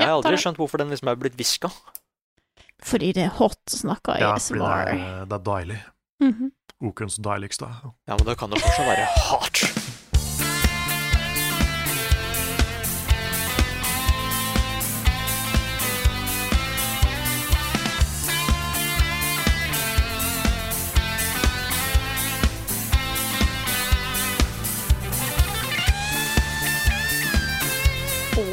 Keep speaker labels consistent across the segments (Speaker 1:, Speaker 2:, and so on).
Speaker 1: Jeg har aldri skjønt hvorfor den liksom er blitt viska.
Speaker 2: Fordi det er hot, snakker
Speaker 3: Ja,
Speaker 2: jeg
Speaker 3: fordi det
Speaker 2: ASMR.
Speaker 3: er, eh, det er deilig.
Speaker 2: Mhm.
Speaker 3: Okens deiligste.
Speaker 1: Ja, men det kan da fortsatt være hardt.
Speaker 2: Og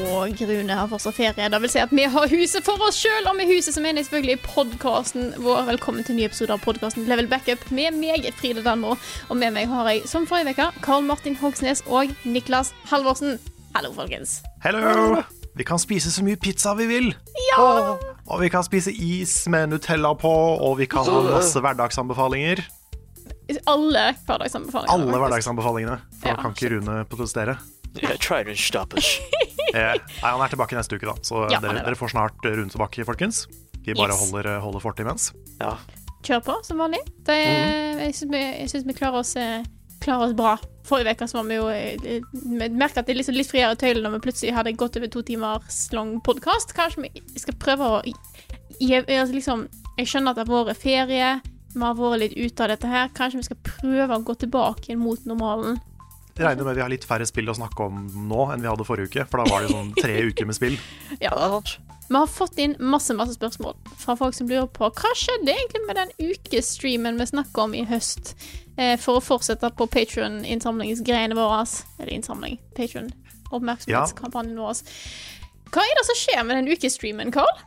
Speaker 2: Rune har fortsatt ferie. Det vil si at vi har huset for oss sjøl, og vi huset som mener selvfølgelig i podkasten vår. Velkommen til en ny episode av podkasten Level Backup med meg, Frida Danmo. Og med meg har jeg, som forrige uke, Karl Martin Hogsnes og Niklas Halvorsen. Hallo, folkens.
Speaker 3: Hello! Vi kan spise så mye pizza vi vil.
Speaker 2: Ja!
Speaker 3: Og vi kan spise is med Nutella på, og vi kan ha masse hverdagsanbefalinger.
Speaker 2: Alle hverdagsanbefalinger.
Speaker 3: Alle
Speaker 2: faktisk.
Speaker 3: hverdagsanbefalingene. For
Speaker 2: Ja,
Speaker 3: nå kan ikke Rune protestere.
Speaker 1: Jeg trying to stop us.
Speaker 3: Eh, nei, han er tilbake neste uke, da. Så
Speaker 2: Ja, han er
Speaker 3: dere,
Speaker 2: det.
Speaker 3: dere får snart eh, Rune tilbake, folkens. Vi bare
Speaker 2: Yes.
Speaker 3: holder, eh, holder fortet imens.
Speaker 1: Ja.
Speaker 2: Kjør på, som vanlig. Det, Jeg syns vi, jeg synes vi klarer, oss, eh, klarer oss bra. Forrige uke var vi jo eh, eh, Vi merket at det er liksom litt friere tøyler når vi plutselig hadde gått over to timers lang podkast. Kanskje vi skal prøve å jeg, altså liksom, jeg skjønner at det har vært ferie, vi har vært litt ute av dette her. Kanskje vi skal prøve å gå tilbake igjen mot normalen.
Speaker 3: Jeg regner med vi har litt færre spill å snakke om nå enn vi hadde forrige uke. For da var det sånn tre uker med spill.
Speaker 1: ja, det er sant.
Speaker 2: Vi har fått inn masse masse spørsmål fra folk som lurer på hva skjedde egentlig med den ukestreamen vi snakka om i høst, eh, for å fortsette på Patrion-innsamlingsgreiene våre. Eller innsamling. Patrion. Oppmerksomhetskampanjen vår. Hva er det som skjer med den ukestreamen, Carl?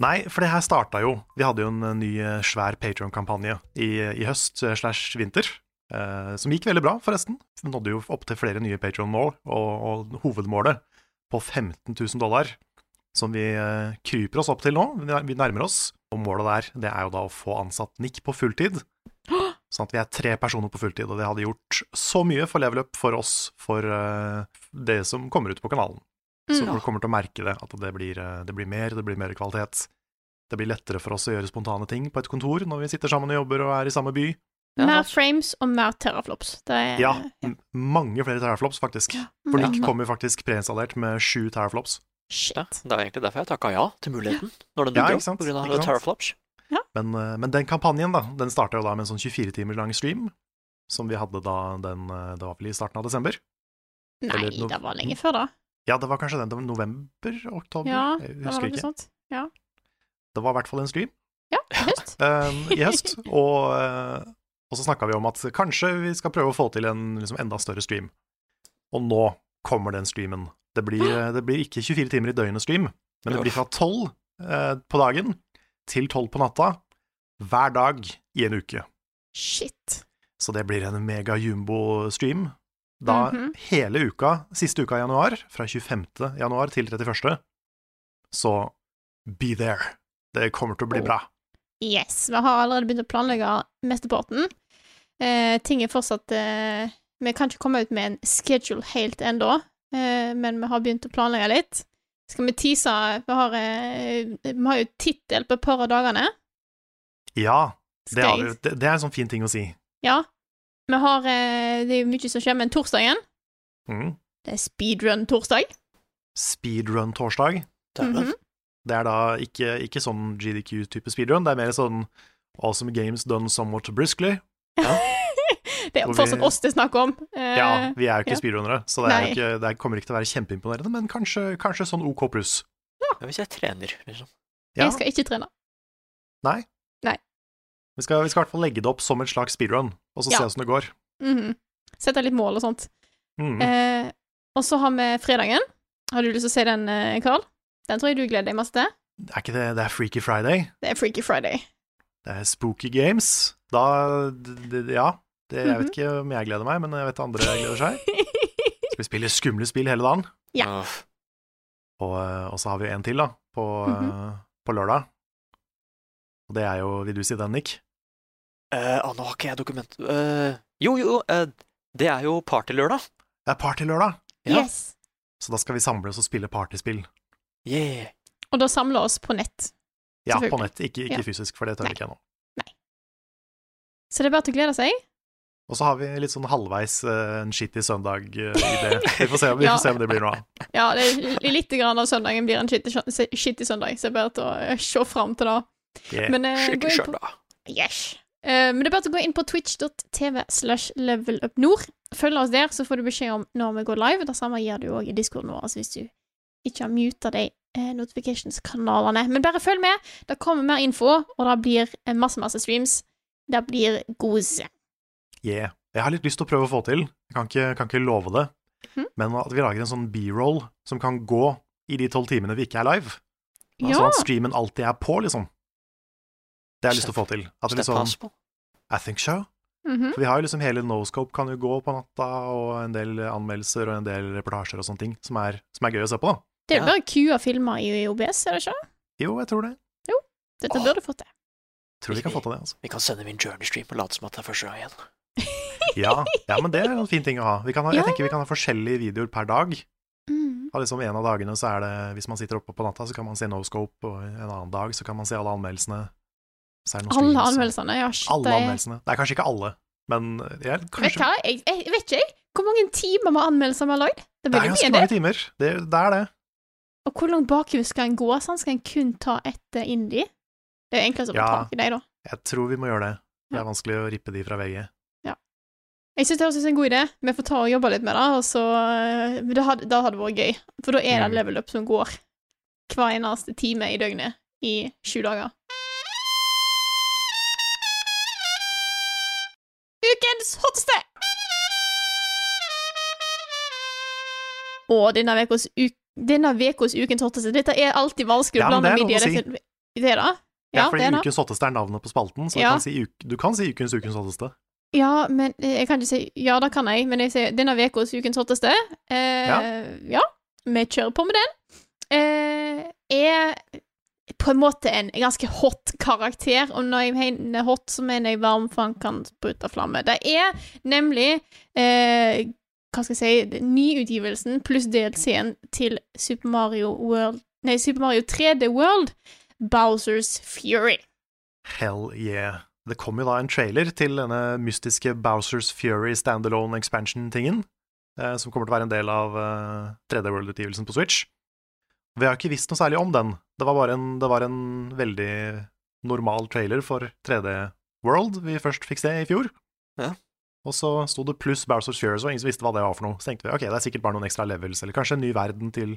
Speaker 3: Nei, for det her starta jo. Vi hadde jo en eh, ny eh, svær Patreon-kampanje i, i høst eh, slash vinter. Eh, som gikk veldig bra, forresten. Vi nådde jo opp til flere nye Patreon-mål, og, og hovedmålet på 15 000 dollar, som vi eh, kryper oss opp til nå. Vi nær- Vi nærmer oss. Og målet der, det er jo da å få ansatt Nick på fulltid. Sånn at vi er tre personer på fulltid, og det hadde gjort så mye for level up for oss, for eh, det som kommer ut på kanalen. Så
Speaker 2: Mm.
Speaker 3: folk kommer til å merke det, at det blir, eh, det blir mer, det blir mer kvalitet. Det blir lettere for oss å gjøre spontane ting på et kontor når vi sitter sammen og jobber og er i samme by.
Speaker 1: Ja,
Speaker 2: mer
Speaker 1: sant.
Speaker 2: frames og mer terraflops. Det er Mm.
Speaker 3: Ja, m- mange flere terraflops, faktisk. For
Speaker 2: Ja.
Speaker 3: Nick kommer faktisk preinstallert med sju terraflops.
Speaker 2: Shit.
Speaker 1: Ja, det var egentlig derfor jeg takka ja til muligheten. Når den
Speaker 3: Ja,
Speaker 1: dukket
Speaker 3: ikke sant?
Speaker 1: opp, på grunn av
Speaker 3: Ikke sant?
Speaker 1: Terraflops.
Speaker 3: Men, eh, men den kampanjen, da, den starta jo da med en sånn 24 timer lang stream, som vi hadde da den eh, Det var vel i starten av desember?
Speaker 2: Nei,
Speaker 3: Eller no-
Speaker 2: det var lenge før, da.
Speaker 3: Ja, det var kanskje den det var november? Oktober?
Speaker 2: Ja,
Speaker 3: jeg
Speaker 2: Det var sånn.
Speaker 3: husker
Speaker 2: noe
Speaker 3: ikke.
Speaker 2: sånt. Ja.
Speaker 3: Det var i hvert fall en stream.
Speaker 2: ja, i høst.
Speaker 3: eh, i høst. Og, eh, og så snakka vi om at kanskje vi skal prøve å få til en liksom, enda større stream. Og nå kommer den streamen. Det blir, eh, det blir ikke 24 timer i døgnet-stream, men det blir fra 12 eh, på dagen til 12 på natta hver dag i en uke.
Speaker 2: Shit.
Speaker 3: Så det blir en mega-jumbo-stream. Da
Speaker 2: Mhm.
Speaker 3: hele uka, siste uka i januar, fra 25. januar til 31., så be there. Det kommer til å bli bra.
Speaker 2: Yes, vi har allerede begynt å planlegge mesteparten. Eh, ting er fortsatt eh, Vi kan ikke komme ut med en schedule helt ennå, eh, men vi har begynt å planlegge litt. Skal vi tease Vi har, eh, vi har jo tittel på et par av dagene.
Speaker 3: Ja, Det,
Speaker 2: Skal
Speaker 3: har vi,
Speaker 2: jeg-
Speaker 3: det, det er en sånn fin ting å si.
Speaker 2: Ja. Vi har eh, Det er jo mye som skjer, men torsdagen
Speaker 3: Mm.
Speaker 2: Det er speedrun-torsdag.
Speaker 3: Speedrun-torsdag.
Speaker 1: Dæven.
Speaker 2: Mhm.
Speaker 3: Det er da ikke, ikke sånn GDQ-type speedrun, det er mer sånn awesome games done somewhat briskly.
Speaker 2: Det er
Speaker 3: Hvor
Speaker 2: jo
Speaker 3: vi-
Speaker 2: fortsatt oss det er snakk om. Eh,
Speaker 3: Ja, vi er
Speaker 2: ja.
Speaker 3: jo ikke speedrunnere, så det, er
Speaker 2: Nei.
Speaker 3: jo ikke, det kommer ikke til å være kjempeimponerende, men kanskje, kanskje sånn OK pluss.
Speaker 1: Men hvis jeg trener, liksom.
Speaker 3: Ja,
Speaker 2: Jeg skal ikke trene.
Speaker 3: vi skal, vi skal i hvert fall legge det opp som en slags speedrun, og så
Speaker 2: Ja.
Speaker 3: se åssen det går.
Speaker 2: Mhm. Sette litt mål og sånt.
Speaker 3: Mm.
Speaker 2: Eh, og så har vi fredagen. Har du lyst til å se den, eh, Karl? Den tror jeg du gleder deg masse til.
Speaker 3: Er ikke det, det er Freaky Friday?
Speaker 2: Det er Freaky Friday.
Speaker 3: Det er Spooky Games? Da d- d- Ja. Det, jeg
Speaker 2: Mhm.
Speaker 3: vet ikke om jeg gleder meg, men jeg vet andre gleder seg. Skal vi spille skumle spill hele dagen?
Speaker 2: Ja.
Speaker 1: Åh,
Speaker 3: eh, Og, og så har vi jo en til, da, på,
Speaker 2: Mhm.
Speaker 3: eh, på lørdag. Og det er jo Vil du si den, Nick?
Speaker 1: Eh, å, nå har ikke jeg dokument... eh, jo, jo, eh, det er jo partylørdag.
Speaker 3: Det er partylørdag,
Speaker 1: Ja.
Speaker 2: Yes.
Speaker 3: så da skal vi samles og spille partyspill.
Speaker 2: Eh,
Speaker 1: Yeah.
Speaker 2: Og da samle oss på nett.
Speaker 3: Ja, på
Speaker 2: Selvfølgelig.
Speaker 3: nett, ikke, ikke
Speaker 2: Ja.
Speaker 3: fysisk, for det tør
Speaker 2: Nei.
Speaker 3: ikke jeg nå.
Speaker 2: Så det er bare til å glede seg.
Speaker 3: Og så har vi litt sånn halvveis eh, en skittig søndag eh, i det. Vi får se, vi
Speaker 2: Ja.
Speaker 3: får se om det blir noe av.
Speaker 2: Ja, det er litt grann av søndagen blir en skittig sjø- skittig søndag, så det er bare til å eh, se fram til det.
Speaker 3: Yeah.
Speaker 2: Men, eh, gå
Speaker 1: Skikkelig
Speaker 2: inn
Speaker 1: sjøl,
Speaker 2: på-
Speaker 1: da.
Speaker 2: Yes. Eh, men det er bare til å gå inn på twitch.tv slash levelupnord. Følg oss der, så får du beskjed om når vi går live. Det samme gjør du òg i discorden vår altså hvis du ikke har muta de eh, notifications-kanalene. Men bare følg med. Det kommer mer info, og det blir eh, masse, masse streams. Det blir gods.
Speaker 3: Yeah. Jeg har litt lyst til å prøve å få til, jeg kan ikke, kan ikke love det,
Speaker 2: Mhm.
Speaker 3: men at vi lager en sånn b-roll som kan gå i de tolv timene vi ikke er live,
Speaker 2: Ja.
Speaker 3: sånn at streamen alltid er på, liksom. Det har jeg lyst til å få til. At det
Speaker 1: Step
Speaker 3: liksom,
Speaker 1: Hasbro.
Speaker 3: I think so.
Speaker 2: Mhm.
Speaker 3: For vi har jo liksom hele Noscope kan jo gå på natta, og en del anmeldelser og en del reportasjer og sånne ting, som er, som er gøy å se på, da.
Speaker 2: Det er
Speaker 1: Ja.
Speaker 2: jo bare kua filmer i i OBS, er det ikke?
Speaker 3: Jo, jeg tror det.
Speaker 2: Dette
Speaker 1: Åh.
Speaker 2: bør du få til.
Speaker 3: Tror vi kan få til det, altså.
Speaker 1: Vi kan sende min journey-stream og late som at det er første gang igjen.
Speaker 3: Ja, ja men det er en fin ting å ha. Vi kan ha. Jeg
Speaker 2: Ja,
Speaker 3: tenker vi kan ha forskjellige videoer per dag.
Speaker 2: Mhm.
Speaker 3: Ha liksom en av dagene så er det, Hvis man sitter oppe på natta, så kan man se Noscope, og en annen dag så kan man se alle anmeldelsene. Så er det noen
Speaker 2: Alle
Speaker 3: streams,
Speaker 2: anmeldelsene. Ja, shit,
Speaker 3: og- Alle
Speaker 2: det er-
Speaker 3: anmeldelsene. Det er kanskje ikke alle, men jeg,
Speaker 2: Vet du
Speaker 3: kanskje,
Speaker 2: hva, jeg, jeg jeg vet ikke jeg. hvor mange timer med anmeldelser vi har lagd. Det
Speaker 3: det
Speaker 2: bør
Speaker 3: er
Speaker 2: jo bli
Speaker 3: ganske
Speaker 2: en del.
Speaker 3: mange timer. Det, det er det.
Speaker 2: Og hvor langt bakover skal en gå? Sånn? Skal en kun ta ett eh, indie? Det er jo enklest å få
Speaker 3: Ja.
Speaker 2: tak i deg, da.
Speaker 3: Jeg tror vi må gjøre det. Det
Speaker 2: Ja.
Speaker 3: er vanskelig å rippe de fra VG.
Speaker 2: Jeg syns det høres ut som en god idé. Vi får ta og jobbe litt med det. Og så, eh, men det hadde, det hadde vært gøy, for da er det
Speaker 3: Mm.
Speaker 2: level up som går hver eneste time i døgnet i sju dager. Ukens hotteste! Og denne ukas uk- denne ukas ukens hotteste Dette er alltid vanskelig
Speaker 3: Ja,
Speaker 2: å
Speaker 3: men
Speaker 2: blande
Speaker 3: det er
Speaker 2: midje.
Speaker 3: lov å
Speaker 2: dette- Det er det?
Speaker 3: Ja,
Speaker 2: Ja, det
Speaker 3: fordi
Speaker 2: er det.
Speaker 3: Ukens hotteste er navnet på spalten, så
Speaker 2: Ja.
Speaker 3: du, kan si uk, du kan si Ukens ukens hotteste.
Speaker 2: Ja, men eh, jeg kan ikke si Ja, det kan jeg, men jeg sier denne ukas ukens hotteste. Eh, ja.
Speaker 3: Ja.
Speaker 2: Vi kjører på med den. Eh, er på en måte en ganske hot karakter, og når jeg mener hot, så mener jeg varm, for han kan sprute flamme. Det er nemlig eh, Hva skal jeg si Nyutgivelsen pluss DLC-en til Super Mario World Nei, Super Mario 3D World, Bowsers Fury.
Speaker 3: Hell yeah. Det kom jo da en trailer til denne mystiske Bowsers Fury standalone expansion-tingen, eh, som kommer til å være en del av eh, 3D World-utgivelsen på Switch. Vi har jo ikke visst noe særlig om den. Det var bare en, det var en veldig normal trailer for 3D World vi først fikk se i fjor.
Speaker 1: Ja.
Speaker 3: Og så sto det pluss Bowsers Fury, så ingen som visste hva det var for noe. Så tenkte vi ok, det er sikkert bare noen ekstra levels, eller kanskje en ny verden til,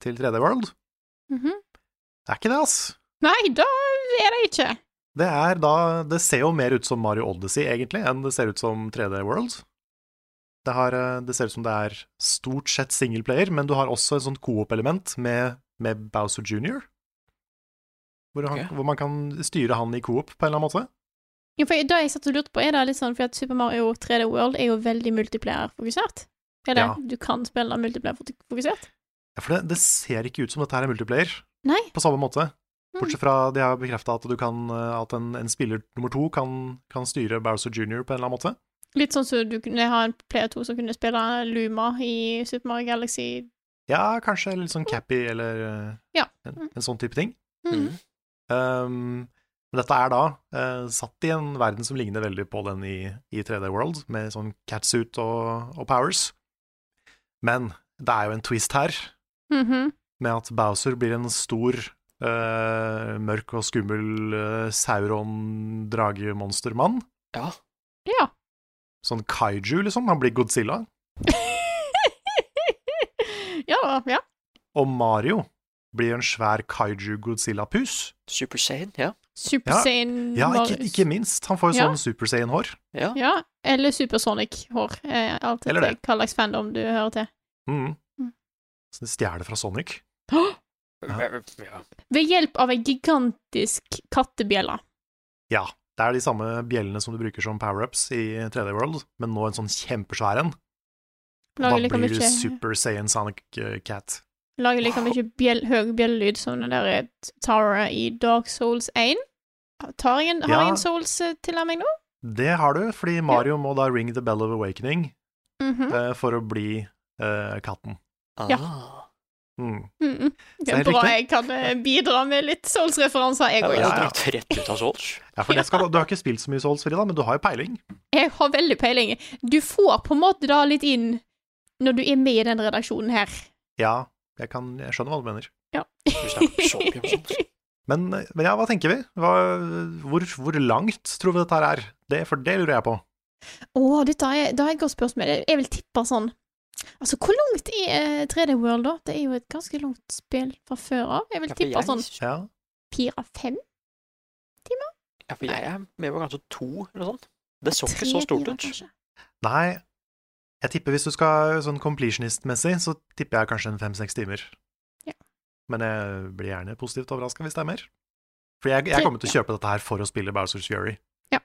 Speaker 3: til 3D World.
Speaker 2: Mhm.
Speaker 3: Det er ikke det, ass.
Speaker 2: Nei, da er det ikke.
Speaker 3: Det er da Det ser jo mer ut som Mario Odyssey, egentlig, enn det ser ut som 3D World. Det, har, eh, det ser ut som det er stort sett singleplayer, men du har også et sånt coop-element med, med Bowser Jr. Hvor, han,
Speaker 1: Ok.
Speaker 3: hvor man kan styre han i coop, på en eller annen måte.
Speaker 2: Ja, for det jeg satt og lurte på, er det litt sånn fordi at Super Mario 3D World er jo veldig multiplayer-fokusert? Er det
Speaker 3: Ja.
Speaker 2: du kan spille multiplayer-fokusert?
Speaker 3: Ja, for det, det ser ikke ut som dette her er multiplayer,
Speaker 2: Nei.
Speaker 3: på samme måte.
Speaker 2: Mm.
Speaker 3: Bortsett fra de har bekrefta at, du kan, eh, at en, en spiller nummer to kan, kan styre Bowser Jr. på en eller annen måte.
Speaker 2: Litt sånn som du kunne ha en player 2 som kunne spille Luma i Super Mario Galaxy.
Speaker 3: Ja, kanskje litt sånn Cappy eller eh,
Speaker 2: Ja.
Speaker 3: en, en sånn type ting.
Speaker 2: Mm.
Speaker 1: Mm.
Speaker 3: Um, men dette er da eh, satt i en verden som ligner veldig på den i, i 3D World, med sånn catsuit og, og powers. Men det er jo en twist her,
Speaker 2: Mhm.
Speaker 3: med at Bowser blir en stor, eh, mørk og skummel eh, sauron-dragemonstermann.
Speaker 1: Ja.
Speaker 2: Ja.
Speaker 3: Sånn kaiju, liksom. Han blir Godzilla.
Speaker 2: ja da, ja.
Speaker 3: Og Mario blir en svær kaiju-Godzilla-pus.
Speaker 1: Super Saiyan, ja.
Speaker 2: Super
Speaker 3: Ja.
Speaker 2: Saiyan
Speaker 3: Ja, ikke,
Speaker 2: Marius.
Speaker 3: ikke minst. Han får jo
Speaker 2: Ja.
Speaker 3: sånn Super Saiyan-hår.
Speaker 1: Ja.
Speaker 2: Ja, eller Supersonic-hår. Eh, alt
Speaker 3: Eller
Speaker 2: etter hva slags fandom du hører til.
Speaker 3: Mm.
Speaker 2: Mm.
Speaker 3: Så de stjeler fra Sonic.
Speaker 1: ja.
Speaker 2: Ved hjelp av ei gigantisk kattebjelle.
Speaker 3: Ja, det er de samme bjellene som du bruker som power-ups i 3D World, men nå en sånn kjempesvær en. Og Da
Speaker 2: Lager like
Speaker 3: blir du
Speaker 2: mye
Speaker 3: Super Saiyan Sonic eh, Cat.
Speaker 2: Lager like mye bjell, høy bjellelyd som den der eh, Tara i Dark Souls 1. Tar jeg en, har eh,
Speaker 3: Ja.
Speaker 2: jeg en Souls-tilnærming nå?
Speaker 3: Det har du, fordi Mario må da ring the bell of awakening
Speaker 2: Mhm.
Speaker 3: eh, for å bli eh, katten.
Speaker 2: Ja.
Speaker 1: Ah.
Speaker 3: Mm.
Speaker 2: Mm, mm. Det
Speaker 3: Så
Speaker 2: er
Speaker 3: helt
Speaker 2: bra
Speaker 3: riktig.
Speaker 2: jeg kan eh, bidra med litt Souls-referanser,
Speaker 1: Jeg
Speaker 2: jeg òg.
Speaker 1: ble
Speaker 3: Ja,
Speaker 1: så
Speaker 3: ja.
Speaker 1: dratt rett ut av Souls.
Speaker 3: Ja, for det skal, Du har ikke spilt så mye Souls Frida, men du har jo peiling.
Speaker 2: Jeg har veldig peiling. Du får på en måte da litt inn når du er med i den redaksjonen her.
Speaker 3: Ja, jeg, kan, jeg skjønner hva du mener.
Speaker 1: Vi snakker så mye om Souls.
Speaker 3: Men, eh, men ja, hva tenker vi? Hva, hvor, hvor langt tror vi dette her er? Det, for det lurer jeg på.
Speaker 2: Å, dette er, da er et godt spørsmål. Jeg vil tippe sånn Altså, hvor langt er eh, 3D World, da? Det er jo et ganske langt spill fra før av. Jeg vil
Speaker 1: Ja, for
Speaker 2: tippe
Speaker 1: jeg-
Speaker 2: sånn
Speaker 3: Ja.
Speaker 2: fire-fem.
Speaker 1: Ja, for jeg er med på kanskje to eller noe sånt. Det så ikke så stort ut.
Speaker 3: Nei, jeg tipper hvis du skal sånn completionist-messig, så tipper jeg kanskje en fem-seks timer.
Speaker 2: Ja.
Speaker 3: Men jeg blir gjerne positivt overraska hvis det er mer. For jeg, jeg kommer til å kjøpe dette her for å spille Bowsers Fury.
Speaker 2: Ja.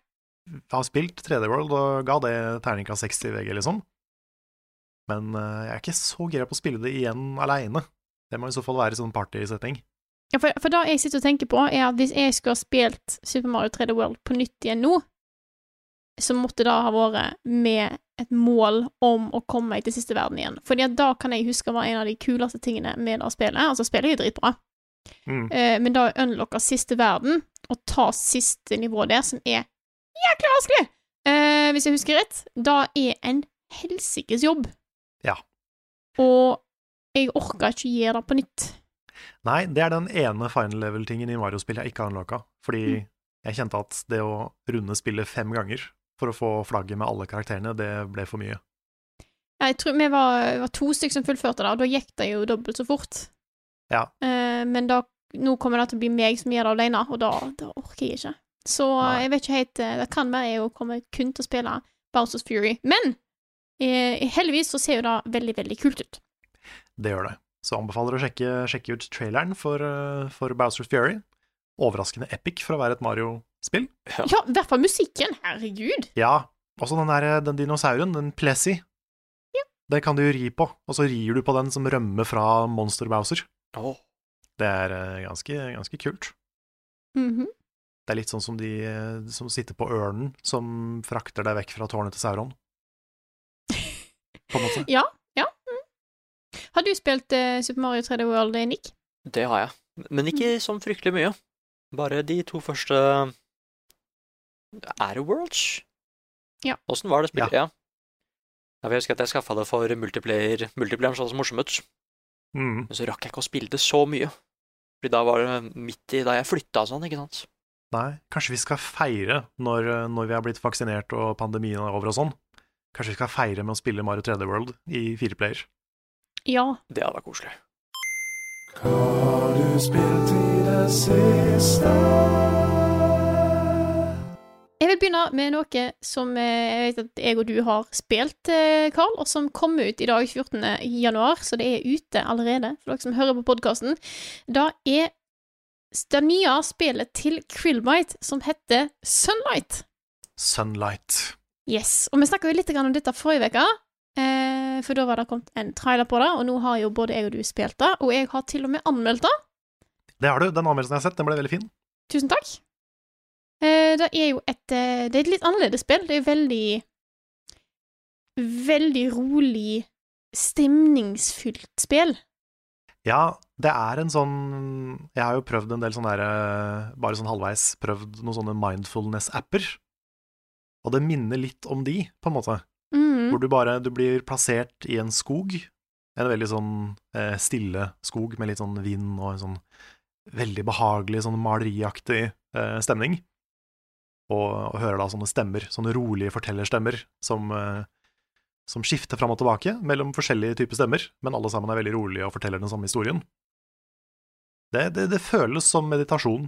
Speaker 3: Jeg har spilt 3D World og ga det terninga 60 VG, liksom. Men eh, jeg er ikke så gira på å spille det igjen aleine. Det må i så fall være sånn partysetting.
Speaker 2: Ja, for, for det jeg sitter og tenker på, er at hvis jeg skulle ha spilt Super Mario 3D World på nytt igjen nå, så måtte det ha vært med et mål om å komme meg til siste verden igjen. Fordi at da kan jeg huske var en av de kuleste tingene med det spillet. Altså, spillet er jo dritbra.
Speaker 3: Mm.
Speaker 2: Eh, men da å unlocke siste verden, og ta siste nivå der, som er jækla vanskelig, eh, hvis jeg husker rett, da er en helsikes jobb.
Speaker 3: Ja.
Speaker 2: Og jeg orker ikke gjøre det på nytt.
Speaker 3: Nei, det er den ene final level-tingen i Mario-spill jeg ikke har unlocka. Fordi jeg kjente at det å runde spillet fem ganger for å få flagget med alle karakterene, det ble for mye.
Speaker 2: Jeg tror vi var, var to stykker som fullførte det, og da gikk det jo dobbelt så fort.
Speaker 3: Ja.
Speaker 2: Eh, men da, nå kommer det til å bli meg som gjør det alene, og da, da orker jeg ikke. Så
Speaker 3: Nei.
Speaker 2: jeg vet ikke helt eh, Det kan være jeg jo kommer kun til å spille Bowsers Fury, men eh, heldigvis så ser jo det veldig, veldig kult ut.
Speaker 3: Det gjør det. Så anbefaler å sjekke, sjekke ut traileren for, eh, for Bowsers Fury. Overraskende epic for å være et Mario-spill.
Speaker 2: Ja, i hvert fall musikken. Herregud.
Speaker 3: Ja, også den, der, eh, den dinosauren, den Plessy. Det kan du jo ri på, og så rir du på den som rømmer fra Monster Bowser.
Speaker 1: Åh,
Speaker 3: Det er eh, ganske, ganske kult. Mhm. Det er litt sånn som de eh, som sitter på ørnen, som frakter deg vekk fra tårnet til Sauron. På en måte.
Speaker 2: Ja. ja. Mm. Har du spilt eh, Super Mario 3D World, eh, Nick?
Speaker 1: det har jeg. Men ikke sånn fryktelig mye. Bare de to første Er det Worlds?
Speaker 2: Ja.
Speaker 1: Åssen var det spillet? Ja. Jeg husker at jeg skaffa det for multiplayer. Multiplayeren så det så morsom ut,
Speaker 3: Mm.
Speaker 1: men så rakk jeg ikke å spille det så mye. Fordi da var det midt i da jeg flytta og sånn, ikke sant.
Speaker 3: Nei, kanskje vi skal feire når, eh, når vi har blitt vaksinert og pandemien er over og sånn. Kanskje vi skal feire med å spille Mario 3D World i fireplayer.
Speaker 2: Ja.
Speaker 1: Det hadde vært koselig.
Speaker 2: Jeg vil begynne med noe som eh, jeg vet at jeg og du har spilt, eh, Karl, og som kom ut i dag, 14. januar, så det er ute allerede for dere som hører på podkasten. Det er det nye spillet til Krillbite som heter Sunlight.
Speaker 3: Sunlight.
Speaker 2: Yes. Og vi snakka jo litt grann om dette forrige uke, eh, for da var det kommet en trailer på det, og nå har jo både jeg og du spilt det, og jeg har til og med anmeldt det.
Speaker 3: Det har du, den anmeldelsen jeg har sett, den ble veldig fin.
Speaker 2: Tusen takk. Eh, Det er jo et eh, Det er et litt annerledes spill. Det er veldig Veldig rolig, stemningsfylt spill.
Speaker 3: Ja, det er en sånn Jeg har jo prøvd en del sånne der, eh, Bare sånn halvveis prøvd noen sånne mindfulness-apper. Og det minner litt om de, på en måte.
Speaker 2: Mhm.
Speaker 3: Hvor du bare du blir plassert i en skog. En veldig sånn eh, stille skog med litt sånn vind og en sånn veldig behagelig, sånn maleriaktig eh, stemning. Og, og hører da sånne stemmer, sånne rolige fortellerstemmer, som, eh, som skifter fram og tilbake mellom forskjellige typer stemmer, men alle sammen er veldig rolige og forteller den samme historien. Det, det, det føles som meditasjon.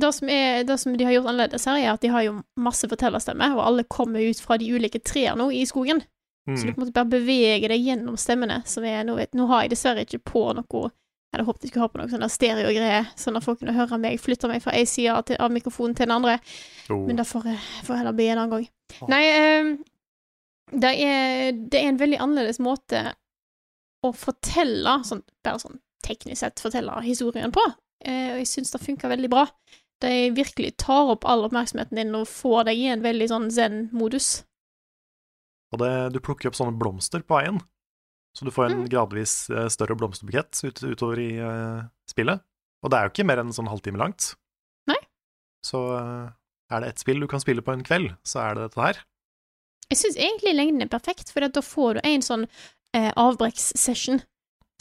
Speaker 2: Det, som er, det som de har gjort annerledes her, er at de har jo masse fortellerstemme, og alle kommer ut fra de ulike trær nå i skogen. Så du
Speaker 3: Mm.
Speaker 2: på en måte bare beveger deg gjennom stemmene, som er nå, vet, nå har jeg dessverre ikke på noe Jeg hadde håpet jeg skulle ha på noe sånne stereogreier, sånn at folk kunne høre meg flytte meg fra én side til- av mikrofonen til den andre.
Speaker 3: Jo.
Speaker 2: Men det får, får heller bli en annen gang.
Speaker 1: Ja.
Speaker 2: Nei, ehm, det er, det er en veldig annerledes måte å fortelle, sånn, bare sånn teknisk sett fortelle historien på. Eh, og jeg syns det funker veldig bra. De virkelig tar opp all oppmerksomheten din og får deg i en veldig sånn zen-modus.
Speaker 3: Og det, du plukker opp sånne blomster på veien, så du får
Speaker 2: Mm.
Speaker 3: en gradvis eh, større blomsterbukett ut, utover i eh, spillet. Og det er jo ikke mer enn sånn halvtime langt.
Speaker 2: Nei.
Speaker 3: Så eh, er det ett spill du kan spille på en kveld, så er det dette her.
Speaker 2: Jeg syns egentlig lengden er perfekt, for da får du en sånn eh, avbrekkssession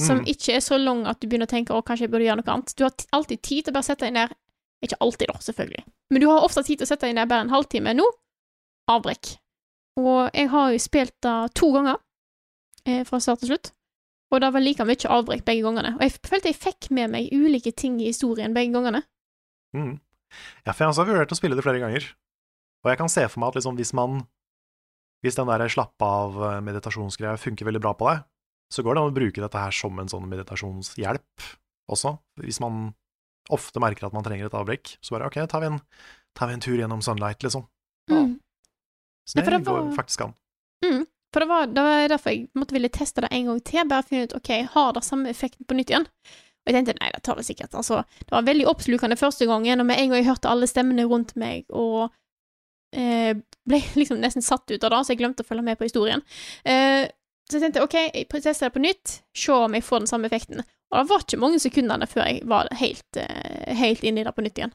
Speaker 2: som
Speaker 3: Mm.
Speaker 2: ikke er så lang at du begynner å tenke å, kanskje jeg burde gjøre noe annet. Du har t- alltid tid til å bare sette deg inn der. Ikke alltid, da, selvfølgelig, men du har ofte tid til å sette deg inn der bare en halvtime. Nå avbrekk. Og jeg har jo spilt det to ganger eh, fra start til slutt, og det var like mye avbrekk begge gangene. Og jeg følte jeg fikk med meg ulike ting i historien begge gangene.
Speaker 3: Mm. Ja, for jeg også har vurdert å spille det flere ganger. Og jeg kan se for meg at liksom, hvis man Hvis den der slapp av-meditasjonsgreia funker veldig bra på deg, så går det an å bruke dette her som en sånn meditasjonshjelp også. Hvis man ofte merker at man trenger et avbrekk, så bare OK, tar vi en, tar vi en tur gjennom Sunlight, liksom. Ja.
Speaker 2: Mm.
Speaker 3: Så
Speaker 2: Ja, for
Speaker 3: det
Speaker 2: det
Speaker 3: går
Speaker 2: var-
Speaker 3: faktisk an.
Speaker 2: For det var, det var derfor jeg måtte ville teste det en gang til, bare finne ut ok, har det samme effekten på nytt igjen. Og jeg tenkte nei, det tar det sikkert. Altså, det var veldig oppslukende første gangen, og med en gang jeg hørte alle stemmene rundt meg, og eh, ble liksom nesten satt ut av det, så jeg glemte å følge med på historien. Eh, så jeg tenkte ok, jeg tester det på nytt, se om jeg får den samme effekten. Og det var ikke mange sekundene før jeg var helt, eh, helt inne i det på nytt igjen.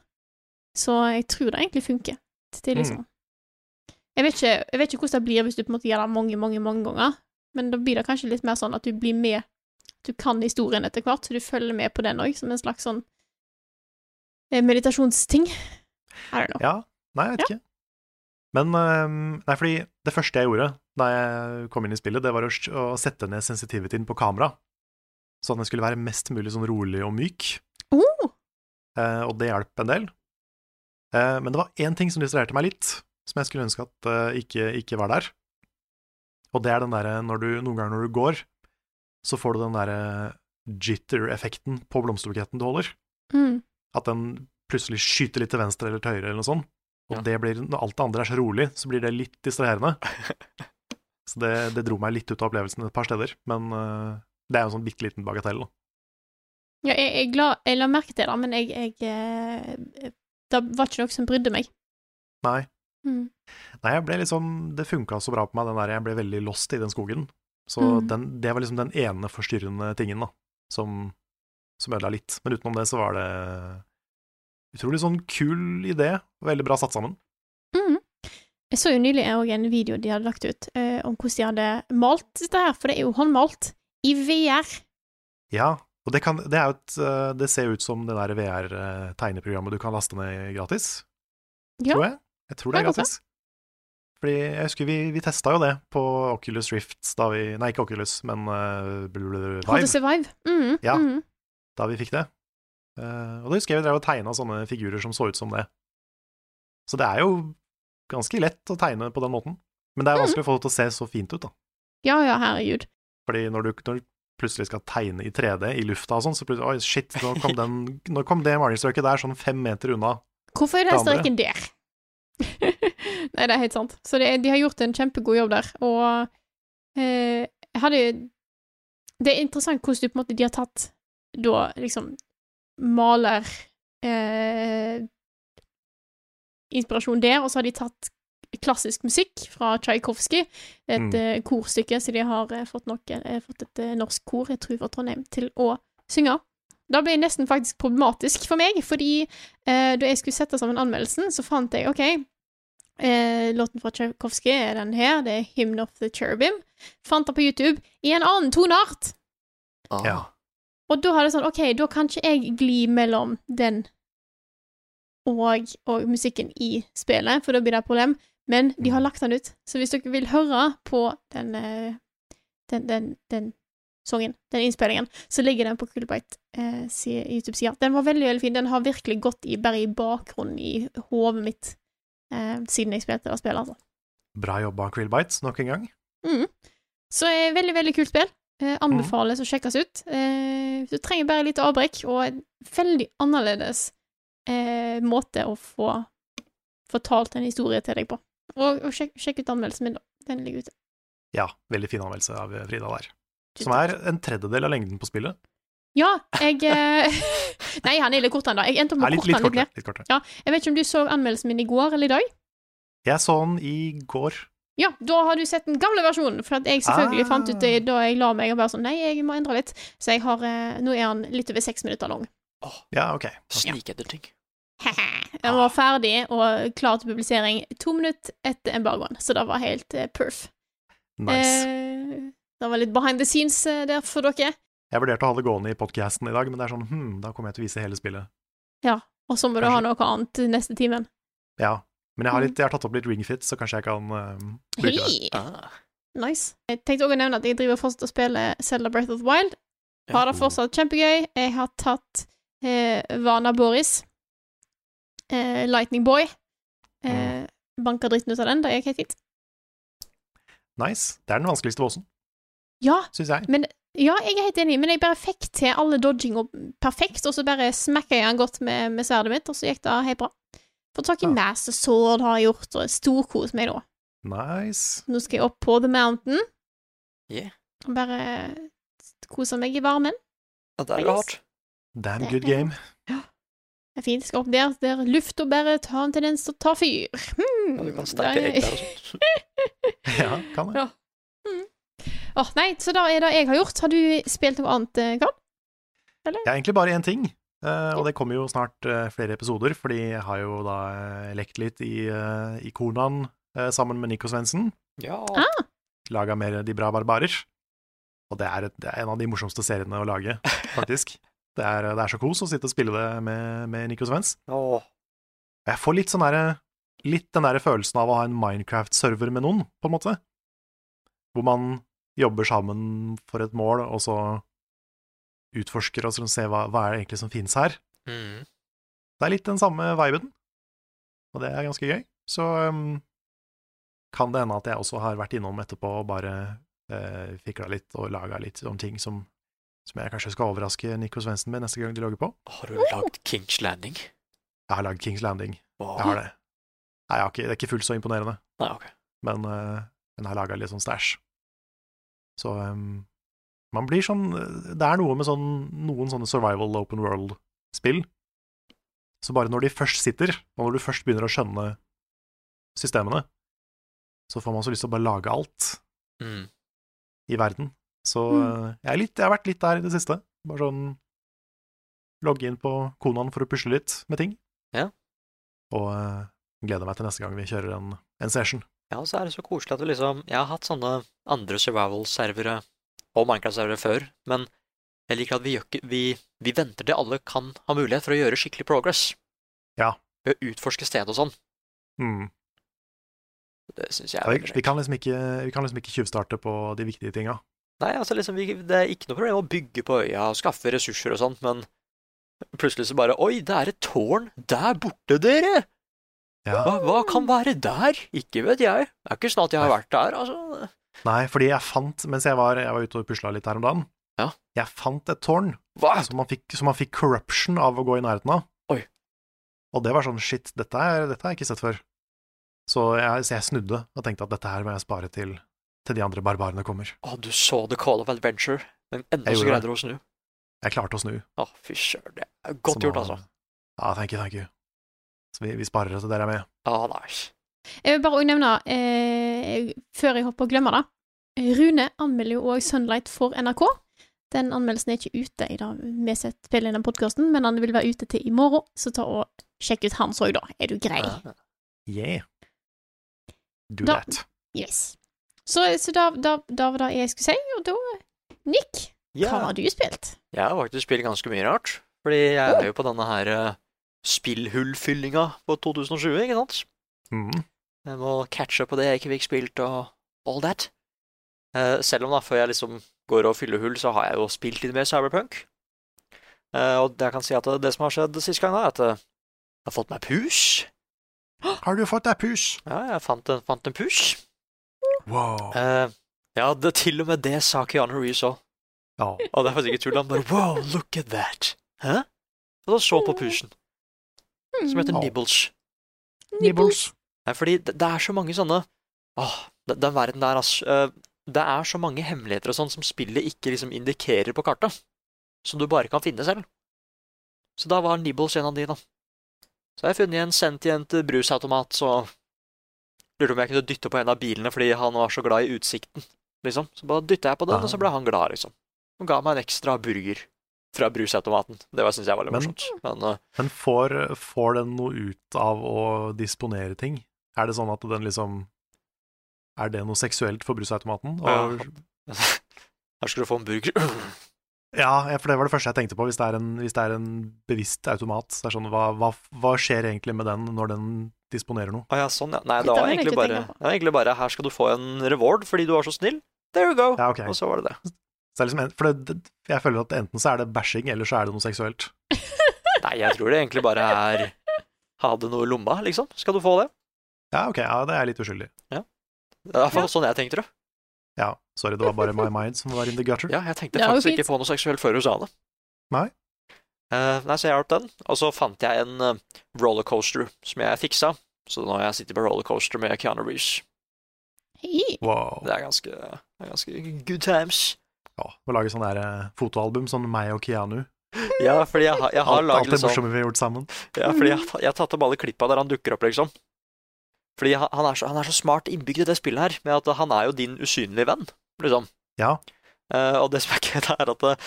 Speaker 2: Så jeg tror det egentlig funker. Det er liksom jeg vet, ikke, jeg vet ikke hvordan det blir hvis du på en måte gjør det mange, mange mange ganger, men da blir det kanskje litt mer sånn at du blir med at Du kan historien etter hvert, så du følger med på den òg, som en slags sånn eh, meditasjonsting. I don't know.
Speaker 3: Ja, nei, jeg vet ikke. Men ehm, Nei, fordi det første jeg gjorde da jeg kom inn i spillet, det var å, s- å sette ned sensitivityen på kamera. Sånn at den skulle være mest mulig sånn rolig og myk.
Speaker 2: Oh,
Speaker 3: Eh, og det hjalp en del. Eh, men det var én ting som distraherte meg litt, som jeg skulle ønske at eh, ikke, ikke var der. Og det er den derre når du noen ganger når du går, så får du den derre jitter-effekten på blomsterbuketten du holder.
Speaker 2: mm.
Speaker 3: At den plutselig skyter litt til venstre eller til høyre eller noe sånt. Og
Speaker 1: Ja.
Speaker 3: det blir, når alt det andre er så rolig, så blir det litt distraherende. Så det, det dro meg litt ut av opplevelsen et par steder, men eh, det er jo en sånn bitte liten bagatell. da.
Speaker 2: ja, jeg, jeg, la, jeg la merke til det, men jeg, jeg eh, Det var ikke noe som brydde meg.
Speaker 3: Nei,
Speaker 2: Mm.
Speaker 3: Nei, jeg ble liksom, det funka så bra på meg, den der, jeg ble veldig lost i den skogen. Så
Speaker 2: Mm.
Speaker 3: den, det var liksom den ene forstyrrende tingen da, som, som ødela litt. Men utenom det så var det utrolig sånn kul idé, og veldig bra satt sammen.
Speaker 2: Mm. Jeg så jo nylig òg en video de hadde lagt ut eh, om hvordan de hadde malt dette her, for det er jo håndmalt i VR.
Speaker 3: Ja, og det, kan, det, er jo et, eh, det ser jo ut som det der VR-tegneprogrammet du kan laste ned gratis,
Speaker 2: Ja.
Speaker 3: tror jeg. Jeg tror det er
Speaker 2: Ja, det kan
Speaker 3: gratis. Fordi jeg husker vi, vi testa jo det på Oculus Rift da vi Nei, ikke Oculus, men eh, Vive.
Speaker 2: How to survive. Mm,
Speaker 3: Ja.
Speaker 2: Mm.
Speaker 3: da vi fikk det. Eh, og da husker jeg vi drev og tegna sånne figurer som så ut som det. Så det er jo ganske lett å tegne på den måten, men det er vanskelig å få det til å se så fint ut, da.
Speaker 2: Ja, ja, herregud.
Speaker 3: Fordi når du, når du plutselig skal tegne i 3D i lufta og sånn, så plutselig Oi, shit, nå kom, den, nå kom det malingsstrøket der sånn fem meter unna.
Speaker 2: Hvorfor er den
Speaker 3: Det andre.
Speaker 2: streken der? Nei, det er helt sant. Så det, er- de har gjort en kjempegod jobb der, og eh, jeg hadde jo Det er interessant hvordan du på en måte De har tatt da liksom maler eh, inspirasjon der, og så har de tatt klassisk musikk fra Tsjajkovskij. Det er et
Speaker 3: Mm.
Speaker 2: eh, korstykke, så de har eh, fått, noe, eh, fått et eh, norsk kor, jeg tror fra Trondheim, til å synge. Da ble det nesten faktisk problematisk for meg, fordi eh, da jeg skulle sette sammen anmeldelsen, så fant jeg OK, eh, låten fra Tsjajkovskij er den her, det er 'Hymn of the Cherubim'. Fant den på YouTube i en annen toneart!
Speaker 1: Ah.
Speaker 3: Ja.
Speaker 2: Og da har det sånn, ok, da kan ikke jeg gli mellom den og, og musikken i spillet, for da blir det et problem. Men de har lagt den ut. Så hvis dere vil høre på den, eh, den, den, den sangen, den innspillingen, så ligger den på Kulbite eh, si- YouTube-sida. Den var veldig, veldig fin. Den har virkelig gått i, bare i bakgrunnen i hodet mitt eh, siden jeg spilte det spillet, altså.
Speaker 3: Bra jobba, Krillbites, nok en gang.
Speaker 2: Mm. Så eh, veldig, veldig kult spill. Eh, anbefales å sjekkes ut. Eh, du trenger bare litt avbrekk og en veldig annerledes eh, måte å få fortalt en historie til deg på. Og, og sjekk, sjekk ut anmeldelsen min, da. Den ligger ute.
Speaker 3: Ja, veldig fin anmeldelse av Frida der. Som er en tredjedel av lengden på spillet.
Speaker 2: Ja, jeg eh, Nei, han er litt kortere enn da. Jeg endte opp
Speaker 3: Er
Speaker 2: med å
Speaker 3: litt,
Speaker 2: korte han
Speaker 3: litt,
Speaker 2: litt
Speaker 3: kortere,
Speaker 2: ned.
Speaker 3: litt kortere.
Speaker 2: Jeg vet ikke om du så anmeldelsen min i går eller i dag?
Speaker 3: Jeg så den i går.
Speaker 2: Ja, da har du sett den gamle versjonen, for at jeg selvfølgelig
Speaker 3: Ah.
Speaker 2: fant ut det da jeg la meg og bare sånn Nei, jeg må endre litt. Så jeg har eh, Nå er han litt over seks minutter lang.
Speaker 3: Ja, ok.
Speaker 1: Snike etter ting.
Speaker 2: Den var ferdig og klar til publisering to minutter etter embargoen, så det var helt eh, perf.
Speaker 3: Nice.
Speaker 2: Eh, det var litt behind the scenes eh, der for dere.
Speaker 3: Jeg vurderte å ha det gående i podcasten i dag, men det er sånn hm, da kommer jeg til å vise hele spillet.
Speaker 2: Og så må du
Speaker 3: Kanskje.
Speaker 2: ha noe annet neste timen.
Speaker 3: Ja. Men jeg har, litt, jeg har tatt opp litt ringfit, så kanskje jeg kan eh, bruke det.
Speaker 2: Mm. Hei!
Speaker 1: Ah,
Speaker 2: Nice. Jeg tenkte også å nevne at jeg driver fortsatt og spiller Zelda Breath of the Wild. Har det
Speaker 1: Mm.
Speaker 2: fortsatt kjempegøy. Jeg har tatt eh, Vana Boris, eh, Lightning Boy.
Speaker 3: Mm.
Speaker 2: Eh, Banka dritten ut av den, det gikk helt fint.
Speaker 3: Nice. Det er den vanskeligste bossen,
Speaker 2: Ja,
Speaker 3: syns jeg.
Speaker 2: men ja, jeg er helt enig, men jeg bare fikk til alle dodginga perfekt, og så bare smakka jeg han godt med, med sverdet mitt, og så gikk det helt bra. Fått tak i
Speaker 3: Ja.
Speaker 2: masse sword har jeg gjort, og storkost meg nå.
Speaker 3: Nice.
Speaker 2: Nå skal jeg opp på The Mountain.
Speaker 1: Yeah.
Speaker 2: Og bare kose meg i varmen.
Speaker 1: ja, det er jo hardt.
Speaker 3: Damn
Speaker 2: Det
Speaker 3: good
Speaker 2: er-
Speaker 3: game.
Speaker 2: Det er fint. Skal opp der der lufta bare tar en tendens til å ta fyr. Hmm.
Speaker 1: Ja, Du kan steike egg der og sånt.
Speaker 3: Ja, kan jeg.
Speaker 2: Åh, nei, så da er det jeg har gjort. Har du spilt noe annet, eh, Karl?
Speaker 3: Jeg har egentlig bare én ting, eh, og det kommer jo snart eh, flere episoder, fordi jeg har jo da eh, lekt litt i, eh, i Konan eh, sammen med Nico Svendsen.
Speaker 1: Ja.
Speaker 3: laga mer De bra barbarer. Og det er, et, det er en av de morsomste seriene å lage, faktisk. Det er, det er så kos å sitte og spille det med, med Nico Svens.
Speaker 1: Åh,
Speaker 3: Jeg får litt, sånn derre- litt den der følelsen av å ha en Minecraft-server med noen, på en måte. Hvor man jobber sammen for et mål, og så utforsker og sånn ser hva, hva er det egentlig som finnes her.
Speaker 1: Mm.
Speaker 3: Det er litt den samme viben, og det er ganske gøy. Så um, kan det hende at jeg også har vært innom etterpå og bare uh, fikla litt og laga litt om ting som, som jeg kanskje skal overraske Nico Svendsen med neste gang de logger på.
Speaker 1: Har du lagd Kings Landing?
Speaker 3: Jeg har lagd Kings Landing,
Speaker 1: Wow.
Speaker 3: jeg har det. Nei, jeg har ikke, det er ikke fullt så imponerende,
Speaker 1: Nei, ok.
Speaker 3: men, uh, men jeg har laga litt sånn stæsj. Så um, man blir sånn Det er noe med sånn, noen sånne survival open world-spill. Så bare når de først sitter, og når du først begynner å skjønne systemene, så får man så lyst til å bare lage alt
Speaker 1: Mm.
Speaker 3: i verden. Så
Speaker 2: Mm.
Speaker 3: eh, jeg, er litt, jeg har vært litt der i det siste. Bare sånn logge inn på konaen for å pusle litt med ting.
Speaker 1: Ja.
Speaker 3: Og eh, gleder meg til neste gang vi kjører en, en session.
Speaker 1: Ja, og så er det så koselig at du liksom Jeg har hatt sånne andre survival-servere og Minecraft-servere før, men jeg liker at vi, gjør ikke, vi, vi venter til alle kan ha mulighet for å gjøre skikkelig progress.
Speaker 3: Ja.
Speaker 1: Ved å utforske stedet og sånn.
Speaker 3: Mm.
Speaker 1: Det syns jeg
Speaker 3: Ja,
Speaker 1: er
Speaker 3: Vi,
Speaker 1: veldig
Speaker 3: vi,
Speaker 1: lurt.
Speaker 3: kan liksom ikke, vi kan liksom ikke tjuvstarte på de viktige tinga.
Speaker 1: Nei, altså liksom, vi, det er ikke noe problem å bygge på øya og skaffe ressurser og sånt, men plutselig så bare Oi, det er et tårn der borte, dere!
Speaker 3: Ja.
Speaker 1: Hva, hva kan være der? Ikke vet jeg. Det er ikke sånn at jeg har vært der, altså.
Speaker 3: Nei, fordi jeg fant, mens jeg var, jeg var ute og pusla litt her om dagen,
Speaker 1: Ja.
Speaker 3: jeg fant et tårn
Speaker 1: Hva?
Speaker 3: som man, fikk, som man fikk corruption av å gå i nærheten av.
Speaker 1: Oi.
Speaker 3: Og det var sånn shit, dette, er, dette har jeg ikke sett før. Så jeg, så jeg snudde og tenkte at dette her må jeg spare til, til de andre barbarene kommer.
Speaker 1: Å, du så The Call of Adventure, men enda
Speaker 3: Jeg
Speaker 1: så
Speaker 3: gjorde
Speaker 1: greide du å snu.
Speaker 3: Jeg klarte å snu.
Speaker 1: Å, fy søren. det er Godt
Speaker 3: så nå-
Speaker 1: gjort, altså.
Speaker 3: Ja, thank you, thank you. Så vi, vi sparer det til dere er med.
Speaker 1: Å, nice.
Speaker 2: Jeg vil bare også nevne, eh, før jeg hopper og glemmer det, Rune anmelder jo òg Sunlight for NRK. Den anmeldelsen er ikke ute i dag, vi setter spillet i den podkasten, men han vil være ute til i morgen, så ta og sjekk ut hans òg, da. Er du grei?
Speaker 1: Ja.
Speaker 3: Yeah. Do
Speaker 2: Da-
Speaker 3: that.
Speaker 2: Yes. Så, så da, da, da var det jeg skulle si, og da Nick,
Speaker 1: Ja,
Speaker 2: hva har du spilt?
Speaker 1: jeg har faktisk spilt ganske mye rart, fordi jeg er jo på denne her eh, spillhullfyllinga på 2020, ikke sant?
Speaker 3: Mm.
Speaker 1: Jeg må catche opp på det jeg ikke fikk spilt, og all that. Eh, selv om, da, før jeg liksom går og fyller hull, så har jeg jo spilt litt mer Cyberpunk. Eh, og jeg kan si at det som har skjedd sist gang, da, er at eh, jeg har fått meg pus.
Speaker 3: Har du fått deg pus?
Speaker 1: Ja, jeg fant en, fant en pus.
Speaker 3: Wow.
Speaker 1: Eh, ja, det, til og med det sa Keanu Reeves òg.
Speaker 3: Ja.
Speaker 1: Og det er faktisk ikke tull. Han bare Wow, look at that! Hæ? Og så så på pusen, som heter
Speaker 3: Au.
Speaker 1: Nibbles.
Speaker 2: Nibbles.
Speaker 1: Nei, fordi det, det er så mange sånne Åh, de- den verden der, altså. det er så mange hemmeligheter og sånn som spillet ikke liksom indikerer på kartet, som du bare kan finne selv. Så da var Nibbles en av de, da. Så har jeg funnet en sentient brusautomat, så lurte om jeg kunne dytte på en av bilene fordi han var så glad i utsikten, liksom. Så bare dytta jeg på den, og så ble han glad, liksom. Og ga meg en ekstra burger fra brusautomaten. Det var- synes jeg var litt
Speaker 3: Men-
Speaker 1: morsomt. Men eh,
Speaker 3: Men får, får den noe ut av å disponere ting? Er det sånn at den liksom Er det noe seksuelt for brusautomaten? Og,
Speaker 1: her skulle du få en burger.
Speaker 3: ja, for det var det første jeg tenkte på, hvis det er en, hvis det er en bevisst automat. Så er det sånn, hva, hva, hva skjer egentlig med den når den disponerer noe?
Speaker 1: Å ja, sånn, ja. Nei,
Speaker 2: Dette
Speaker 1: det var
Speaker 2: har jeg
Speaker 1: egentlig
Speaker 2: ikke
Speaker 1: bare,
Speaker 2: tenkt på.
Speaker 1: det var egentlig bare Her skal du få en reward fordi du var så snill. There you go.
Speaker 3: Ja, ok.
Speaker 1: Og så var det det.
Speaker 3: Så det er liksom, en- for det, det, jeg føler at enten så er det bæsjing, eller så er det noe seksuelt.
Speaker 1: Nei, jeg tror det egentlig bare er Ha det noe i lomma, liksom. Skal du få det?
Speaker 3: Ja, ok, ja, det er litt uskyldig.
Speaker 1: Det er i hvert fall sånn jeg tenkte det.
Speaker 3: Ja, sorry, det var bare my mind som var in the gutter.
Speaker 1: Ja, jeg tenkte
Speaker 2: Det er jo
Speaker 1: faktisk
Speaker 2: fint.
Speaker 1: ikke på noe seksuelt før du sa det.
Speaker 3: Nei.
Speaker 1: Eh, nei, så jeg hjalp den. Og så fant jeg en eh, rollercoaster som jeg fiksa. Så nå har jeg sittet på rollercoaster med Keanu Reeves.
Speaker 2: Hei.
Speaker 3: Wow.
Speaker 1: Det er ganske, det er ganske good times.
Speaker 3: Ja, å lage sånn der eh, fotoalbum, sånn meg og Keanu.
Speaker 1: Ja, fordi jeg, har- jeg har
Speaker 3: Alt, alt
Speaker 1: laget
Speaker 3: det
Speaker 1: litt sånn
Speaker 3: morsomme vi har gjort sammen.
Speaker 1: Ja, fordi jeg, jeg har tatt opp alle klippa der han dukker opp, liksom. Fordi han han er, så, han er så smart innbygd i det spillet her, med at han er jo din usynlige venn, liksom.
Speaker 3: Ja.
Speaker 1: Eh, og det som er gøy, det er at eh,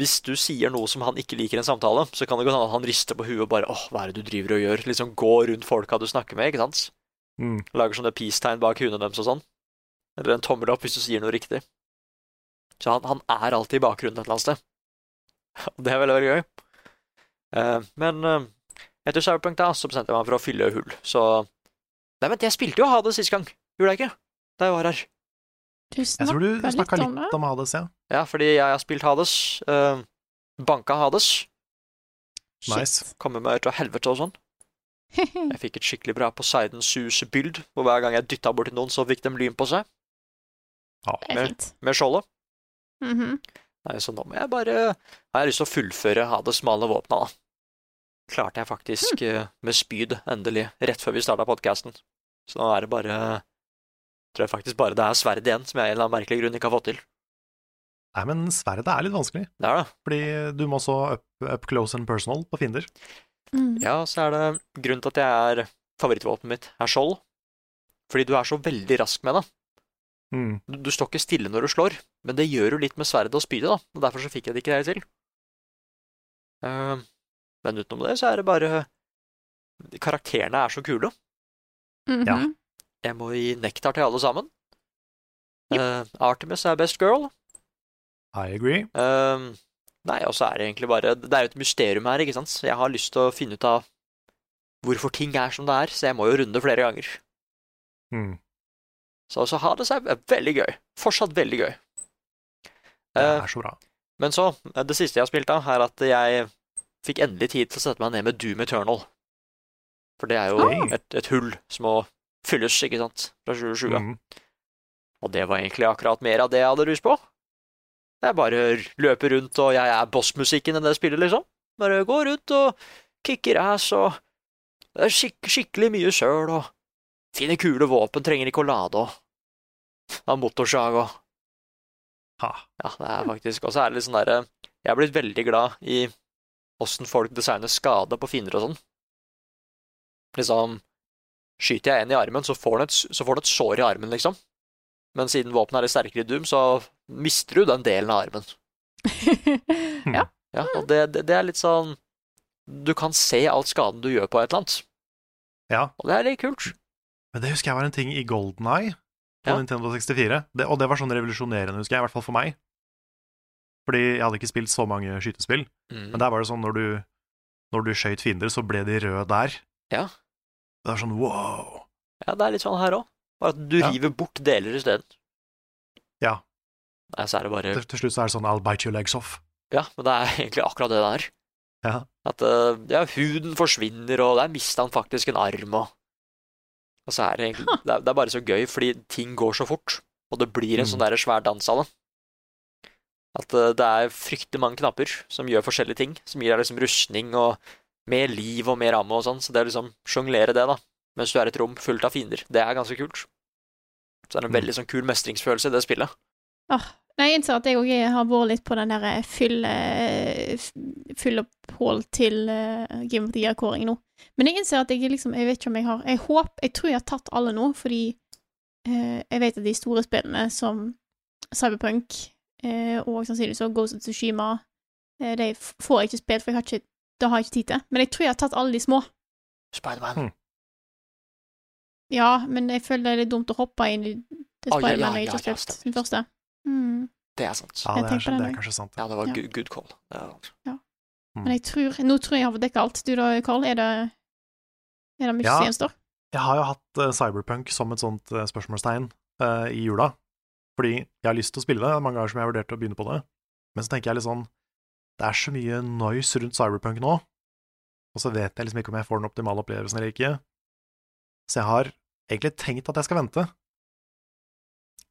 Speaker 1: hvis du sier noe som han ikke liker i en samtale, så kan det godt hende at han rister på huet og bare åh, hva er det du driver og gjør? Liksom gå rundt folka du snakker med, ikke sant?
Speaker 3: Mm.
Speaker 1: Lager sånne peace-tegn bak hundene deres og sånn. Eller en tommel opp hvis du sier noe riktig. Så han, han er alltid i bakgrunnen et eller annet sted. Og det er veldig, veldig gøy. Eh, men eh, etter Cyberpunk da, så bestemte jeg meg for å fylle hull, så Nei, vent, jeg spilte jo Hades sist gang, gjorde jeg ikke? Da jeg var her.
Speaker 2: Du
Speaker 3: Jeg tror du
Speaker 2: snakka
Speaker 3: snakka
Speaker 2: litt om det.
Speaker 3: litt om Hades, ja.
Speaker 1: Ja, fordi jeg har spilt Hades. eh, banka Hades.
Speaker 2: Shit.
Speaker 3: Nice.
Speaker 1: Kommer meg ut av helvete og sånn. Jeg fikk et skikkelig bra Poseidon Sus-byld, hvor hver gang jeg dytta borti noen, så fikk de lyn på seg,
Speaker 2: Det er fint.
Speaker 1: med skjoldet.
Speaker 2: Mhm.
Speaker 1: Nei, så nå må jeg bare Har jeg lyst til å fullføre Hades med alle våpna, da. Klarte jeg faktisk eh, med spyd, endelig, rett før vi starta podkasten. Så nå er det bare Tror jeg faktisk bare det er sverdet igjen, som jeg av en eller annen merkelig grunn ikke har fått til.
Speaker 3: Nei, men sverdet er litt vanskelig,
Speaker 1: Det er det.
Speaker 3: fordi du må så up, up close and personal på fiender.
Speaker 2: Mm.
Speaker 1: Ja, så er det grunnen til at jeg er favorittvåpenet mitt er skjold. Fordi du er så veldig rask med det.
Speaker 3: Mm.
Speaker 1: Du, du står ikke stille når du slår, men det gjør du litt med sverdet og spydet, da. Og derfor så fikk jeg det ikke helt til. Eh, men utenom det så er det bare Karakterene er så kule.
Speaker 2: Mhm.
Speaker 3: Ja.
Speaker 1: Jeg må gi nektar til alle sammen. Eh, Artemis er best girl.
Speaker 3: I agree.
Speaker 1: Ehm, nei, og så er det egentlig bare Det er jo et mysterium her, ikke sant? Så jeg har lyst til å finne ut av hvorfor ting er som det er, så jeg må jo runde flere ganger.
Speaker 3: Mm.
Speaker 1: Så, så ha det seg veldig gøy. Fortsatt veldig gøy.
Speaker 3: Det
Speaker 1: Eh,
Speaker 3: er så bra.
Speaker 1: men så, eh, det siste jeg har spilt da, er at jeg fikk endelig tid til å sette meg ned med Doom Eternal. For det er jo
Speaker 3: Ah.
Speaker 1: et, et hull som må fylles, ikke sant, fra 2020.
Speaker 3: Mm.
Speaker 1: Og det var egentlig akkurat mer av det jeg hadde lyst på. Jeg bare løper rundt, og jeg er bossmusikken i det spillet, liksom. Bare går rundt og kicker ass, og det er skik skikkelig mye søl, og finner kule våpen, trenger ikke å lade, og har motorsag, og
Speaker 3: Ha.
Speaker 1: ja, det er faktisk Og så er det litt sånn derre Jeg er blitt veldig glad i åssen folk designer skade på fiender og sånn. Liksom Skyter jeg en i armen, så får den et, så får den et sår i armen, liksom. Men siden våpenet er litt sterkere i Doom, så mister du den delen av armen.
Speaker 2: ja.
Speaker 1: Ja, og det, det, det er litt sånn Du kan se all skaden du gjør på et eller annet,
Speaker 3: Ja,
Speaker 1: og det er litt kult.
Speaker 3: men det husker jeg var en ting i Golden Eye på
Speaker 1: Ja.
Speaker 3: Nintendo 64, det, og det var sånn revolusjonerende, husker jeg, i hvert fall for meg. Fordi jeg hadde ikke spilt så mange skytespill,
Speaker 1: Mm.
Speaker 3: men der var det sånn når du, når du skøyt fiender, så ble de røde der.
Speaker 1: Ja.
Speaker 3: Det var sånn wow.
Speaker 1: Ja, det er litt sånn her òg. Bare at du
Speaker 3: Ja.
Speaker 1: river bort deler isteden.
Speaker 3: Ja.
Speaker 1: Nei, så er det bare
Speaker 3: Til, til slutt så er det sånn I'll bite your legs off.
Speaker 1: Ja, men det er egentlig akkurat det det er.
Speaker 3: Ja.
Speaker 1: At eh, ja, huden forsvinner, og der mista han faktisk en arm, og Og så er det egentlig det er, det er bare så gøy, fordi ting går så fort, og det blir en
Speaker 3: Mm.
Speaker 1: sånn der svær dans av det. At eh, det er fryktelig mange knapper som gjør forskjellige ting, som gir deg liksom rustning og mer liv og mer ammo og sånn, så det å liksom sjonglere det, da, mens du er i et rom fullt av fiender, det er ganske kult. Så det er en
Speaker 3: Mm.
Speaker 1: veldig sånn kul mestringsfølelse i det spillet.
Speaker 2: Nei, jeg innser at jeg òg har vært litt på den der fylle f- fyllopphold til eh, Game of the Year-kåring nå. Men jeg innser at jeg liksom Jeg vet ikke om jeg har Jeg håper Jeg tror jeg har tatt alle nå, fordi eh, jeg vet at de store spillene som Cyberpunk eh, og sannsynligvis også Ghost of Tsushima eh, De f- får jeg ikke spilt, for jeg har ikke Da har jeg ikke tid til. Men jeg tror jeg har tatt alle de små.
Speaker 1: Spiderman.
Speaker 2: Ja, men jeg føler det er litt dumt å hoppe inn i det
Speaker 1: Å, ja, ja,
Speaker 2: Spider-Man jeg
Speaker 1: ja,
Speaker 2: ikke
Speaker 1: ja,
Speaker 2: har spilt.
Speaker 1: stemmer.
Speaker 2: Den første. Mm.
Speaker 1: Det er sant.
Speaker 3: Ja,
Speaker 2: Jeg
Speaker 3: det er, sånn,
Speaker 2: tenker på
Speaker 3: det
Speaker 2: den
Speaker 3: er kanskje sant.
Speaker 1: Ja, det var
Speaker 2: Ja.
Speaker 1: good, good call. Det er sant.
Speaker 2: Men jeg tror, nå tror jeg jeg har fått dekka alt. Du da, Karl, er det, er det mye
Speaker 3: Ja.
Speaker 2: som gjenstår?
Speaker 3: Jeg har jo hatt eh, Cyberpunk som et sånt eh, spørsmålstegn eh, i jula, fordi jeg har lyst til å spille det, det er mange ganger som jeg har vurdert å begynne på det, men så tenker jeg litt sånn, det er så mye noise rundt Cyberpunk nå, og så vet jeg liksom ikke om jeg får den optimale opplevelsen eller ikke, så jeg har egentlig tenkt at jeg skal vente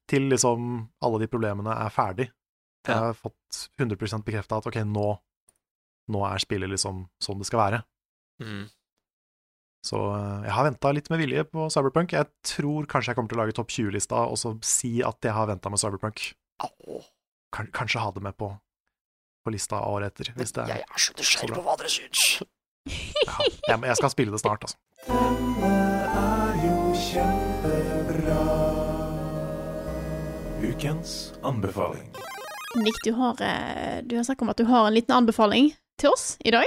Speaker 3: til liksom alle de problemene er ferdig. Jeg
Speaker 1: Ja.
Speaker 3: har fått 100% bekreftet at ok, nå, nå er spillet liksom sånn det skal være.
Speaker 1: Mm.
Speaker 3: Så eh, jeg har venta litt med vilje på Cyberpunk. Jeg tror kanskje jeg kommer til å lage topp 20-lista og så si at jeg har venta med Cyberpunk.
Speaker 1: Au.
Speaker 3: Kan- Kanskje ha det med på, på lista året etter. Hvis det er.
Speaker 1: Jeg er så nysgjerrig på hva dere syns.
Speaker 3: Ja, jeg, må- jeg skal spille det snart, altså.
Speaker 4: Ukens anbefaling.
Speaker 2: Nick, du har, eh, du har snakket om at du har en liten anbefaling til oss i dag.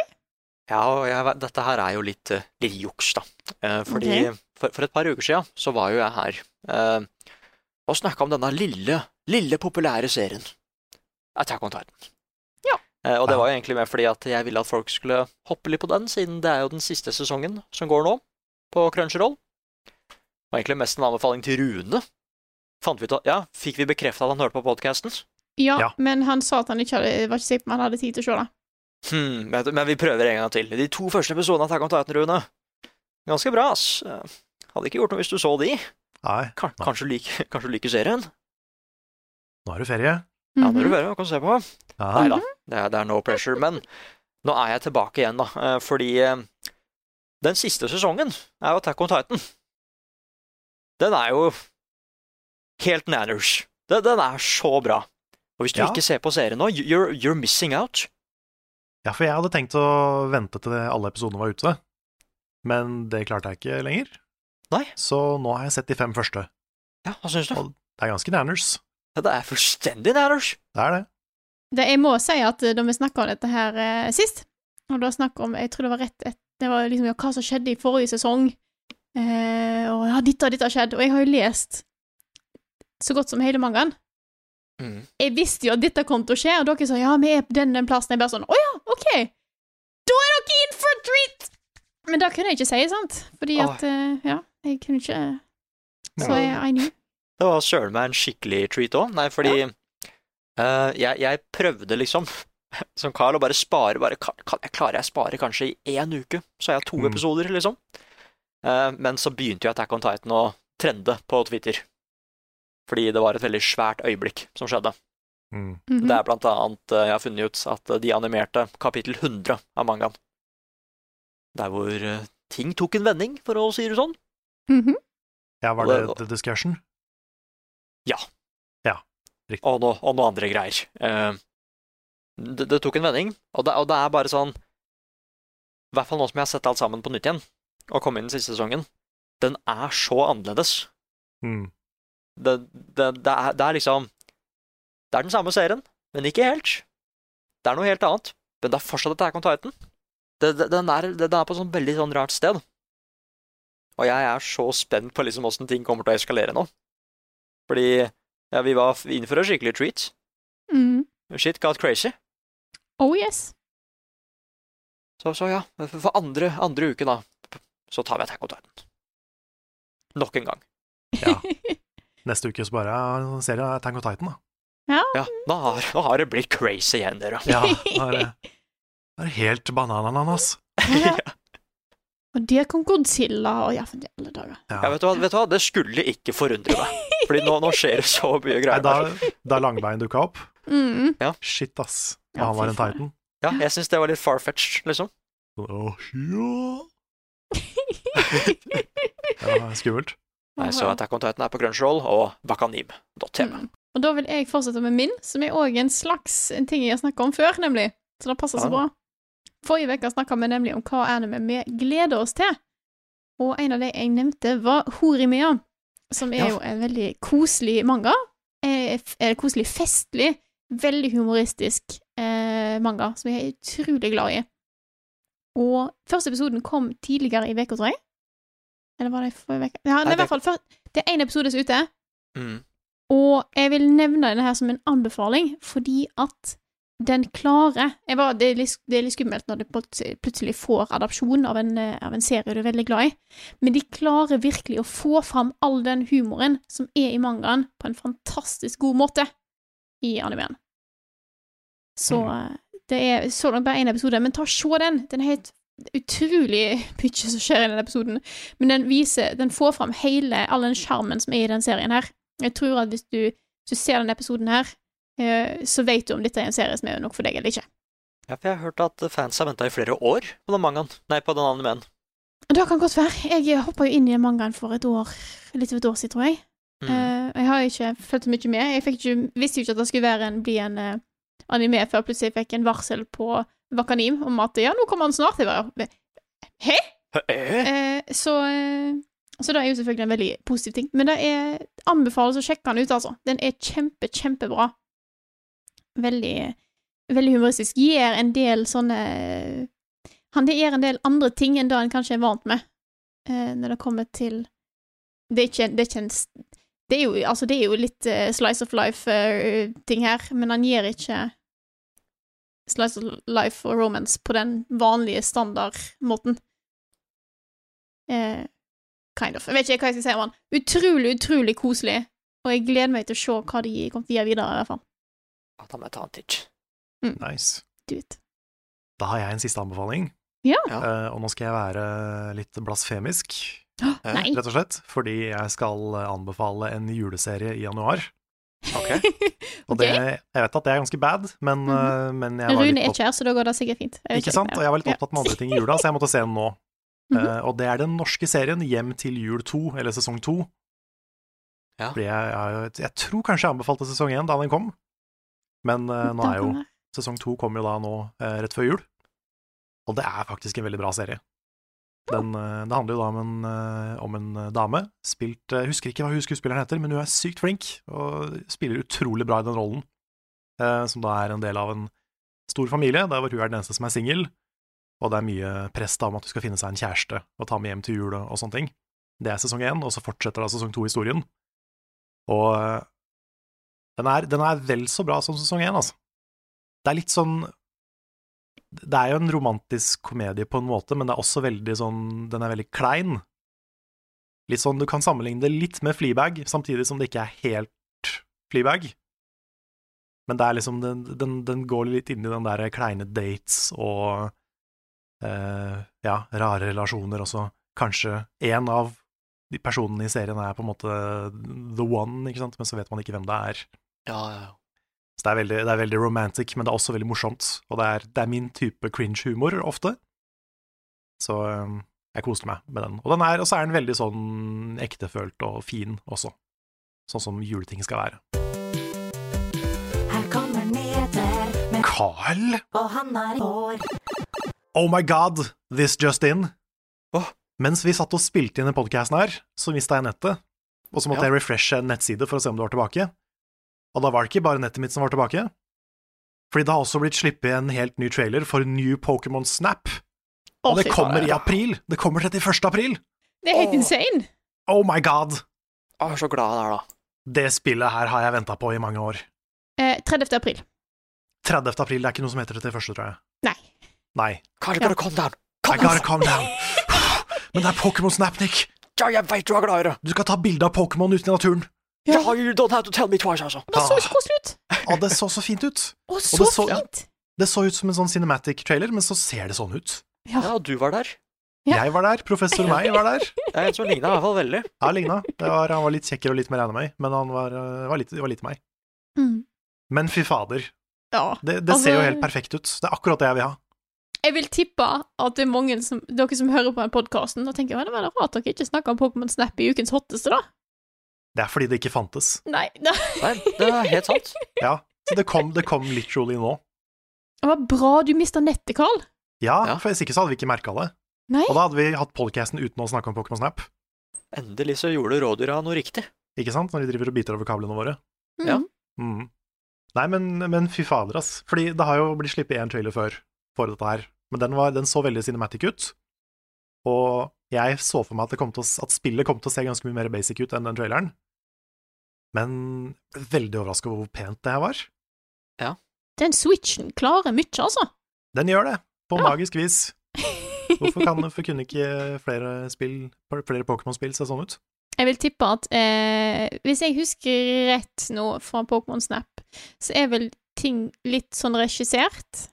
Speaker 1: Ja, og jeg, vet- dette her er jo litt, eh, litt juks, da. Eh, fordi for, for et par uker siden så var jo jeg her eh, og snakka om denne lille, lille populære serien Attack on Titan.
Speaker 2: Ja.
Speaker 1: Eh, og det var jo egentlig mer fordi at jeg ville at folk skulle hoppe litt på den, siden det er jo den siste sesongen som går nå, på Crunchyroll. Og egentlig mest en anbefaling til Rune. Fant vi ut at, ja, Fikk vi bekrefta at han hørte på podkasten?
Speaker 2: Ja,
Speaker 3: Ja.
Speaker 2: men han sa at han ikke hadde, var ikke sikker på om han hadde tid til å se det.
Speaker 1: Hmm, vet du, men vi prøver en gang til. De to første episodene av Attack on Titan, Rune. Ganske bra, ass. Eh, Hadde ikke gjort noe hvis du så de.
Speaker 3: Nei,
Speaker 1: Kan- Kanskje du liker, kanskje du liker serien?
Speaker 3: nå er det ferie.
Speaker 1: Ja, det er
Speaker 2: Mhm.
Speaker 1: det bare å kan se på.
Speaker 3: Ja.
Speaker 1: Nei da, det er, det er no pressure. Men nå er jeg tilbake igjen, da. eh, Fordi eh, den siste sesongen er jo Attack on Titan. Den er jo helt nanners. Den, den er så bra. Og hvis du
Speaker 3: Ja.
Speaker 1: ikke ser på serien nå, you're, you're missing out.
Speaker 3: ja, for jeg hadde tenkt å vente til alle episodene var ute, men det klarte jeg ikke lenger.
Speaker 1: Nei.
Speaker 3: Så nå har jeg sett de fem første.
Speaker 1: Ja, hva syns du?
Speaker 3: Og- Det er ganske nanners.
Speaker 1: Det er fullstendig nanners.
Speaker 3: Det er det.
Speaker 2: Det, jeg må si at eh, da vi snakka om dette her eh, sist, og da snakka om Jeg tror det var rett et, Det var liksom ja, hva som skjedde i forrige sesong, eh, og ja, dette og dette har skjedd, og jeg har jo lest så godt som hele mangaen.
Speaker 1: Mm.
Speaker 2: jeg visste jo at dette kom til å skje, og dere sa ja, vi er på den, den plassen. Jeg bare sånn, å ja, ok, da er dere in for a treat! Men det kunne jeg ikke si, sant? Fordi
Speaker 1: Åh.
Speaker 2: at, eh, ja, jeg kunne ikke Så
Speaker 1: Ja.
Speaker 2: jeg, I knew.
Speaker 1: Det var søren meg en skikkelig treat òg. Nei, fordi eh, jeg, jeg prøvde liksom, som Carl, å bare spare bare, kan, kan jeg Klarer jeg å spare kanskje i én uke? Så har jeg to
Speaker 3: Mm.
Speaker 1: episoder, liksom. Eh, men så begynte jo Attack on Titan å trende på Twitter. Fordi det var et veldig svært øyeblikk som skjedde.
Speaker 3: Mm.
Speaker 2: Mhm.
Speaker 1: Det er blant annet eh, jeg har funnet ut at eh, de animerte kapittel 100 av mangaen. Der hvor eh, ting tok en vending, for å si det sånn.
Speaker 2: Mhm.
Speaker 3: Ja, var det The Discussion?
Speaker 1: og, noe, og noe andre greier. Eh, det, det tok en vending, og det, og det er bare sånn I hvert fall nå som jeg har sett alt sammen på nytt igjen, og kom inn den siste sesongen, den er så annerledes.
Speaker 3: Mm.
Speaker 1: Det, det, det, er, det er liksom Det er den samme serien, men ikke helt. Det er noe helt annet, men det er fortsatt Attack on Titan. Det, det, den, er, det, den er på et sånn veldig sånn rart sted. Og jeg er så spent på liksom åssen ting kommer til å eskalere nå. Fordi ja, vi var inne for en skikkelig treat.
Speaker 2: Mhm.
Speaker 1: Shit got crazy.
Speaker 2: Oh yes.
Speaker 1: Så, så ja, for for andre, andre uke da, så tar vi Attack on Titan. Nok en gang.
Speaker 3: Ja. Neste uke så bare ja, ser jeg Tango Titan, da.
Speaker 1: Ja, nå har, nå har det blitt crazy igjen, dere.
Speaker 3: Ja, da er det da er det helt banananas.
Speaker 2: Ja. og der kom Godzilla, og ja, for alle dager.
Speaker 3: Ja.
Speaker 1: Ja, vet, du hva, vet du hva, det skulle ikke forundre meg. Fordi nå, nå skjer det så mye
Speaker 3: Nei,
Speaker 1: greier.
Speaker 3: da,
Speaker 1: der.
Speaker 3: da Langbein dukka opp,
Speaker 2: Mhm.
Speaker 3: shit, ass. Og
Speaker 2: Ja,
Speaker 3: han var
Speaker 2: fy
Speaker 3: en
Speaker 2: faen.
Speaker 3: Titan.
Speaker 1: Ja, jeg syns det var litt far-fetched, liksom.
Speaker 3: Åh, ja. Det var skummelt.
Speaker 1: Nei, så Attack on Titan er på Crunchyroll og wakanim.tv.
Speaker 2: Mm. Og da vil jeg fortsette med min, som er òg en slags en ting jeg har snakka om før, nemlig. Så det passer så
Speaker 1: Ah.
Speaker 2: bra. Forrige uke snakka vi nemlig om hva anime vi gleder oss til, og en av de jeg nevnte, var Horimea, som er
Speaker 1: Ja.
Speaker 2: jo en veldig koselig manga. Eh, f- eh, koselig, festlig, veldig humoristisk eh, manga, som jeg er utrolig glad i. Og første episoden kom tidligere i uka, tror jeg. Eller var det i forrige uke? Ja, nei, i
Speaker 1: det-
Speaker 2: hvert fall. før- Det er én episode som er ute.
Speaker 1: Mm.
Speaker 2: Og jeg vil nevne denne her som en anbefaling, fordi at den klarer jeg bare, det, er litt, det er litt skummelt når du plut- plutselig får adopsjon av en, eh, av en serie du er veldig glad i, men de klarer virkelig å få fram all den humoren som er i mangaen, på en fantastisk god måte i animeen. Så eh, det er så langt bare én episode, men ta og se den. Den er helt utrolig mye som skjer i den episoden, men den viser, den får fram hele, all den sjarmen som er i den serien her. Jeg tror at hvis du, hvis du ser denne episoden her, eh, så vet du om dette er en serie som er nok for deg eller ikke.
Speaker 1: Ja, for jeg har hørt at fans har venta i flere år på den mangaen. Nei, på den animeen.
Speaker 2: Og Det kan godt være. Jeg hoppa jo inn i mangaen for et år, litt over et år siden, tror jeg.
Speaker 1: Mm.
Speaker 2: Eh, jeg har ikke fulgt så mye med. Jeg fikk ikke, visste jo ikke at det skulle være en, bli en eh, anime før plutselig jeg fikk en varsel på Wakanim om at ja, nå kommer han snart. Jeg bare, Hæ?
Speaker 1: Eh,
Speaker 2: Eh, så, eh, så det er jo selvfølgelig en veldig positiv ting. Men det er anbefales å sjekke den ut, altså. Den er kjempe, kjempebra. Veldig, veldig humoristisk. Gjør en del sånne Han det gjør en del andre ting enn det en kanskje er vant med eh, når det kommer til Det er ikke, en- det er ikke en s- det er, jo, altså det er jo litt eh, slice of life-ting her, men han gjør ikke slice of life og romance på den vanlige standardmåten. Eh, kind of. Jeg vet ikke hva jeg skal si om han. Utrolig, utrolig koselig. Og jeg gleder meg til å se hva de kommer til å gjøre videre, i hvert fall.
Speaker 1: ja, da må jeg ta en titt.
Speaker 3: Nice.
Speaker 2: Do it.
Speaker 3: Da har jeg en siste anbefaling,
Speaker 2: Ja.
Speaker 3: eh, og nå skal jeg være litt blasfemisk, eh,
Speaker 2: Åh, Nei.
Speaker 3: rett og slett, fordi jeg skal eh, anbefale en juleserie i januar.
Speaker 1: Ok.
Speaker 3: Og det, jeg vet at det er ganske bad, men, eh, men jeg var
Speaker 2: Mhm. Rune
Speaker 3: litt
Speaker 2: er ikke her, så da går det sikkert fint. Jeg vet
Speaker 3: Ikke sant? Og jeg var litt opptatt med andre ting i jula, så jeg måtte se den nå.
Speaker 2: Mhm.
Speaker 3: Eh, og det er den norske serien Hjem til jul 2, eller sesong 2.
Speaker 1: Ja.
Speaker 3: Fordi jeg, jeg, jeg tror kanskje jeg anbefalte sesong 1 da den kom, men eh, nå er jo sesong 2 kommer jo da nå eh, rett før jul. Og det er faktisk en veldig bra serie. Den, eh, det handler jo da om en, eh, om en eh, dame, spilt eh, Jeg husker ikke hva hun skuespilleren heter, men hun er sykt flink og spiller utrolig bra i den rollen, eh, som da er en del av en stor familie, der hvor hun er den eneste som er singel, og det er mye press da om at hun skal finne seg en kjæreste og ta med hjem til jul og, og sånne ting. Det er sesong én, og så fortsetter da sesong to-historien. Og eh, den er, den er vel så bra som sesong én, altså. Det er litt sånn Det er jo en romantisk komedie på en måte, men det er også veldig sånn Den er veldig klein. Litt sånn, Du kan sammenligne det litt med Fleabag, samtidig som det ikke er helt Fleabag. Men det er liksom, den, den, den går litt inn i den der kleine dates og eh, ja, rare relasjoner også. Kanskje én av de personene i serien er på en måte the one, ikke sant? men så vet man ikke hvem det er.
Speaker 1: Ja, ja, ja.
Speaker 3: Så det er veldig, det er veldig romantic, men det er også veldig morsomt. Og det er, det er min type cringe-humor ofte. Så eh, jeg koste meg med den. Og, den er, og så er den veldig sånn ektefølt og fin også. Sånn som juleting skal være.
Speaker 5: Her kommer nyheter,
Speaker 3: Carl!
Speaker 5: og han er vår.
Speaker 3: Oh my god, this just in.
Speaker 1: Åh.
Speaker 3: Mens vi satt og spilte inn den podcasten her, så mista jeg nettet. Og så måtte
Speaker 1: Ja.
Speaker 3: jeg refreshe en nettside for å se om det var tilbake. Og da var det ikke bare nettet mitt som var tilbake. Fordi det har også blitt sluppet en helt ny trailer for New Pokémon Snap. Og det kommer i april! Det kommer 31. april!
Speaker 2: Det er helt insane!
Speaker 3: Oh my god!
Speaker 1: Å, jeg er så glad han er, da.
Speaker 3: Det spillet her har jeg venta på i mange år.
Speaker 2: Eh, 30. april.
Speaker 3: 30. april, det er ikke noe som heter 31., tror jeg.
Speaker 2: Nei.
Speaker 3: Nei.
Speaker 1: Kanskje
Speaker 2: Ja.
Speaker 1: bare kom deg an.
Speaker 3: I gotta calm down. Men det er Pokémon Snap, Nick!
Speaker 1: Ja, jeg veit du er glad i det.
Speaker 3: Du skal ta bilde av Pokémon ute i naturen.
Speaker 1: Ja, you don't have to tell me twice, altså.
Speaker 2: Det så så koselig ut!
Speaker 3: Å, det så så fint ut.
Speaker 2: Å,
Speaker 3: Ah. det
Speaker 2: så,
Speaker 3: så- ja.
Speaker 2: fint!
Speaker 3: Det så ut som en sånn cinematic trailer, men så ser det sånn ut.
Speaker 2: Ja.
Speaker 1: Ja, du var der.
Speaker 2: Ja.
Speaker 3: Jeg var der, professor Meg var der.
Speaker 1: Det er en som ligna i hvert fall veldig.
Speaker 3: Ja, ligna. Det var, han var litt kjekkere og litt mer anime, men han var, øh, var, litt, var litt meg.
Speaker 2: Mm.
Speaker 3: Men fy fader,
Speaker 2: Ja.
Speaker 3: det, det
Speaker 2: Altså-
Speaker 3: ser jo helt perfekt ut. Det er akkurat det jeg vil ha.
Speaker 2: Jeg vil tippe at det er mange som, dere som hører på den podkasten, og tenker «Å, det var da rart dere ikke snakker om Pokémon Snap i ukens hotteste, da.
Speaker 3: Det er fordi det ikke fantes.
Speaker 2: Nei, det
Speaker 1: Nei, det er helt sant.
Speaker 3: Ja, så det kom, det kom literally nå.
Speaker 2: det var bra du mista nettet, Carl.
Speaker 3: Ja,
Speaker 1: Ja.
Speaker 3: for hvis ikke så hadde vi ikke merka det.
Speaker 2: Nei.
Speaker 3: Og da hadde vi hatt podcasten uten å snakke om Pokémon Snap.
Speaker 1: Endelig så gjorde rådyra noe riktig.
Speaker 3: Ikke sant? Når de driver og biter over kablene våre.
Speaker 2: Mm.
Speaker 1: Ja.
Speaker 3: Mm. Nei, men, men fy fader, ass. Fordi det har jo blitt sluppet én trailer før for dette her, men den, var, den så veldig cinematic ut. Og jeg så for meg at, det kom til å, s- at spillet kom til å se ganske mye mer basic ut enn den traileren. Men jeg ble veldig overraska over hvor pent det her var.
Speaker 2: Den switchen klarer mye, altså.
Speaker 3: Den gjør det, på
Speaker 2: Ja.
Speaker 3: magisk vis. Hvorfor, kan, hvorfor kunne ikke flere, spill- flere Pokémon-spill se sånn ut?
Speaker 2: Jeg vil tippe at eh, Hvis jeg husker rett nå fra Pokémon Snap, så er vel ting litt sånn regissert,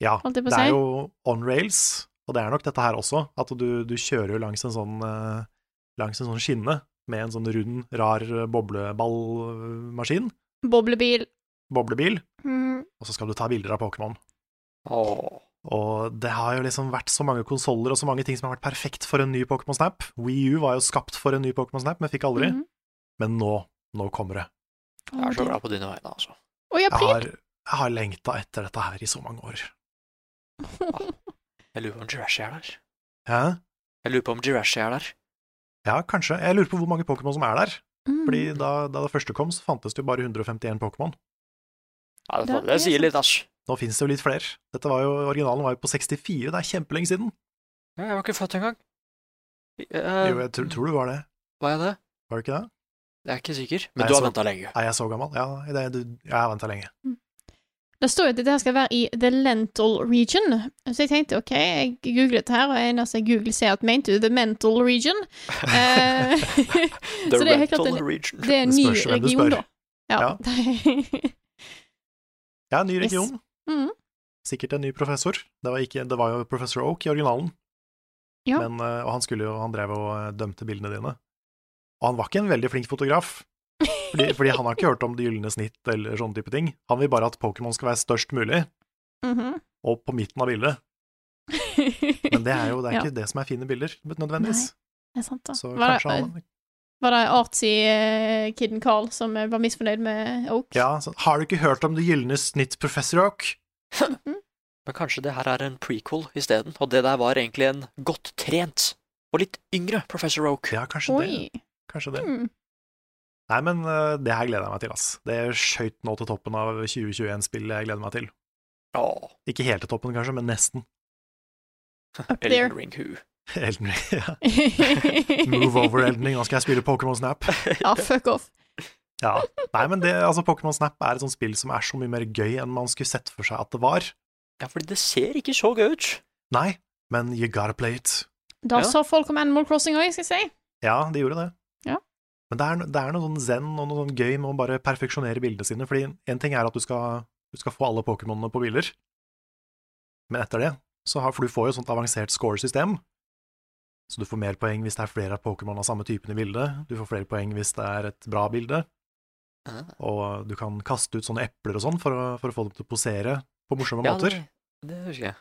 Speaker 3: Ja,
Speaker 2: holdt jeg på
Speaker 3: Det
Speaker 2: å
Speaker 3: er
Speaker 2: si.
Speaker 3: jo on rails, og det er nok dette her også, at du, du kjører jo langs en sånn eh, langs en sånn skinne med en sånn rund, rar eh, bobleballmaskin,
Speaker 2: Boblebil.
Speaker 3: boblebil,
Speaker 2: Mm.
Speaker 3: og så skal du ta bilder av Pokémon.
Speaker 1: Åh.
Speaker 3: Og det har jo liksom vært så mange konsoller og så mange ting som har vært perfekt for en ny Pokémon Snap. Wii U var jo skapt for en ny Pokémon Snap, men fikk aldri.
Speaker 2: Mhm.
Speaker 3: Men nå, nå kommer det.
Speaker 2: Å,
Speaker 1: Jeg er så
Speaker 2: det-
Speaker 1: glad på dine vegne, altså.
Speaker 2: Å, i
Speaker 3: Jeg
Speaker 2: april!
Speaker 3: har, jeg har lengta etter dette her i så mange år.
Speaker 1: Jeg lurer på om Jirashi er der.
Speaker 3: Hæ?
Speaker 1: Jeg lurer på om Jirashi er der.
Speaker 3: Ja, kanskje. Jeg lurer på hvor mange Pokémon som er der.
Speaker 2: Mm.
Speaker 3: Fordi da, da det første kom, så fantes det jo bare 151 Pokémon.
Speaker 1: Ja, det,
Speaker 2: Det
Speaker 1: det
Speaker 2: er
Speaker 1: sier
Speaker 2: sant.
Speaker 1: litt, ass.
Speaker 3: Nå finnes det jo litt flere. Dette var jo, Originalen var jo på 64, det er kjempelenge siden.
Speaker 1: Ja, Jeg var ikke født engang. Eh,
Speaker 3: Jo, jeg tror, tror du var det.
Speaker 1: Var jeg det?
Speaker 3: Var det ikke det?
Speaker 1: Jeg er ikke sikker. Men
Speaker 3: Nei,
Speaker 1: du har
Speaker 3: så-
Speaker 1: venta lenge.
Speaker 3: Er jeg så gammel? Ja, det, du, jeg har venta lenge.
Speaker 2: Det står jo at dette her skal være i The Lental Region. Så jeg tenkte ok, jeg googlet det her, og det eneste jeg googler, ser at mente du The Mental Region? Eh,
Speaker 1: The
Speaker 2: så det er helt klart
Speaker 1: Rental
Speaker 2: en,
Speaker 1: Region.
Speaker 2: det er en
Speaker 3: Det
Speaker 2: ny
Speaker 3: spørs hvem du
Speaker 2: region,
Speaker 3: spør.
Speaker 2: da. Ja.
Speaker 3: Ja. Ja, ny
Speaker 2: Yes.
Speaker 3: region.
Speaker 2: Mhm.
Speaker 3: Sikkert en ny professor. Det var, ikke, det var jo professor Oak i originalen.
Speaker 2: Ja.
Speaker 3: Men, eh, og han, skulle jo, han drev og eh, dømte bildene dine. Og han var ikke en veldig flink fotograf, fordi, fordi han har ikke hørt om det gylne snitt eller sånne type ting. Han vil bare at Pokémon skal være størst mulig,
Speaker 2: Mhm.
Speaker 3: og på midten av bildet. Men det er jo det er
Speaker 2: Ja.
Speaker 3: ikke det som er fine bilder, nødvendigvis.
Speaker 2: Det er sant, da.
Speaker 3: Så
Speaker 2: Var
Speaker 3: kanskje
Speaker 2: det,
Speaker 3: han
Speaker 2: var det artsy eh, kidden Carl som eh, var misfornøyd med Oak?
Speaker 3: Ja, så, har du ikke hørt om det gylne snitt, professor Oak?
Speaker 1: Men kanskje det her er en prequel isteden, og det der var egentlig en godt trent og litt yngre Professor Oak.
Speaker 3: Ja, kanskje det.
Speaker 2: Oi.
Speaker 3: Kanskje det.
Speaker 2: Mm.
Speaker 3: Nei, men eh, det her gleder jeg meg til, ass. Det skøyt nå til toppen av 2021-spill jeg gleder meg til.
Speaker 1: Åh,
Speaker 3: Ikke helt til toppen, kanskje, men nesten.
Speaker 2: Up there.
Speaker 1: Elden Ring Who.
Speaker 3: Elden Ring. ja. Move over Elden Ring, nå skal jeg spille Pokémon Snap.
Speaker 2: Ja, fuck off.
Speaker 3: Ja. Nei, men det, altså, Pokémon Snap er et sånt spill som er så mye mer gøy enn man skulle sett for seg at det var.
Speaker 1: Ja, fordi det ser ikke så gøy ut.
Speaker 3: Nei, men you gotta play it.
Speaker 2: Da
Speaker 1: Ja.
Speaker 2: sa folk om Animal Crossing òg, skal jeg si.
Speaker 3: Ja, de gjorde det.
Speaker 2: Ja.
Speaker 3: Men det er, no- det er noe sånn zen og noe sånn gøy med å bare perfeksjonere bildene sine, fordi en ting er at du skal, du skal få alle Pokémonene på bilder, men etter det, så har, for du får jo et sånt avansert scoresystem, så du får mer poeng hvis det er flere av Pokémon av samme typen i bildet, du får flere poeng hvis det er et bra bilde,
Speaker 1: Ah.
Speaker 3: og du kan kaste ut sånne epler og sånn for, å- for å få dem til å posere på morsomme
Speaker 1: Ja,
Speaker 3: måter.
Speaker 1: det, det husker jeg.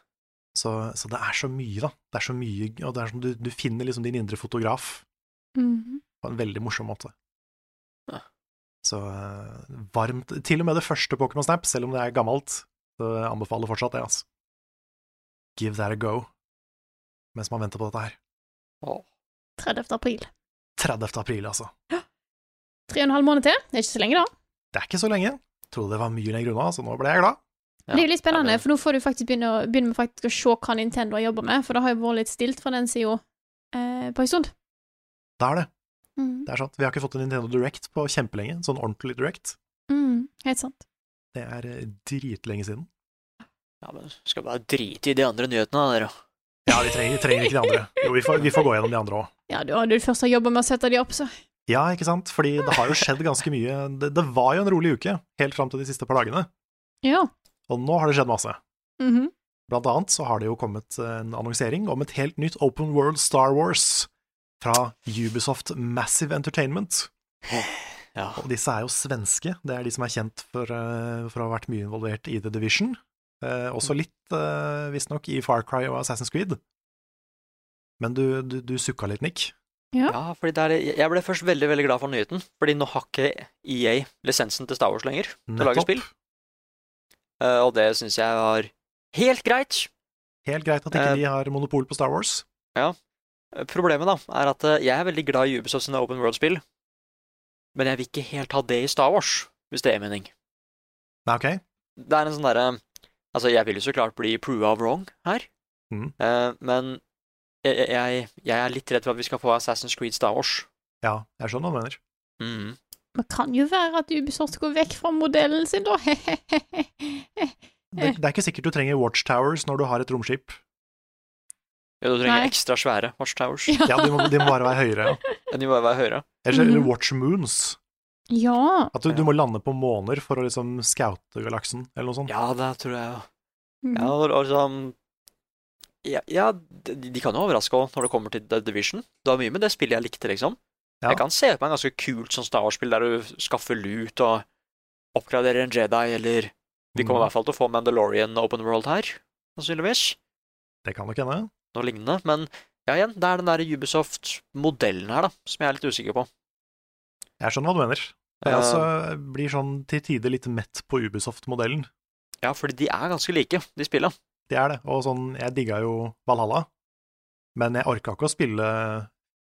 Speaker 3: Så, så det er så mye, da. Det er så mye, og det er som du, du finner liksom din indre fotograf
Speaker 2: Mhm.
Speaker 3: på en veldig morsom måte.
Speaker 1: Ja.
Speaker 3: Så eh, varmt Til og med det første Pokémon Snap, selv om det er gammelt, så jeg anbefaler fortsatt det, altså. Give that a go, mens man venter på dette her.
Speaker 1: Åh.
Speaker 2: 30. april.
Speaker 3: 30. april, altså.
Speaker 2: Tre og en halv måned til. Det er ikke så lenge, da.
Speaker 3: Det er ikke så lenge. Trodde det var mye lenger unna, så nå ble jeg glad.
Speaker 1: Ja,
Speaker 2: det er jo litt
Speaker 1: ja,
Speaker 2: spennende,
Speaker 1: det-
Speaker 2: for nå får du faktisk begynne, å, begynne med faktisk å se hva Nintendo jobber med, for det har jo vært litt stilt fra den sida eh, på en stund.
Speaker 3: Det er det.
Speaker 2: Mm.
Speaker 3: Det er sant. Vi har ikke fått en Nintendo Direct på kjempelenge. Sånn ordentlig Direct.
Speaker 2: Mm. Helt sant.
Speaker 3: Det er eh, dritlenge siden.
Speaker 1: Ja, men skal bare drite i de andre nyhetene, da, dere.
Speaker 3: Ja, vi trenger, vi trenger ikke de andre. Jo, vi får, vi får gå gjennom de andre òg.
Speaker 2: Ja, du hadde jo først har jobba med å sette de opp, så.
Speaker 3: Ja, ikke sant? Fordi det har jo skjedd ganske mye. Det, det var jo en rolig uke, helt fram til de siste par dagene.
Speaker 2: Ja.
Speaker 3: Og nå har det skjedd masse.
Speaker 2: Mhm.
Speaker 3: Blant annet så har det jo kommet en annonsering om et helt nytt Open World Star Wars fra Ubisoft Massive Entertainment.
Speaker 1: Ja.
Speaker 3: Og disse er jo svenske, det er de som er kjent for, eh, for å ha vært mye involvert i The Division. Eh,
Speaker 1: Mm.
Speaker 3: også litt, eh, visstnok, i Far Cry og Assassin's Creed. Men du, du, du sukka litt, Nick.
Speaker 2: Ja.
Speaker 1: Ja, fordi det er, jeg ble først veldig veldig glad for nyheten, fordi nå har ikke EA lisensen til Star Wars lenger. til å lage spill. Eh, og det syns jeg var helt greit.
Speaker 3: Helt greit at ikke
Speaker 1: Eh,
Speaker 3: de har monopol på Star Wars.
Speaker 1: Problemet da, er at eh, jeg er veldig glad i Ubisoft sine open world-spill, men jeg vil ikke helt ha det i Star Wars, hvis det er mening.
Speaker 3: Nei, ok.
Speaker 1: Det er en sånn derre Altså, jeg vil jo så klart bli prua of wrong her,
Speaker 3: Mhm.
Speaker 1: eh, men jeg, jeg- jeg, jeg er litt redd for at vi skal få Assassin's Creed Star Wars.
Speaker 3: Ja, jeg skjønner hva du mener.
Speaker 1: Mhm.
Speaker 2: Men kan jo være at Ubisoft går vekk fra modellen sin, da.
Speaker 3: Det, det er ikke sikkert du trenger watchtowers når du har et romskip.
Speaker 1: Ja, du trenger
Speaker 2: Nei.
Speaker 1: ekstra svære Watch Towers.
Speaker 3: Ja, De må, de må bare være høyere. Ja.
Speaker 1: De må være høyere.
Speaker 3: Eller så- eller
Speaker 2: Mhm.
Speaker 3: watch moons.
Speaker 2: ja.
Speaker 3: At du, du må lande på måner for å liksom scoute galaksen, eller noe sånt.
Speaker 1: Ja, det tror jeg jo.
Speaker 2: Mhm.
Speaker 1: Ja, og, og sånn ja, ja, de, de kan jo overraske også når det kommer til The Division. Det var mye med det spillet jeg likte, liksom.
Speaker 3: Ja.
Speaker 1: Jeg kan se på en ganske kult sånn Star Wars-spill der du skaffer lut og oppgraderer en Jedi, eller Vi kommer i hvert fall til å få Mandalorian Open World her, sannsynligvis.
Speaker 3: Det kan nok hende.
Speaker 1: Noe lignende. Men ja, igjen, det er den der Ubisoft-modellen her, da, som jeg er litt usikker på.
Speaker 3: Jeg skjønner hva du mener. Jeg
Speaker 1: Eh,
Speaker 3: også blir sånn til tider litt mett på Ubisoft-modellen.
Speaker 1: ja, fordi de er ganske like, de spillene.
Speaker 3: Det er det. Og sånn, jeg digga jo Valhalla, men jeg orka ikke å spille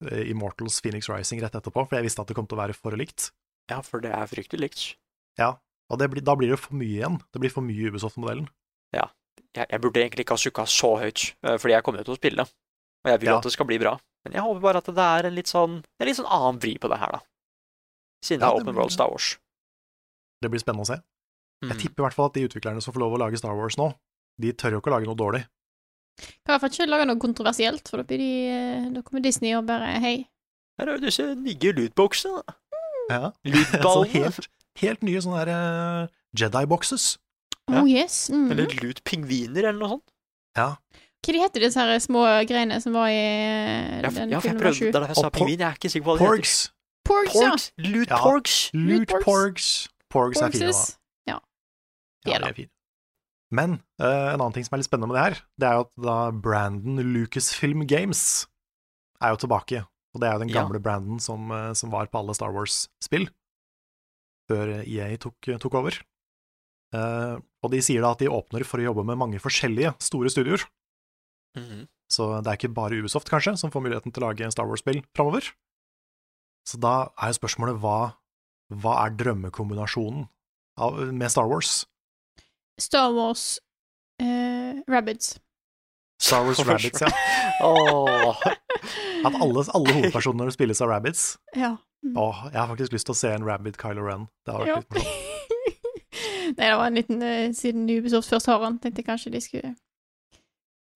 Speaker 3: eh, Immortals Phoenix Rising rett etterpå, for jeg visste at det kom til å være for likt.
Speaker 1: Ja, for det er fryktelig likt.
Speaker 3: Og det blir, da blir det for mye igjen. Det blir for mye Ubisoft-modellen.
Speaker 1: jeg, jeg burde egentlig ikke ha sukka så høyt, eh, fordi jeg kommer jo til å spille. Og jeg vil jo
Speaker 3: Ja.
Speaker 1: at det skal bli bra. Men jeg håper bare at det er en litt sånn, en litt sånn annen vri på det her, da. Siden det er
Speaker 3: Ja, det
Speaker 1: Open
Speaker 3: blir
Speaker 1: World
Speaker 3: det.
Speaker 1: Star Wars.
Speaker 3: Det blir spennende å se.
Speaker 1: Mm.
Speaker 3: Jeg tipper i hvert fall at de utviklerne som får lov å lage Star Wars nå, de tør jo ikke å lage noe dårlig.
Speaker 2: Kan i hvert fall ikke lage noe kontroversielt, for da, blir de, eh, da kommer Disney og bare hei.
Speaker 1: Her er jo disse nye lootboxene. da.
Speaker 3: Ja. Sånn
Speaker 1: Lootballene.
Speaker 3: helt, helt nye sånne her eh, Jedi-boxes.
Speaker 1: Ja.
Speaker 2: Oh yes. Mm.
Speaker 1: Eller lootpingviner, eller noe sånt.
Speaker 2: Hva de heter disse her små greiene som var i eh,
Speaker 1: Jeg,
Speaker 2: den
Speaker 1: ja, for jeg
Speaker 2: filmen var
Speaker 1: prøvde, det
Speaker 2: sju?
Speaker 1: er derfor jeg sa
Speaker 3: Og por-
Speaker 1: pingvin. Jeg er ikke sikker på hva det heter.
Speaker 3: Porgs.
Speaker 2: Porgs, ja.
Speaker 1: Porgs. Loot
Speaker 3: Ja.
Speaker 1: porgs.
Speaker 3: Loot
Speaker 2: Loot
Speaker 3: porgs. Porgs er fine, da.
Speaker 2: Porgses. Ja. De
Speaker 3: Ja,
Speaker 2: er
Speaker 3: de
Speaker 2: da.
Speaker 3: er fine. Men eh, en annen ting som er litt spennende med det her, det er jo at da Brandon Lucasfilm Games er jo tilbake. Og det er jo den
Speaker 1: Ja.
Speaker 3: gamle Brandon som, eh, som var på alle Star Wars-spill, før EA tok, tok over. Eh, og de sier da at de åpner for å jobbe med mange forskjellige store studioer.
Speaker 1: Mhm.
Speaker 3: Så det er ikke bare Ubisoft, kanskje, som får muligheten til å lage Star Wars-spill framover. Så da er jo spørsmålet hva, hva er drømmekombinasjonen av, med Star Wars?
Speaker 2: Star Wars uh, Rabbits.
Speaker 3: Star Wars
Speaker 1: Star Wars
Speaker 3: Rabbits, ja.
Speaker 1: Åh.
Speaker 3: At alle, alle hovedpersonene spilles av rabbits.
Speaker 2: Ja.
Speaker 3: Åh, jeg har faktisk lyst til å se en rabbit Kylo Ren. Det har vært
Speaker 2: Ja.
Speaker 3: litt morsomt.
Speaker 2: Nei, det var en liten eh, Siden Ubisoft først har han, tenkte jeg kanskje de skulle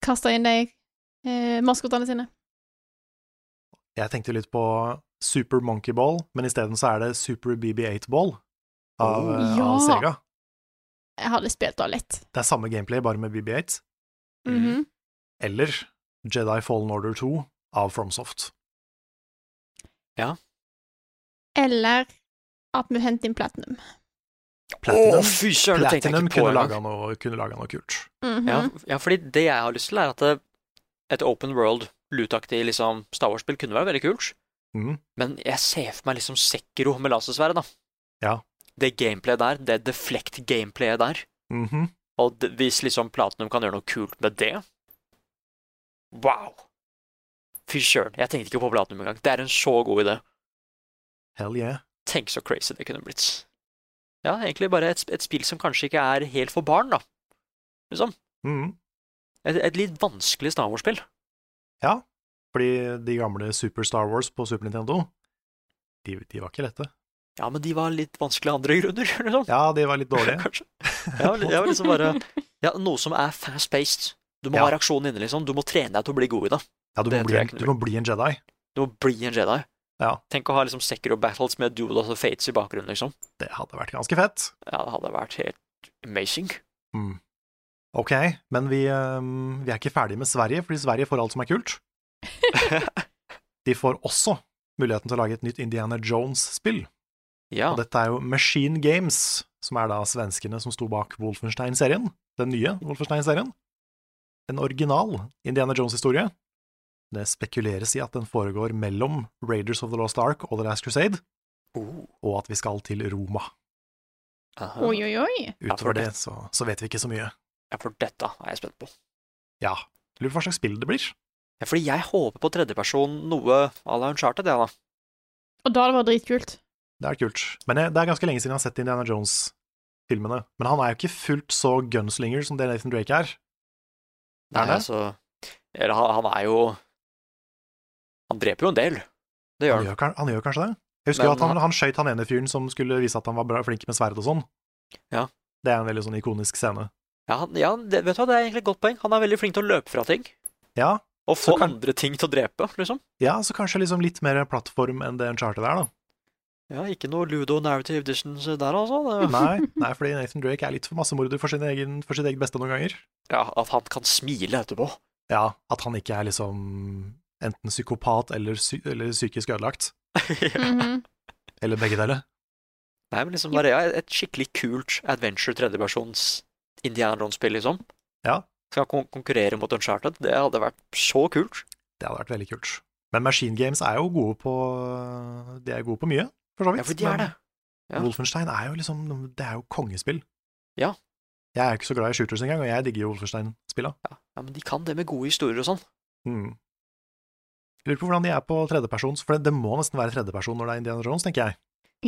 Speaker 2: kaste inn de eh, maskotene sine.
Speaker 3: Jeg tenkte litt på Super Monkey Ball, men isteden så er det Super BB8 Ball av, eh,
Speaker 2: Oh. Ja.
Speaker 3: av Sega.
Speaker 2: Jeg hadde spilt da litt.
Speaker 3: Det er samme gameplay, bare med BB8.
Speaker 2: Mhm.
Speaker 3: Eller Jedi Fallen Order 2 av FromSoft.
Speaker 2: Eller at vi henter inn Platinum.
Speaker 3: Platinum,
Speaker 1: Åh, fy søren, det tenkte jeg
Speaker 3: Platinum
Speaker 1: ikke på
Speaker 3: kunne,
Speaker 1: engang.
Speaker 3: laga noe, kunne laga noe kult.
Speaker 2: Mhm.
Speaker 1: Ja, f- Mm. ja, fordi det jeg har lyst til, er at eh, et open world, lootaktig liksom, Star Wars-spill kunne være veldig kult.
Speaker 3: Mhm.
Speaker 1: Men jeg ser for meg liksom Sekiro med lasersverdet, da.
Speaker 3: Ja.
Speaker 1: Det gameplayet der, det deflect-gameplayet der.
Speaker 3: Mhm.
Speaker 1: Og d- hvis liksom Platinum kan gjøre noe kult med det Wow! Fy søren, jeg tenkte ikke på Platinum engang. Det er en så god idé.
Speaker 3: Hell yeah.
Speaker 1: Tenk så crazy det kunne blitt. Ja, egentlig bare et, sp- et spill som kanskje ikke er helt for barn, da. Liksom.
Speaker 3: Mhm.
Speaker 1: Et, et litt vanskelig Star Wars-spill.
Speaker 3: Ja, fordi de gamle Super Star Wars på Super Nintendo, de, de var ikke lette.
Speaker 1: Ja, men de var litt vanskelig av andre grunner, liksom.
Speaker 3: Ja, de var litt dårlige.
Speaker 1: Kanskje. Ja, li- ja, liksom bare Ja, noe som er fast-paced. Du må
Speaker 3: Ja.
Speaker 1: ha reaksjonen inne, liksom. Du må trene deg til å bli god i det.
Speaker 3: Ja, du må,
Speaker 1: Det tror
Speaker 3: bli
Speaker 1: jeg
Speaker 3: en,
Speaker 1: ikke
Speaker 3: du må bli en Jedi.
Speaker 1: Du må bli en Jedi.
Speaker 3: Ja.
Speaker 1: Tenk å ha liksom Sekiro battles med Duodas og Fates i bakgrunnen, liksom.
Speaker 3: Det hadde vært ganske fett.
Speaker 1: Ja, det hadde vært helt amazing.
Speaker 3: Mm. Ok, men vi, ehm, vi er ikke ferdige med Sverige, fordi Sverige får alt som er kult. De får også muligheten til å lage et nytt Indiana Jones-spill.
Speaker 1: Ja.
Speaker 3: Og dette er jo Machine Games, som er da svenskene som sto bak Wolfenstein-serien, den nye Wolfenstein-serien. En original Indiana Jones-historie. Det spekuleres i at den foregår mellom Raiders of the Lost Ark og The Last Crusade, og at vi skal til Roma.
Speaker 1: Aha.
Speaker 2: Oi, oi, oi.
Speaker 1: Ja, for
Speaker 3: Utover det så, så vet vi ikke så mye.
Speaker 1: Ja, for dette er jeg spent på.
Speaker 3: Ja, lurer på hva slags spill det blir.
Speaker 1: Ja, fordi jeg håper på tredjeperson noe à la Uncharted, jeg, da.
Speaker 2: Og da det var dritkult.
Speaker 3: Det er kult. Men eh, det det er ganske lenge siden jeg har sett Indiana Jones-filmene. Men han er jo ikke fullt så gunslinger som det Nathan Drake er. Er
Speaker 1: Nei,
Speaker 3: det?
Speaker 1: altså Eller han, han er jo Han dreper jo en del. Det gjør
Speaker 3: Han
Speaker 1: han.
Speaker 3: gjør, kan- han gjør kanskje det? Jeg husker jo
Speaker 1: Men eh,
Speaker 3: at han,
Speaker 1: han-
Speaker 3: han skøyt han ene fyren som skulle vise at han var bra, flink med sverd og sånn.
Speaker 1: Ja.
Speaker 3: Det er en veldig sånn ikonisk scene.
Speaker 1: Ja, han, ja det, vet du hva, det er egentlig et godt poeng. Han er veldig flink til å løpe fra ting.
Speaker 3: Ja,
Speaker 1: Og få
Speaker 3: Så kan-
Speaker 1: andre ting til å drepe, liksom.
Speaker 3: ja så kanskje liksom litt mer plattform enn det Uncharted er, da.
Speaker 1: Ja, ikke noe ludo narrative distance der, altså. Det,
Speaker 3: Nei, nei, fordi Nathan Drake er litt for massemorder for, sin egen, for sitt eget beste noen ganger.
Speaker 1: ja, at han kan smile etterpå.
Speaker 3: Ja, at han ikke er liksom enten psykopat eller, psy eller psykisk ødelagt.
Speaker 1: Nei,
Speaker 2: Mhm.
Speaker 3: Eller begge deler.
Speaker 1: men liksom bare ja, et skikkelig kult adventure tredjepersons Indiana Jones-spill, liksom.
Speaker 3: Ja.
Speaker 1: Skal kon konkurrere mot Uncharted. Det hadde vært så kult.
Speaker 3: Det hadde vært veldig kult. Men Machine Games er jo gode på De er gode på mye, for så
Speaker 1: Ja,
Speaker 3: vidt.
Speaker 1: for de er
Speaker 3: men
Speaker 1: det. ja.
Speaker 3: Wolfenstein er jo liksom Det er jo kongespill.
Speaker 1: Ja.
Speaker 3: Jeg er jo ikke så glad i shooters engang, og jeg digger jo Wolfenstein-spilla.
Speaker 1: Ja, ja, men de kan det med gode historier og sånn.
Speaker 3: Mm. Jeg lurer på hvordan de er på tredjepersons, for det, det må nesten være tredjeperson når det er Indiana Jones, tenker jeg.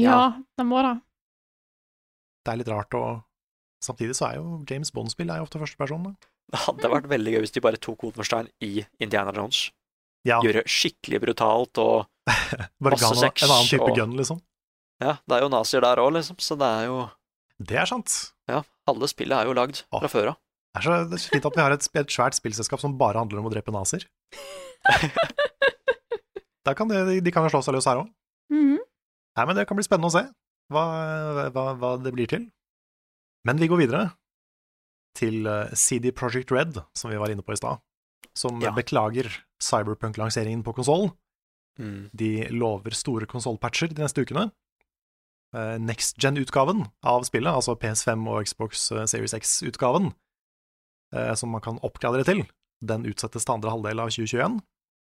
Speaker 2: Ja, det må da.
Speaker 3: Det er litt rart, og samtidig så er jo James Bond-spill er jo ofte førsteperson, da.
Speaker 1: Det hadde vært veldig gøy hvis de bare tok Wolfenstein i Indiana Jones.
Speaker 3: Ja,
Speaker 1: Gjøre skikkelig brutalt og
Speaker 3: bare
Speaker 1: masse
Speaker 3: ga han
Speaker 1: sex
Speaker 3: en annen type
Speaker 1: og-
Speaker 3: gun, liksom.
Speaker 1: Ja, det er jo nazier der òg, liksom, så det er jo
Speaker 3: Det er sant.
Speaker 1: Ja, alle spillet er jo lagd
Speaker 3: Åh.
Speaker 1: fra før av.
Speaker 3: Det er så det er så fint at vi har et, sp- et svært spillselskap som bare handler om å drepe nazier. Da kan det, de kan jo slå seg løs her òg.
Speaker 2: Mhm.
Speaker 3: Nei, men det kan bli spennende å se hva, hva, hva det blir til. Men vi går videre til eh, CD Project Red, som vi var inne på i stad, som
Speaker 1: Ja.
Speaker 3: beklager Cyberpunk-lanseringen på konsoll.
Speaker 1: Mm.
Speaker 3: De lover store konsollpatcher de neste ukene. Eh, Next gen-utgaven av spillet, altså PS5 og Xbox eh, Series X-utgaven, eh, som man kan oppgradere til, den utsettes til andre halvdel av 2021.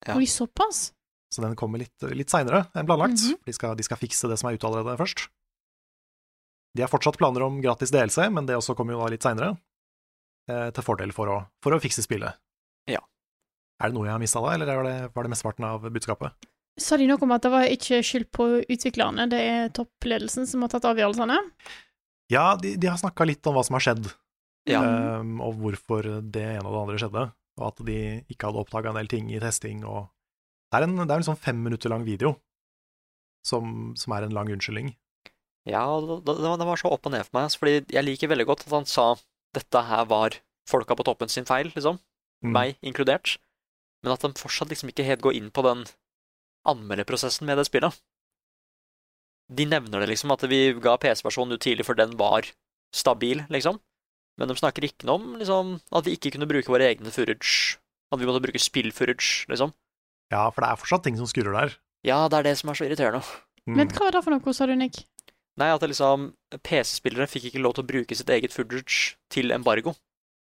Speaker 1: Ja.
Speaker 2: Oi, såpass?
Speaker 3: Så den kommer litt, litt seinere enn planlagt.
Speaker 2: Mhm.
Speaker 3: de, skal, de skal fikse det som er ute allerede først. De har fortsatt planer om gratis DLC, men det også kommer jo da litt seinere. Eh, til fordel for å, for å fikse spillet.
Speaker 1: Ja.
Speaker 3: Er det noe jeg har mista da, eller var det, var det mesteparten av budskapet?
Speaker 2: Sa de noe om at det var ikke skyld på utviklerne, det er toppledelsen som har tatt avgjørelsene?
Speaker 3: Ja, de, de har snakka litt om hva som har skjedd,
Speaker 1: Ja.
Speaker 3: eh, og hvorfor det ene og det andre skjedde. Og at de ikke hadde oppdaga en del ting i testing og Det er en, det er en sånn fem minutter lang video som, som er en lang unnskyldning.
Speaker 1: Ja, det, det var- det var så opp og ned for meg, altså, fordi jeg liker veldig godt at han sa dette her var folka på toppen sin feil, liksom,
Speaker 3: Mm.
Speaker 1: meg inkludert, men at de fortsatt liksom ikke helt går inn på den anmeldeprosessen med det spillet. De nevner det liksom, at vi ga PC-versjonen ut tidlig for den var stabil, liksom, men de snakker ikke noe om liksom, at vi ikke kunne bruke våre egne footage, at vi måtte bruke spill-footage, liksom.
Speaker 3: Ja, for det er fortsatt ting som skurrer der.
Speaker 1: Ja, det er det som er så irriterende.
Speaker 3: Mm.
Speaker 2: Men hva var det for noe, sa du, Nick?
Speaker 1: Nei, at det liksom PC-spillere fikk ikke lov til å bruke sitt eget footage til embargo.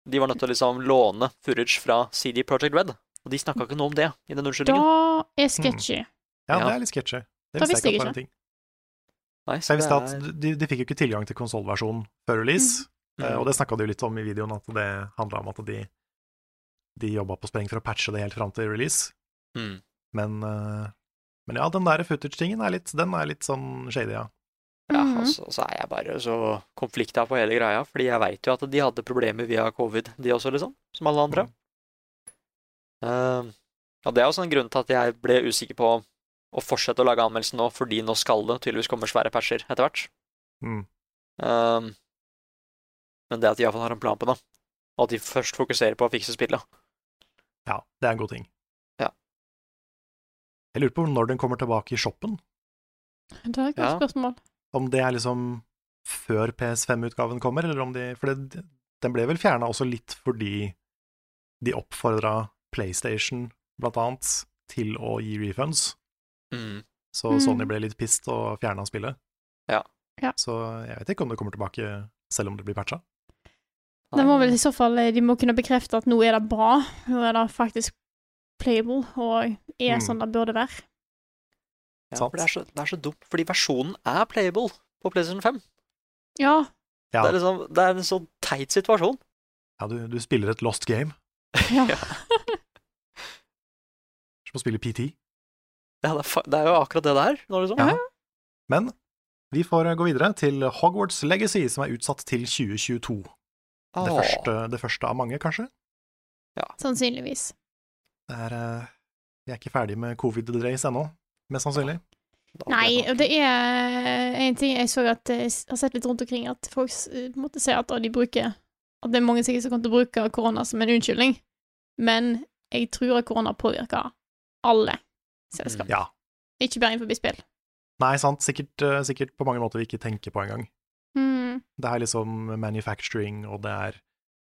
Speaker 1: De var nødt til å liksom låne footage fra CD Project Red, og de snakka ikke noe om det i den unnskyldningen.
Speaker 2: Da er sketchy.
Speaker 3: ja,
Speaker 1: ja.
Speaker 3: det er litt sketchy. Det
Speaker 2: Da
Speaker 3: visste
Speaker 2: visste
Speaker 3: jeg ikke.
Speaker 2: jeg
Speaker 3: at det var en ting.
Speaker 1: Nei,
Speaker 3: Så jeg visste
Speaker 1: det er-
Speaker 3: at de, de fikk jo ikke tilgang til konsollversjonen før release,
Speaker 1: Mhm. Mm.
Speaker 3: eh, og det snakka de jo litt om i videoen, at det handla om at de, de jobba på spreng for å patche det helt fram til release.
Speaker 1: Mm.
Speaker 3: Men, eh, men ja, den der footage-tingen er litt, den er litt sånn shady, ja.
Speaker 1: Ja,
Speaker 2: Mhm.
Speaker 1: altså, så er jeg bare så konflikta på hele greia, fordi jeg veit jo at de hadde problemer via covid, de også, liksom, som alle andre. Eh, ja, det er også en grunn til at jeg ble usikker på å fortsette å lage anmeldelsen nå, fordi nå skal det tydeligvis komme svære patcher etter hvert.
Speaker 3: Mm.
Speaker 1: Eh, men det at de iallfall har en plan på det, og at de først fokuserer på å fikse spillet
Speaker 3: Ja, det er en god ting.
Speaker 1: Ja.
Speaker 3: Jeg lurer på når den kommer tilbake i shoppen,
Speaker 2: Det er et godt
Speaker 1: Ja.
Speaker 2: spørsmål.
Speaker 3: om det er liksom før PS5-utgaven kommer, eller om de For det, den ble vel fjerna også litt fordi de oppfordra PlayStation, blant annet, til å gi refunds. Så
Speaker 2: Mm.
Speaker 3: Sony ble litt pissed og fjerna spillet.
Speaker 1: Ja.
Speaker 2: Ja.
Speaker 3: Så jeg vet ikke om det kommer tilbake selv om det blir patcha.
Speaker 2: Det må vel i så fall eh, De må kunne bekrefte at nå er det bra. Nå er det faktisk playable og er
Speaker 3: Mm.
Speaker 2: sånn det burde være.
Speaker 1: Ja,
Speaker 3: Sant.
Speaker 1: for det er, så, det er så dumt, fordi versjonen er playable på PlayStation 5.
Speaker 2: Ja.
Speaker 3: Ja.
Speaker 1: Det, er liksom, det er en så teit situasjon.
Speaker 3: Ja, du, du spiller et lost game.
Speaker 2: ja.
Speaker 3: Som å spille PT.
Speaker 1: Ja, det, er, fa- det er jo akkurat det det er. Nå, liksom.
Speaker 3: Ja. Men vi får eh, gå videre til Hogwarts Legacy, som er utsatt til 2022. Det,
Speaker 1: Åh.
Speaker 3: første, det første av mange, kanskje.
Speaker 2: Sannsynligvis.
Speaker 3: Det er, eh, vi er ikke ferdig med covid-drace ennå, mest sannsynlig.
Speaker 1: Da blir
Speaker 2: Nei,
Speaker 1: det
Speaker 2: og det er en ting jeg så at jeg har sett litt rundt omkring, at folk eh, på en måte sier at å, de bruker At det er mange sikkert som kommer til å bruke korona som en unnskyldning, men jeg tror at korona påvirker alle selskap,
Speaker 3: Mm, Ja.
Speaker 2: ikke bare innenfor spill.
Speaker 3: Nei, sant. Sikkert, eh, sikkert på mange måter vi ikke tenker på engang.
Speaker 2: Mm.
Speaker 3: Det er liksom manufacturing, og det er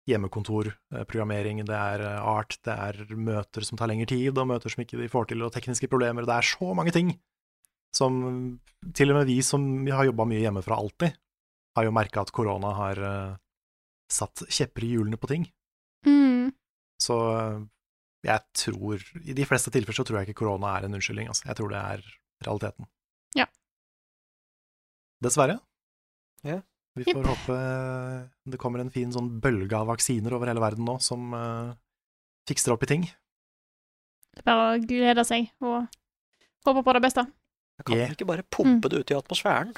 Speaker 3: hjemmekontor, eh, programmering, det er eh, art, det er møter som tar lengre tid, og møter som ikke de får til, og tekniske problemer. Det er så mange ting som til og med vi som har jobba mye hjemmefra alltid, har jo merka at korona har eh, satt kjepper i hjulene på ting.
Speaker 2: Mm.
Speaker 3: Så eh, jeg tror I de fleste tilfeller så tror jeg ikke korona er en unnskyldning, altså. Jeg tror det er realiteten.
Speaker 2: Ja.
Speaker 3: Dessverre.
Speaker 1: Ja.
Speaker 3: Vi
Speaker 2: Jipp.
Speaker 3: får håpe det kommer en fin sånn bølge av vaksiner over hele verden nå som eh, fikser opp i ting.
Speaker 2: Det er bare å glede seg og håpe på det beste.
Speaker 1: Jeg kan
Speaker 3: Yeah.
Speaker 1: ikke bare pumpe det ut i atmosfæren.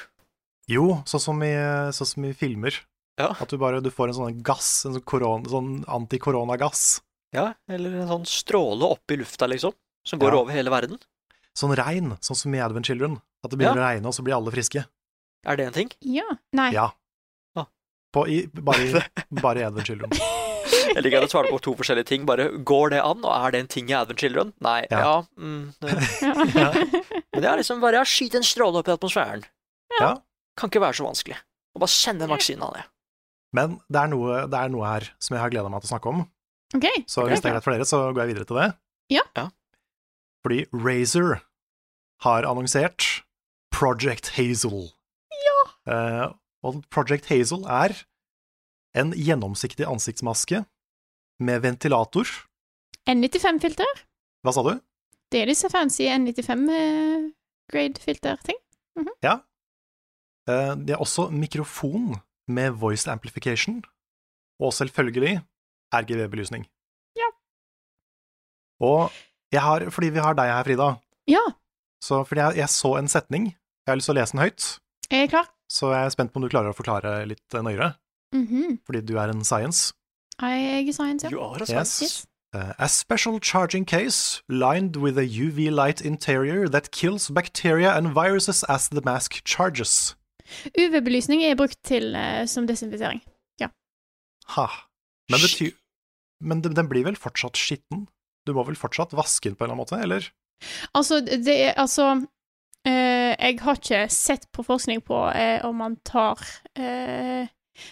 Speaker 3: Jo, sånn som i, sånn som i filmer.
Speaker 1: Ja.
Speaker 3: At du bare du får en sånn gass, en sånn, koron- sånn antikoronagass.
Speaker 1: Ja, Eller en sånn stråle opp i lufta, liksom, som går
Speaker 3: Ja.
Speaker 1: over hele verden.
Speaker 3: Sånn regn, sånn som i Advent Children. At det begynner å regne, og så blir alle friske.
Speaker 1: Er det en ting?
Speaker 2: Ja. Nei.
Speaker 3: Ja.
Speaker 1: Ah.
Speaker 3: På, i, bare, i, bare i Advent Children.
Speaker 1: Jeg liker at du svarer på to forskjellige ting. Bare går det an, og er det en ting i Advent Children? Nei.
Speaker 3: Ja.
Speaker 1: Ja. mm, det-
Speaker 2: Ja.
Speaker 1: Men det er liksom bare å skyte en stråle opp i atmosfæren.
Speaker 3: Ja.
Speaker 1: Kan ikke være så vanskelig. Og bare sende en vaksine av det.
Speaker 3: Men det er, noe, det er noe her som jeg har gleda meg til å snakke om,
Speaker 2: OK.
Speaker 3: så
Speaker 1: Ok.
Speaker 3: hvis det er greit for dere, så går jeg videre til det.
Speaker 2: Ja.
Speaker 1: Ja.
Speaker 3: Fordi Razer har annonsert Project Hazel.
Speaker 2: Ja.
Speaker 3: Eh, og Project Hazel er en gjennomsiktig ansiktsmaske med ventilator.
Speaker 2: N95-filter.
Speaker 3: Hva sa du?
Speaker 2: Det er disse fancy eh, N95-grade-filter-ting.
Speaker 3: Eh, de har også mikrofon med voice amplification, og selvfølgelig RGV-belysning.
Speaker 2: Ja.
Speaker 3: Og jeg har, fordi vi har deg her, Frida,
Speaker 2: Ja,
Speaker 3: så fordi jeg, jeg så en setning, jeg har lyst til å lese den høyt,
Speaker 2: jeg er klar.
Speaker 3: så jeg er spent på om du klarer å forklare litt eh, nøyere,
Speaker 2: Mhm.
Speaker 3: fordi du er en science.
Speaker 2: Jeg er science, ja.
Speaker 1: You are a
Speaker 3: Yes.
Speaker 1: scientist.
Speaker 3: Uh, a special charging case lined with a UV light interior that kills bacteria and viruses as the mask charges.
Speaker 2: UV-belysning er brukt til, eh, som desinfisering.
Speaker 3: Ha. Men, betyr, men den den blir vel fortsatt skitten? Du må vel fortsatt vaske den på en eller annen måte, eller?
Speaker 2: Altså, det er altså eh, Jeg har ikke sett på forskning på eh, om man tar eh,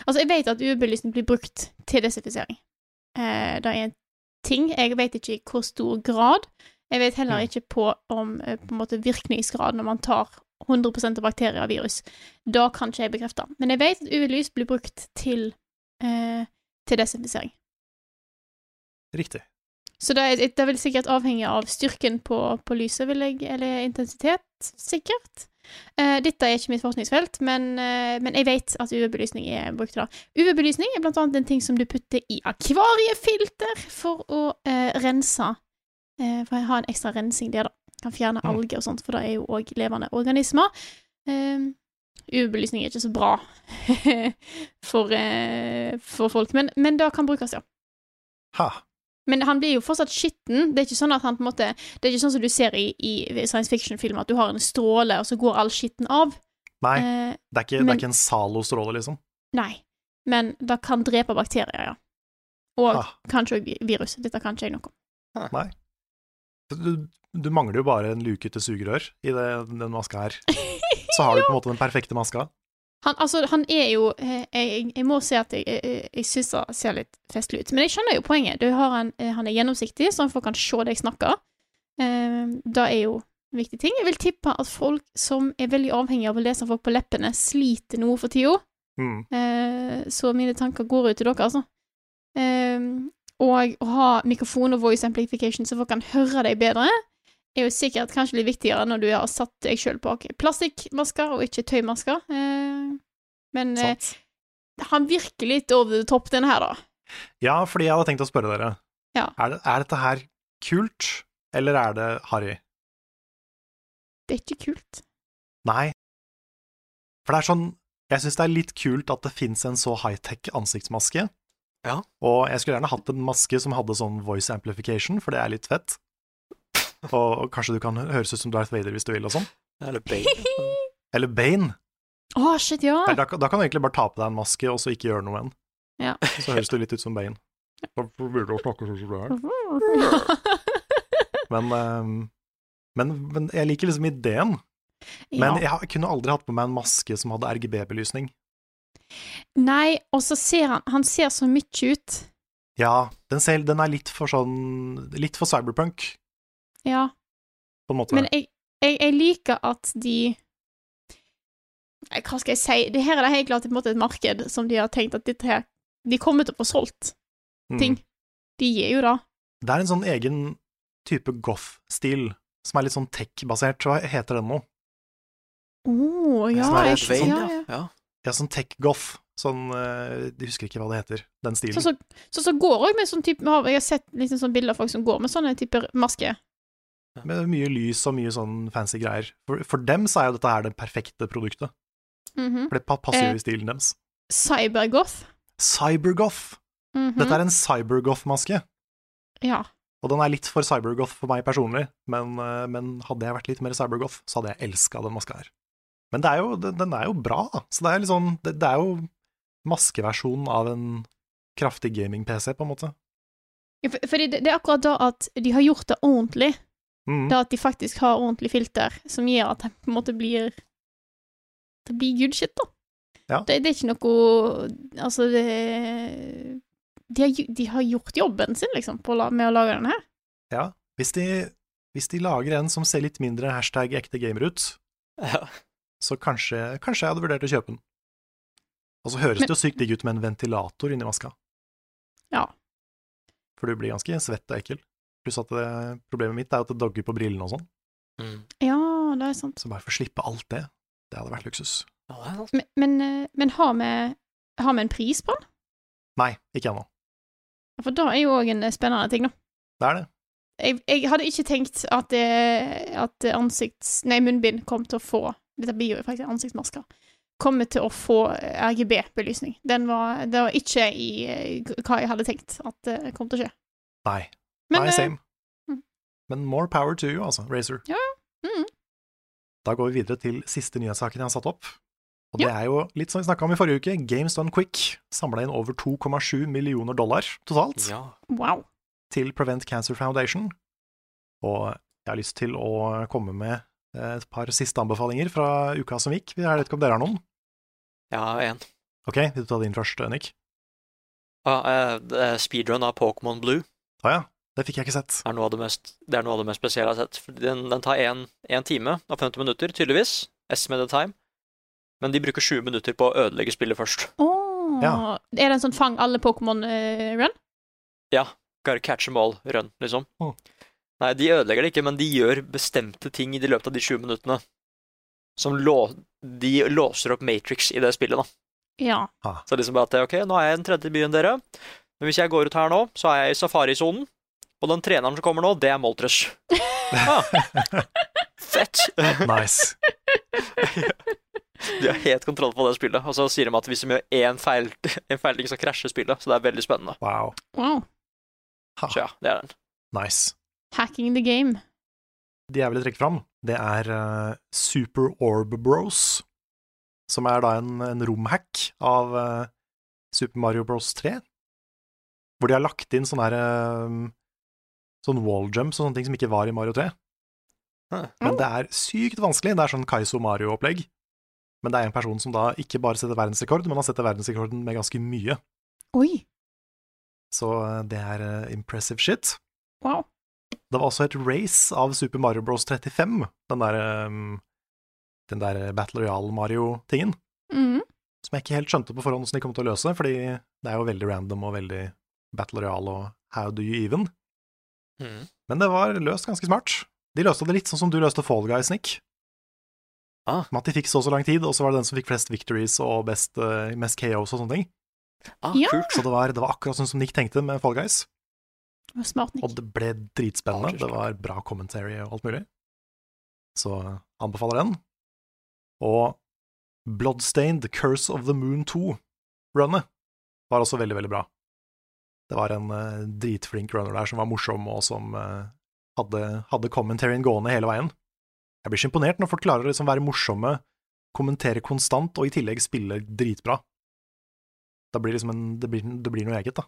Speaker 2: Altså, jeg vet at UV-belysning blir brukt til desinfisering. Eh, det er en ting. Jeg vet ikke i hvor stor grad. Jeg vet heller
Speaker 3: Mm.
Speaker 2: ikke på om eh, på en måte virkningsgraden når man tar 100 av bakterier og virus. Da kan ikke jeg bekrefte. Men jeg vet at UV-lys blir brukt til, eh, til desinfisering.
Speaker 3: Riktig.
Speaker 2: Så det, er- det vil sikkert avhenge av styrken på, på lyset, vil jeg, eller intensitet, sikkert. Eh, dette er ikke mitt forskningsfelt, men, eh, men jeg vet at UV-belysning er brukt til det. UV-belysning er blant annet en ting som du putter i akvariefilter for å eh, rense. Eh, for jeg har en ekstra rensing der, da. Kan fjerne
Speaker 3: Mm.
Speaker 2: alger og sånt, for det er jo òg levende organismer. Eh, UV-belysning er ikke så bra for, eh, for folk, men, men det kan brukes, ja.
Speaker 3: Ha.
Speaker 2: Men han blir jo fortsatt skitten. Det er ikke sånn at han på en måte Det er ikke sånn som du ser i, i science fiction-film, at du har en stråle, og så går all skitten av.
Speaker 3: Nei,
Speaker 2: Eh,
Speaker 3: det er ikke, det
Speaker 2: men-
Speaker 3: er ikke en Zalo-stråle, liksom.
Speaker 2: nei. Men det kan drepe bakterier, ja. Og
Speaker 3: Ah.
Speaker 2: kanskje òg virus. Dette kan ikke jeg noe om.
Speaker 3: Du, du mangler jo bare en luke til sugerør i det, den maska her. Så har du på en måte den perfekte maska.
Speaker 2: Han, altså, han er jo eh, jeg, jeg må si at jeg, jeg, jeg syns det ser litt festlig ut. Men jeg skjønner jo poenget. Du har en, eh, han er gjennomsiktig, så folk kan se deg snakke. Eh, det er jo en viktig ting. Jeg vil tippe at folk som er veldig avhengige av å lese folk på leppene, sliter noe for tida.
Speaker 3: Mm.
Speaker 2: Eh, så mine tanker går ut til dere, altså. Ehm, og å ha mikrofon og voice amplification så folk kan høre deg bedre, er jo sikkert kanskje litt viktigere når du har satt deg sjøl bak plastikkmasker og ikke tøymasker. Ehm, men eh,
Speaker 3: Sant.
Speaker 2: han virker litt over the top, denne her, da.
Speaker 3: Ja, fordi jeg hadde tenkt å spørre dere.
Speaker 2: Ja.
Speaker 3: Er, det, er dette her kult, eller er det harry?
Speaker 2: Det er ikke kult.
Speaker 3: Nei. For det er sånn Jeg syns det er litt kult at det fins en så high-tech ansiktsmaske.
Speaker 1: Ja.
Speaker 3: Og jeg skulle gjerne hatt en maske som hadde sånn voice amplification, for det er litt fett. Og, og kanskje du kan høres ut som Darth Vader hvis du vil, og sånn.
Speaker 1: Eller Bane.
Speaker 3: Eller Bane.
Speaker 2: Å, shit, ja.
Speaker 3: Eller Da, kan- da kan du egentlig bare ta på deg en maske og så ikke gjøre noe enn.
Speaker 2: Ja.
Speaker 3: Så høres du litt ut som Bane. Da blir det å snakke sånn som du er. Men, eh, men, men jeg liker liksom ideen. Men
Speaker 2: Ja.
Speaker 3: jeg har- kunne aldri hatt på meg en maske som hadde RGB-belysning.
Speaker 2: Nei, og så ser han Han ser så mye ut.
Speaker 3: Ja, den, ser, den er litt for sånn Litt for cyberpunk,
Speaker 2: Ja.
Speaker 3: på en måte.
Speaker 2: Men jeg, jeg, jeg liker at de Nei, Hva skal jeg si? Det her er det helt klart på en måte et marked som de har tenkt at dette her De kommer til å få solgt
Speaker 3: Mm.
Speaker 2: ting. De gir jo det.
Speaker 3: Det er en sånn egen type goth-stil som er litt sånn tech-basert. Hva heter den nå?
Speaker 2: Å, Oh, ja,
Speaker 3: Sånn er
Speaker 2: jeg
Speaker 3: det
Speaker 2: skjønner. ja,
Speaker 3: Bane,
Speaker 2: ja.
Speaker 1: ja.
Speaker 3: Ja, sånn tech-goth. Sånn eh, Jeg husker ikke hva det heter, den stilen.
Speaker 2: Sånn som så, så går òg med sånn type har- Jeg har sett liksom sånn bilder av folk som går med sånne typer masker.
Speaker 3: Med mye lys og mye sånn fancy greier. For, for dem så er jo dette her det perfekte produktet.
Speaker 2: Mhm.
Speaker 3: For det pa-
Speaker 2: Eh.
Speaker 3: passer jo i stilen deres.
Speaker 2: Cybergoth.
Speaker 3: Cybergoth!
Speaker 2: Mhm.
Speaker 3: Dette er en cybergoth-maske.
Speaker 2: Ja.
Speaker 3: Og den er litt for cybergoth for meg personlig, men, eh, men hadde jeg vært litt mer cybergoth, så hadde jeg elska den maska her. Men det er jo, den- den er jo bra, da. Så det er, litt sånn, det, det er jo maskeversjonen av en kraftig gaming-PC, på en måte.
Speaker 2: Ja, for- Fordi det, det er akkurat da at de har gjort det ordentlig.
Speaker 3: Mm.
Speaker 2: Det at de faktisk har ordentlig filter som gjør at det på en måte blir Det blir good shit, da.
Speaker 3: Ja.
Speaker 2: Det, det er ikke noe Altså, det de har, gj- de har gjort jobben sin, liksom, på, å la- med å lage den her.
Speaker 3: Ja. Hvis de, hvis de lager en som ser litt mindre hashtag ekte gamer ut,
Speaker 1: ja.
Speaker 3: så kanskje, kanskje jeg hadde vurdert å kjøpe den. Og så høres
Speaker 2: Men-
Speaker 3: det jo sykt digg ut med en ventilator inni maska.
Speaker 2: Ja.
Speaker 3: For du blir ganske svett og ekkel. Pluss at det, problemet mitt er at det dogger på brillene og sånn.
Speaker 1: Mm.
Speaker 2: Ja, det er sant.
Speaker 3: Så bare få slippe alt det. Det hadde vært luksus.
Speaker 1: ja, det er sant.
Speaker 2: Men, men, eh, men har, vi, har vi en pris på den?
Speaker 3: Nei, ikke ennå.
Speaker 2: For det er jo òg en eh, spennende ting, da.
Speaker 3: Det er det.
Speaker 2: Jeg, jeg hadde ikke tenkt at, det, at ansikts... Nei, munnbind kom til å få Dette blir jo faktisk ansiktsmasker. Kommer til å få eh, RGB-belysning. Den var, det var ikke i eh, hva jeg hadde tenkt at det kom til å skje.
Speaker 3: Nei.
Speaker 2: Men,
Speaker 3: Nei,
Speaker 2: eh,
Speaker 3: same.
Speaker 2: mm.
Speaker 3: Men more power to you, altså, Razer.
Speaker 2: Ja, mm.
Speaker 3: Da går vi videre til siste nyhetssaken jeg har satt opp. Og det er jo litt som vi snakka om i forrige uke, Games Done Quick samla inn over 2,7 millioner dollar totalt
Speaker 1: Ja.
Speaker 2: wow.
Speaker 3: til Prevent Cancer Foundation. Og jeg har lyst til å komme med eh, et par siste anbefalinger fra uka som gikk. Jeg vet ikke om dere har noen?
Speaker 1: ja, en.
Speaker 3: Ok, vil du ta din først, Nick?
Speaker 1: Ja, eh, det er speedrun av Pokémon Blue
Speaker 3: Å ja, det fikk jeg ikke sett.
Speaker 1: er noe av det mest, det er noe av det mest spesielle jeg har sett. Fordi Den, den tar én time og 50 minutter, tydeligvis. Estimated time. Men de bruker 20 minutter på å ødelegge spillet først.
Speaker 2: Åh.
Speaker 3: Ja.
Speaker 2: Er det en sånn fang alle eh, Pokémon-run?
Speaker 1: Gotta catch them all, run, liksom.
Speaker 3: Mm.
Speaker 1: Nei, de ødelegger det ikke, men de gjør bestemte ting i det løpet av de 20 minuttene. Som lå, de låser opp Matrix i det spillet, da.
Speaker 2: ja.
Speaker 1: Så liksom bare at ok, nå er jeg i den tredje byen dere, men hvis jeg går ut her nå, så er jeg i safarisonen, og den treneren som kommer nå, det er Moltres. Ah. Fett!
Speaker 3: Nice.
Speaker 1: De har helt kontroll på det spillet, og så sier de at hvis de gjør én feil, en feil ting, så krasjer spillet, så det er veldig spennende.
Speaker 3: Wow.
Speaker 2: Wow.
Speaker 1: Så ja, det er den.
Speaker 3: Nice.
Speaker 2: Hacking the game.
Speaker 3: de jeg ville trekke fram, det er eh, Super Orb Bros, som er da en, en romhack av eh, Super Mario Bros 3, hvor de har lagt inn sånne her eh, Sånn wall jumps og sånne ting som ikke var i Mario 3.
Speaker 1: Hæ.
Speaker 3: Men det er sykt vanskelig. Det er sånn Kaizo Mario-opplegg. Men det er en person som da ikke bare setter verdensrekord, men han setter verdensrekorden med ganske mye.
Speaker 2: Oi.
Speaker 3: Så eh, det er eh, impressive shit.
Speaker 2: Wow.
Speaker 3: Det var også et race av Super Mario Bros 35, den der, ehm, den der Battle Royale-Mario-tingen,
Speaker 2: Mhm.
Speaker 3: som jeg ikke helt skjønte på forhånd hvordan de kom til å løse, fordi det er jo veldig random og veldig Battle Royale og How Do You Even.
Speaker 1: Mm.
Speaker 3: Men det var løst ganske smart. De løste det litt sånn som du løste Fall Guys, Nick.
Speaker 1: Ah.
Speaker 3: Med at de fikk så og så lang tid, og så var det den som fikk flest victories og best, eh, mest KOs og sånne ting.
Speaker 1: Ah,
Speaker 2: Ja.
Speaker 1: kult.
Speaker 3: Så det var, det var akkurat sånn som Nick tenkte med Fall Guys,
Speaker 2: Det var Smart, Nick.
Speaker 3: og det ble dritspennende.
Speaker 1: Ah,
Speaker 3: Det var bra commentary og alt mulig. Så eh, anbefaler den. Og Bloodstained Curse of the Moon 2-runnet var også veldig, veldig bra. Det var en eh, dritflink runner der som var morsom, og som eh, hadde, hadde commentaryen gående hele veien. Jeg blir så imponert når folk klarer å liksom være morsomme, kommentere konstant og i tillegg spille dritbra. Da blir liksom en, det, blir, det blir noe eget, da.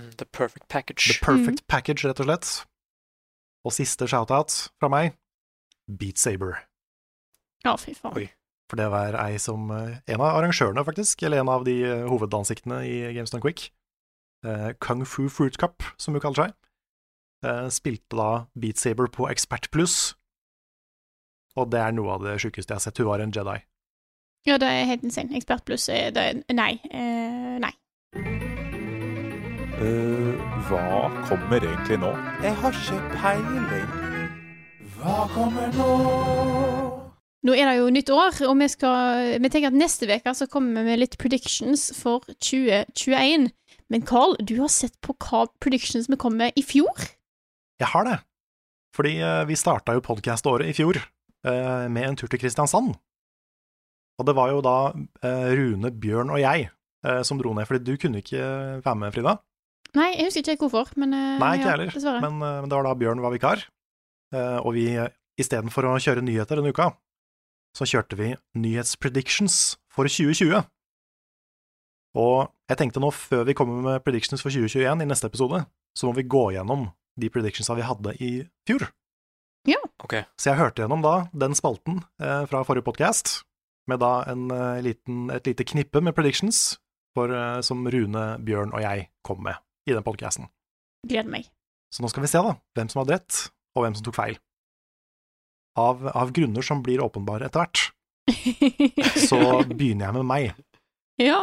Speaker 1: Mm, The perfect
Speaker 3: The
Speaker 1: package.
Speaker 3: perfect package, rett og slett. Og siste shoutout fra meg, Beat Saber.
Speaker 2: Ja, fy faen.
Speaker 1: Oi.
Speaker 3: For det var ei som eh, En av arrangørene, faktisk, eller en av de eh, hovedansiktene i Gamestone Quick, eh, Kung Fu Fruit Cup, som hun kaller seg, eh, spilte da Beat Saber på Expert Pluss. Og det er noe av det sjukeste jeg har sett. Hun var en Jedi.
Speaker 2: Ja, det er helt insane. Ekspert pluss er det er- Nei. eh, nei.
Speaker 4: Eh, hva kommer egentlig nå? Jeg har ikke peiling. Hva kommer nå?
Speaker 2: Nå er det jo nytt år, og vi, skal, vi tenker at neste uke så kommer vi med litt predictions for 2021. Men Carl, du har sett på hva predictions vi kom med i fjor?
Speaker 3: Jeg har det. Fordi eh, vi starta jo podkaståret i fjor eh, med en tur til Kristiansand. Og det var jo da eh, Rune, Bjørn og jeg eh, som dro ned, fordi du kunne ikke eh, være med, Frida.
Speaker 2: Nei, jeg husker ikke hvorfor, men eh,
Speaker 3: Nei,
Speaker 2: ja,
Speaker 3: ikke jeg heller.
Speaker 2: Dessverre.
Speaker 3: Men, eh, men det var da Bjørn var vikar. Eh, og vi, eh, istedenfor å kjøre nyheter denne uka, så kjørte vi nyhetspredictions for 2020. Og jeg tenkte nå, før vi kommer med predictions for 2021 i neste episode, så må vi gå gjennom de predictionsa vi hadde i fjor.
Speaker 1: Ok.
Speaker 3: Så jeg hørte gjennom da den spalten eh, fra forrige podkast, med da en, eh, liten, et lite knippe med predictions for, eh, som Rune, Bjørn og jeg kom med i den podkasten.
Speaker 2: Gleder meg.
Speaker 3: Så nå skal vi se da, hvem som hadde rett, og hvem som tok feil. Av, av grunner som blir åpenbare etter hvert, så begynner jeg med meg.
Speaker 2: ja.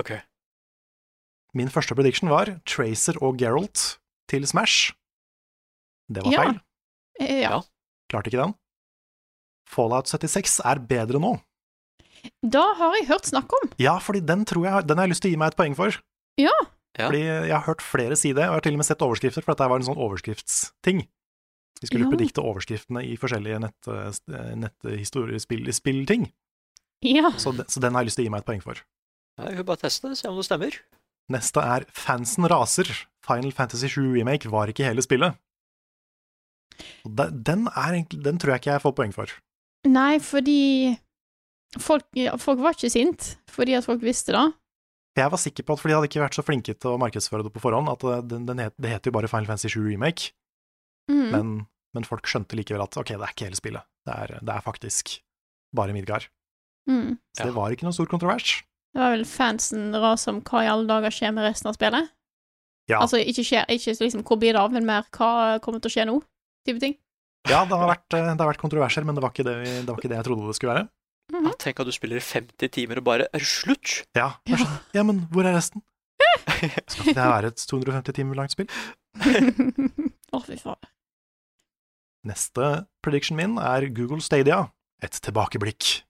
Speaker 1: Ok.
Speaker 3: Min første prediction var Tracer og Geralt til Smash. Det var
Speaker 2: Ja.
Speaker 3: feil.
Speaker 2: eh, ja.
Speaker 1: Ja.
Speaker 3: Klarte ikke den. Fallout 76 er bedre nå.
Speaker 2: Da har jeg hørt snakk om.
Speaker 3: Ja, fordi den tror jeg Den har jeg lyst til å gi meg et poeng for.
Speaker 2: Ja.
Speaker 1: Ja.
Speaker 3: Fordi jeg har hørt flere si det, og jeg har til og med sett overskrifter, for dette var en sånn overskriftsting. Vi skulle
Speaker 2: Ja.
Speaker 3: predikte overskriftene i forskjellige nett, eh, netthistoriespill- spillting.
Speaker 2: Ja.
Speaker 3: Så, de, så den har jeg lyst til å gi meg et poeng for.
Speaker 1: Ja, vi kan bare teste det, se om det stemmer.
Speaker 3: Neste er Fansen raser. Final Fantasy 7 Remake var ikke hele spillet. Og de- Den, er, egentlig- den tror jeg ikke jeg får poeng for.
Speaker 2: Nei, fordi folk, ja, folk var ikke sint fordi at folk visste det.
Speaker 3: For Jeg var sikker på at, for de hadde ikke vært så flinke til å markedsføre det på forhånd, at eh, den, den het, det heter jo bare Final Fantasy 7 Remake.
Speaker 2: Mm.
Speaker 3: men, men folk skjønte likevel at ok, det er ikke hele spillet, det er, det er faktisk bare Midgard.
Speaker 2: Mm.
Speaker 3: Så
Speaker 1: Ja.
Speaker 3: det var ikke noen stor kontrovers.
Speaker 2: Det var vel fansen ras om hva i alle dager skjer med resten av spillet?
Speaker 3: Ja.
Speaker 2: Altså ikke, skjer, ikke liksom hvor blir det av, men mer hva kommer til å skje nå? Type ting.
Speaker 3: Ja, det har vært, eh, det har vært kontroverser, men det var, ikke det, vi- det var ikke det jeg trodde det skulle være.
Speaker 2: Mhm.
Speaker 1: Ja, tenk at du spiller i 50 timer og bare Er det slutt?
Speaker 3: Ja, jeg skjønner. ja men hvor er resten? Skal ikke det være et 250 timer langt spill?
Speaker 2: Å, fy faen.
Speaker 3: Neste prediction min er Google Stadia, et tilbakeblikk.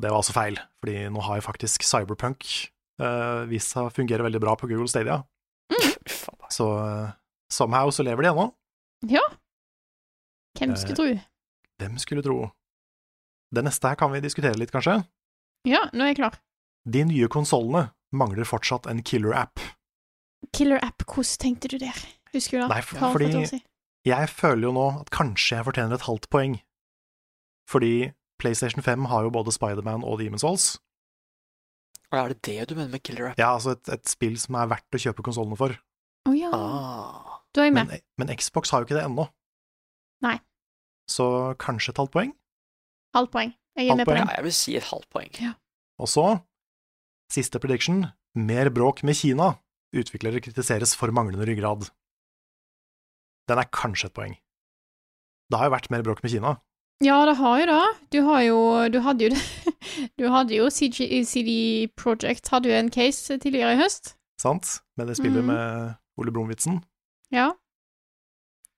Speaker 3: Det var altså feil, fordi nå har jo faktisk Cyberpunk eh, vist seg å fungere veldig bra på Google Stadia,
Speaker 1: Uff, faen meg.
Speaker 3: så eh, somehow så lever de ennå.
Speaker 2: Hvem
Speaker 3: Eh.
Speaker 2: skulle tro?
Speaker 3: Hvem skulle tro? Det neste her kan vi diskutere litt, kanskje.
Speaker 2: Ja, nå er jeg klar.
Speaker 3: De nye konsollene mangler fortsatt en killer-app.
Speaker 2: Killer app, hvordan tenkte du der? Husker du det?
Speaker 3: Nei, for-
Speaker 2: Hva har
Speaker 3: fordi-
Speaker 2: fått å si?
Speaker 3: Jeg føler jo nå at kanskje jeg fortjener et halvt poeng, fordi PlayStation 5 har jo både Spiderman og Demon's Souls.
Speaker 1: Å, Er det det du mener med killer app?
Speaker 3: Ja, altså et, et spill som er verdt å kjøpe konsollene for,
Speaker 2: Å ja,
Speaker 1: Ah.
Speaker 2: da er jeg med.
Speaker 3: men, men Xbox har jo ikke det ennå.
Speaker 2: Nei.
Speaker 3: Så kanskje et halvt poeng.
Speaker 2: Halvt poeng. Jeg er
Speaker 3: Halvt
Speaker 2: med på
Speaker 3: poeng.
Speaker 1: Ja,
Speaker 2: den.
Speaker 1: jeg vil si et halvt poeng.
Speaker 3: Og så, siste prediction, mer bråk med Kina. Utviklere kritiseres for manglende ryggrad. Den er kanskje et poeng. Det har jo vært mer bråk med Kina.
Speaker 2: Ja, det har jo det. Du har jo Du hadde jo eh, det. Du hadde jo CG, CD Project hadde jo en case tidligere i høst.
Speaker 3: sant? Med det spillet
Speaker 2: Mhm.
Speaker 3: med Ole Brumm-vitsen
Speaker 2: Ja.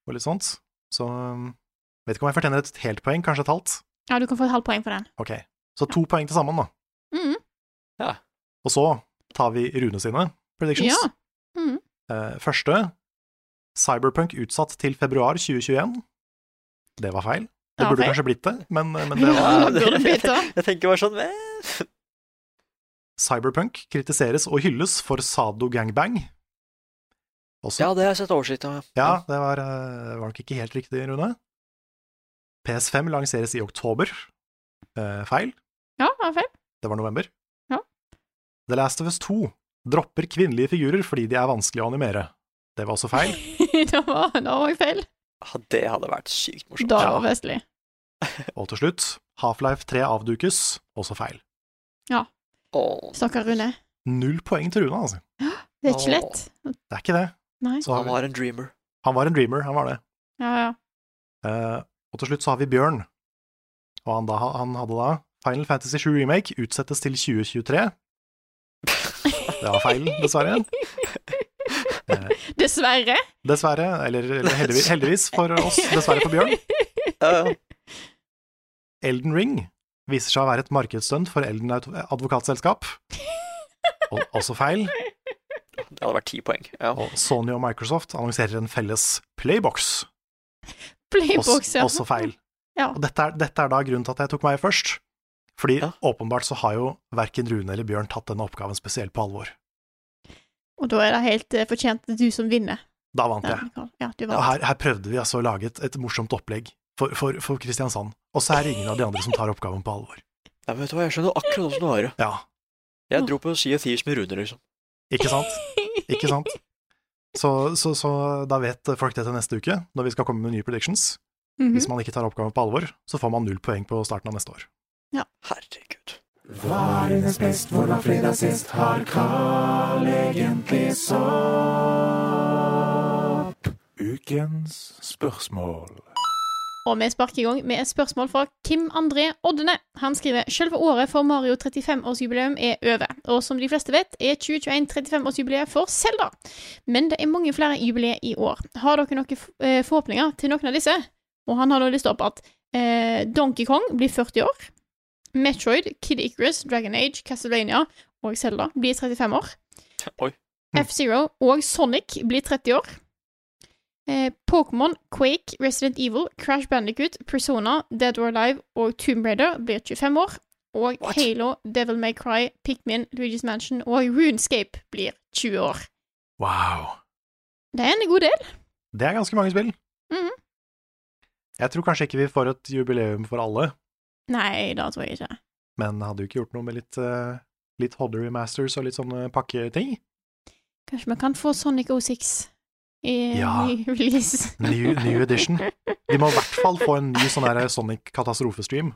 Speaker 3: og litt sånt. Så um, vet ikke om jeg fortjener et helt poeng, kanskje et halvt.
Speaker 2: ja, du kan få et halvt poeng for den.
Speaker 3: Ok, så to poeng til sammen, da.
Speaker 2: Mm.
Speaker 3: Og så tar vi Rune sine predictions.
Speaker 2: Ja. Mhm.
Speaker 3: Eh, første Cyberpunk utsatt til februar 2021. Det var feil. Det
Speaker 2: Ja,
Speaker 3: burde
Speaker 2: feil.
Speaker 3: kanskje blitt det, men, eh, men det var
Speaker 2: Ja, det burde
Speaker 1: jeg,
Speaker 2: blitt det.
Speaker 1: jeg tenker bare sånn eh,
Speaker 3: Cyberpunk kritiseres og hylles for sado gangbang. Også,
Speaker 1: Ja,
Speaker 3: ja.
Speaker 1: det har jeg sett oversikt over.
Speaker 3: det var, eh, var nok ikke helt riktig, Rune. PS5 lanseres i oktober. Eh, feil.
Speaker 2: Ja, det var feil.
Speaker 3: Det var november.
Speaker 2: Ja.
Speaker 3: The Last of Us 2 dropper kvinnelige figurer fordi de er vanskelig å animere. Det var også feil.
Speaker 2: det var det var også feil.
Speaker 1: Ja, det hadde vært sykt morsomt.
Speaker 2: Da
Speaker 3: Ja.
Speaker 2: var Wesley.
Speaker 3: Og til slutt, Half-Life 3 avdukes, også feil.
Speaker 1: Åh,
Speaker 2: Stakkar Rune.
Speaker 3: Null poeng til Rune, altså.
Speaker 2: Det er ikke
Speaker 1: Åh.
Speaker 2: lett.
Speaker 3: Det er ikke det.
Speaker 2: Nei.
Speaker 3: Så har
Speaker 1: han
Speaker 3: vi,
Speaker 1: var en dreamer.
Speaker 3: han var en dreamer, han var det.
Speaker 2: Ja, ja.
Speaker 3: Eh, og til slutt så har vi Bjørn. Og han, da, han hadde da Final Fantasy 7 Remake utsettes til 2023. Det var feil, dessverre. Eh,
Speaker 2: Dessverre.
Speaker 3: dessverre, eller, eller heldigvis, heldigvis for oss, dessverre for Bjørn.
Speaker 1: Ja, ja.
Speaker 3: Elden Ring viser seg å være et markedsstunt for Elden Auto- advokatselskap. Og, også feil.
Speaker 1: Det hadde vært ti poeng. Ja.
Speaker 3: Og Sony og Microsoft annonserer en felles Playbox.
Speaker 2: Playbox,
Speaker 3: også,
Speaker 2: ja.
Speaker 3: også feil.
Speaker 2: Ja.
Speaker 3: Og dette er, dette er da grunnen til at jeg tok meg først. Fordi
Speaker 1: Ja.
Speaker 3: åpenbart så har jo verken Rune eller Bjørn tatt denne oppgaven spesielt på alvor.
Speaker 2: Og da er det helt eh, fortjent du som vinner.
Speaker 3: Da vant
Speaker 2: Ja,
Speaker 3: jeg.
Speaker 2: Nicole. ja du
Speaker 3: Og
Speaker 2: vant.
Speaker 3: her, her prøvde vi altså å lage et, et morsomt opplegg for, for, for Kristiansand. Og så er det ingen av de andre som tar oppgaven på alvor.
Speaker 1: Nei, men vet du hva, jeg skjønner akkurat åssen du har det.
Speaker 3: Ja,
Speaker 1: Jeg dro på Sea of Thieves med Rune, liksom.
Speaker 3: ikke sant? Ikke sant? Så, så, så da vet folk det til neste uke, når vi skal komme med nye predictions.
Speaker 2: Mhm.
Speaker 3: Hvis man ikke tar oppgaven på alvor, så får man null poeng på starten av neste år.
Speaker 1: Herregud.
Speaker 4: Hva er dines best? Hvor var fredag sist? Har Carl egentlig sopp? Ukens spørsmål.
Speaker 2: Og vi sparker i gang med et spørsmål fra Kim André Oddene. Han skriver selve året for Mario 35-årsjubileum er over, og som de fleste vet, er 2021 35-årsjubileet for Selda. Men det er mange flere jubileer i år. Har dere noen f- eh, forhåpninger til noen av disse? Og han har da lyst opp at eh, Donkey Kong blir 40 år, Metroid, Kid Icarus, Dragon Age, Castlevania og Selda blir 35 år.
Speaker 1: Oi.
Speaker 2: F-Zero og Sonic blir 30 år. Eh, Pokémon, Quake, Resident Evil, Crash Bandicoot, Persona, Dead or Alive og Tomb Raider blir 25 år. Og
Speaker 1: What?
Speaker 2: Halo, Devil May Cry, Pikmin, Luigi's Mansion og Runescape blir 20 år.
Speaker 3: Wow.
Speaker 2: Det er en god del.
Speaker 3: Det er ganske mange spill.
Speaker 2: Mhm.
Speaker 3: Jeg tror kanskje ikke vi får et jubileum for alle,
Speaker 2: Nei, det tror jeg ikke.
Speaker 3: men hadde jo ikke gjort noe med litt, uh, litt Hodder Remasters og litt sånne pakketing.
Speaker 2: Kanskje vi kan få Sonic 06 i
Speaker 3: Ja.
Speaker 2: ny release.
Speaker 3: New, new edition. Vi må i hvert fall få en ny sånn der Sonic-katastrofestream,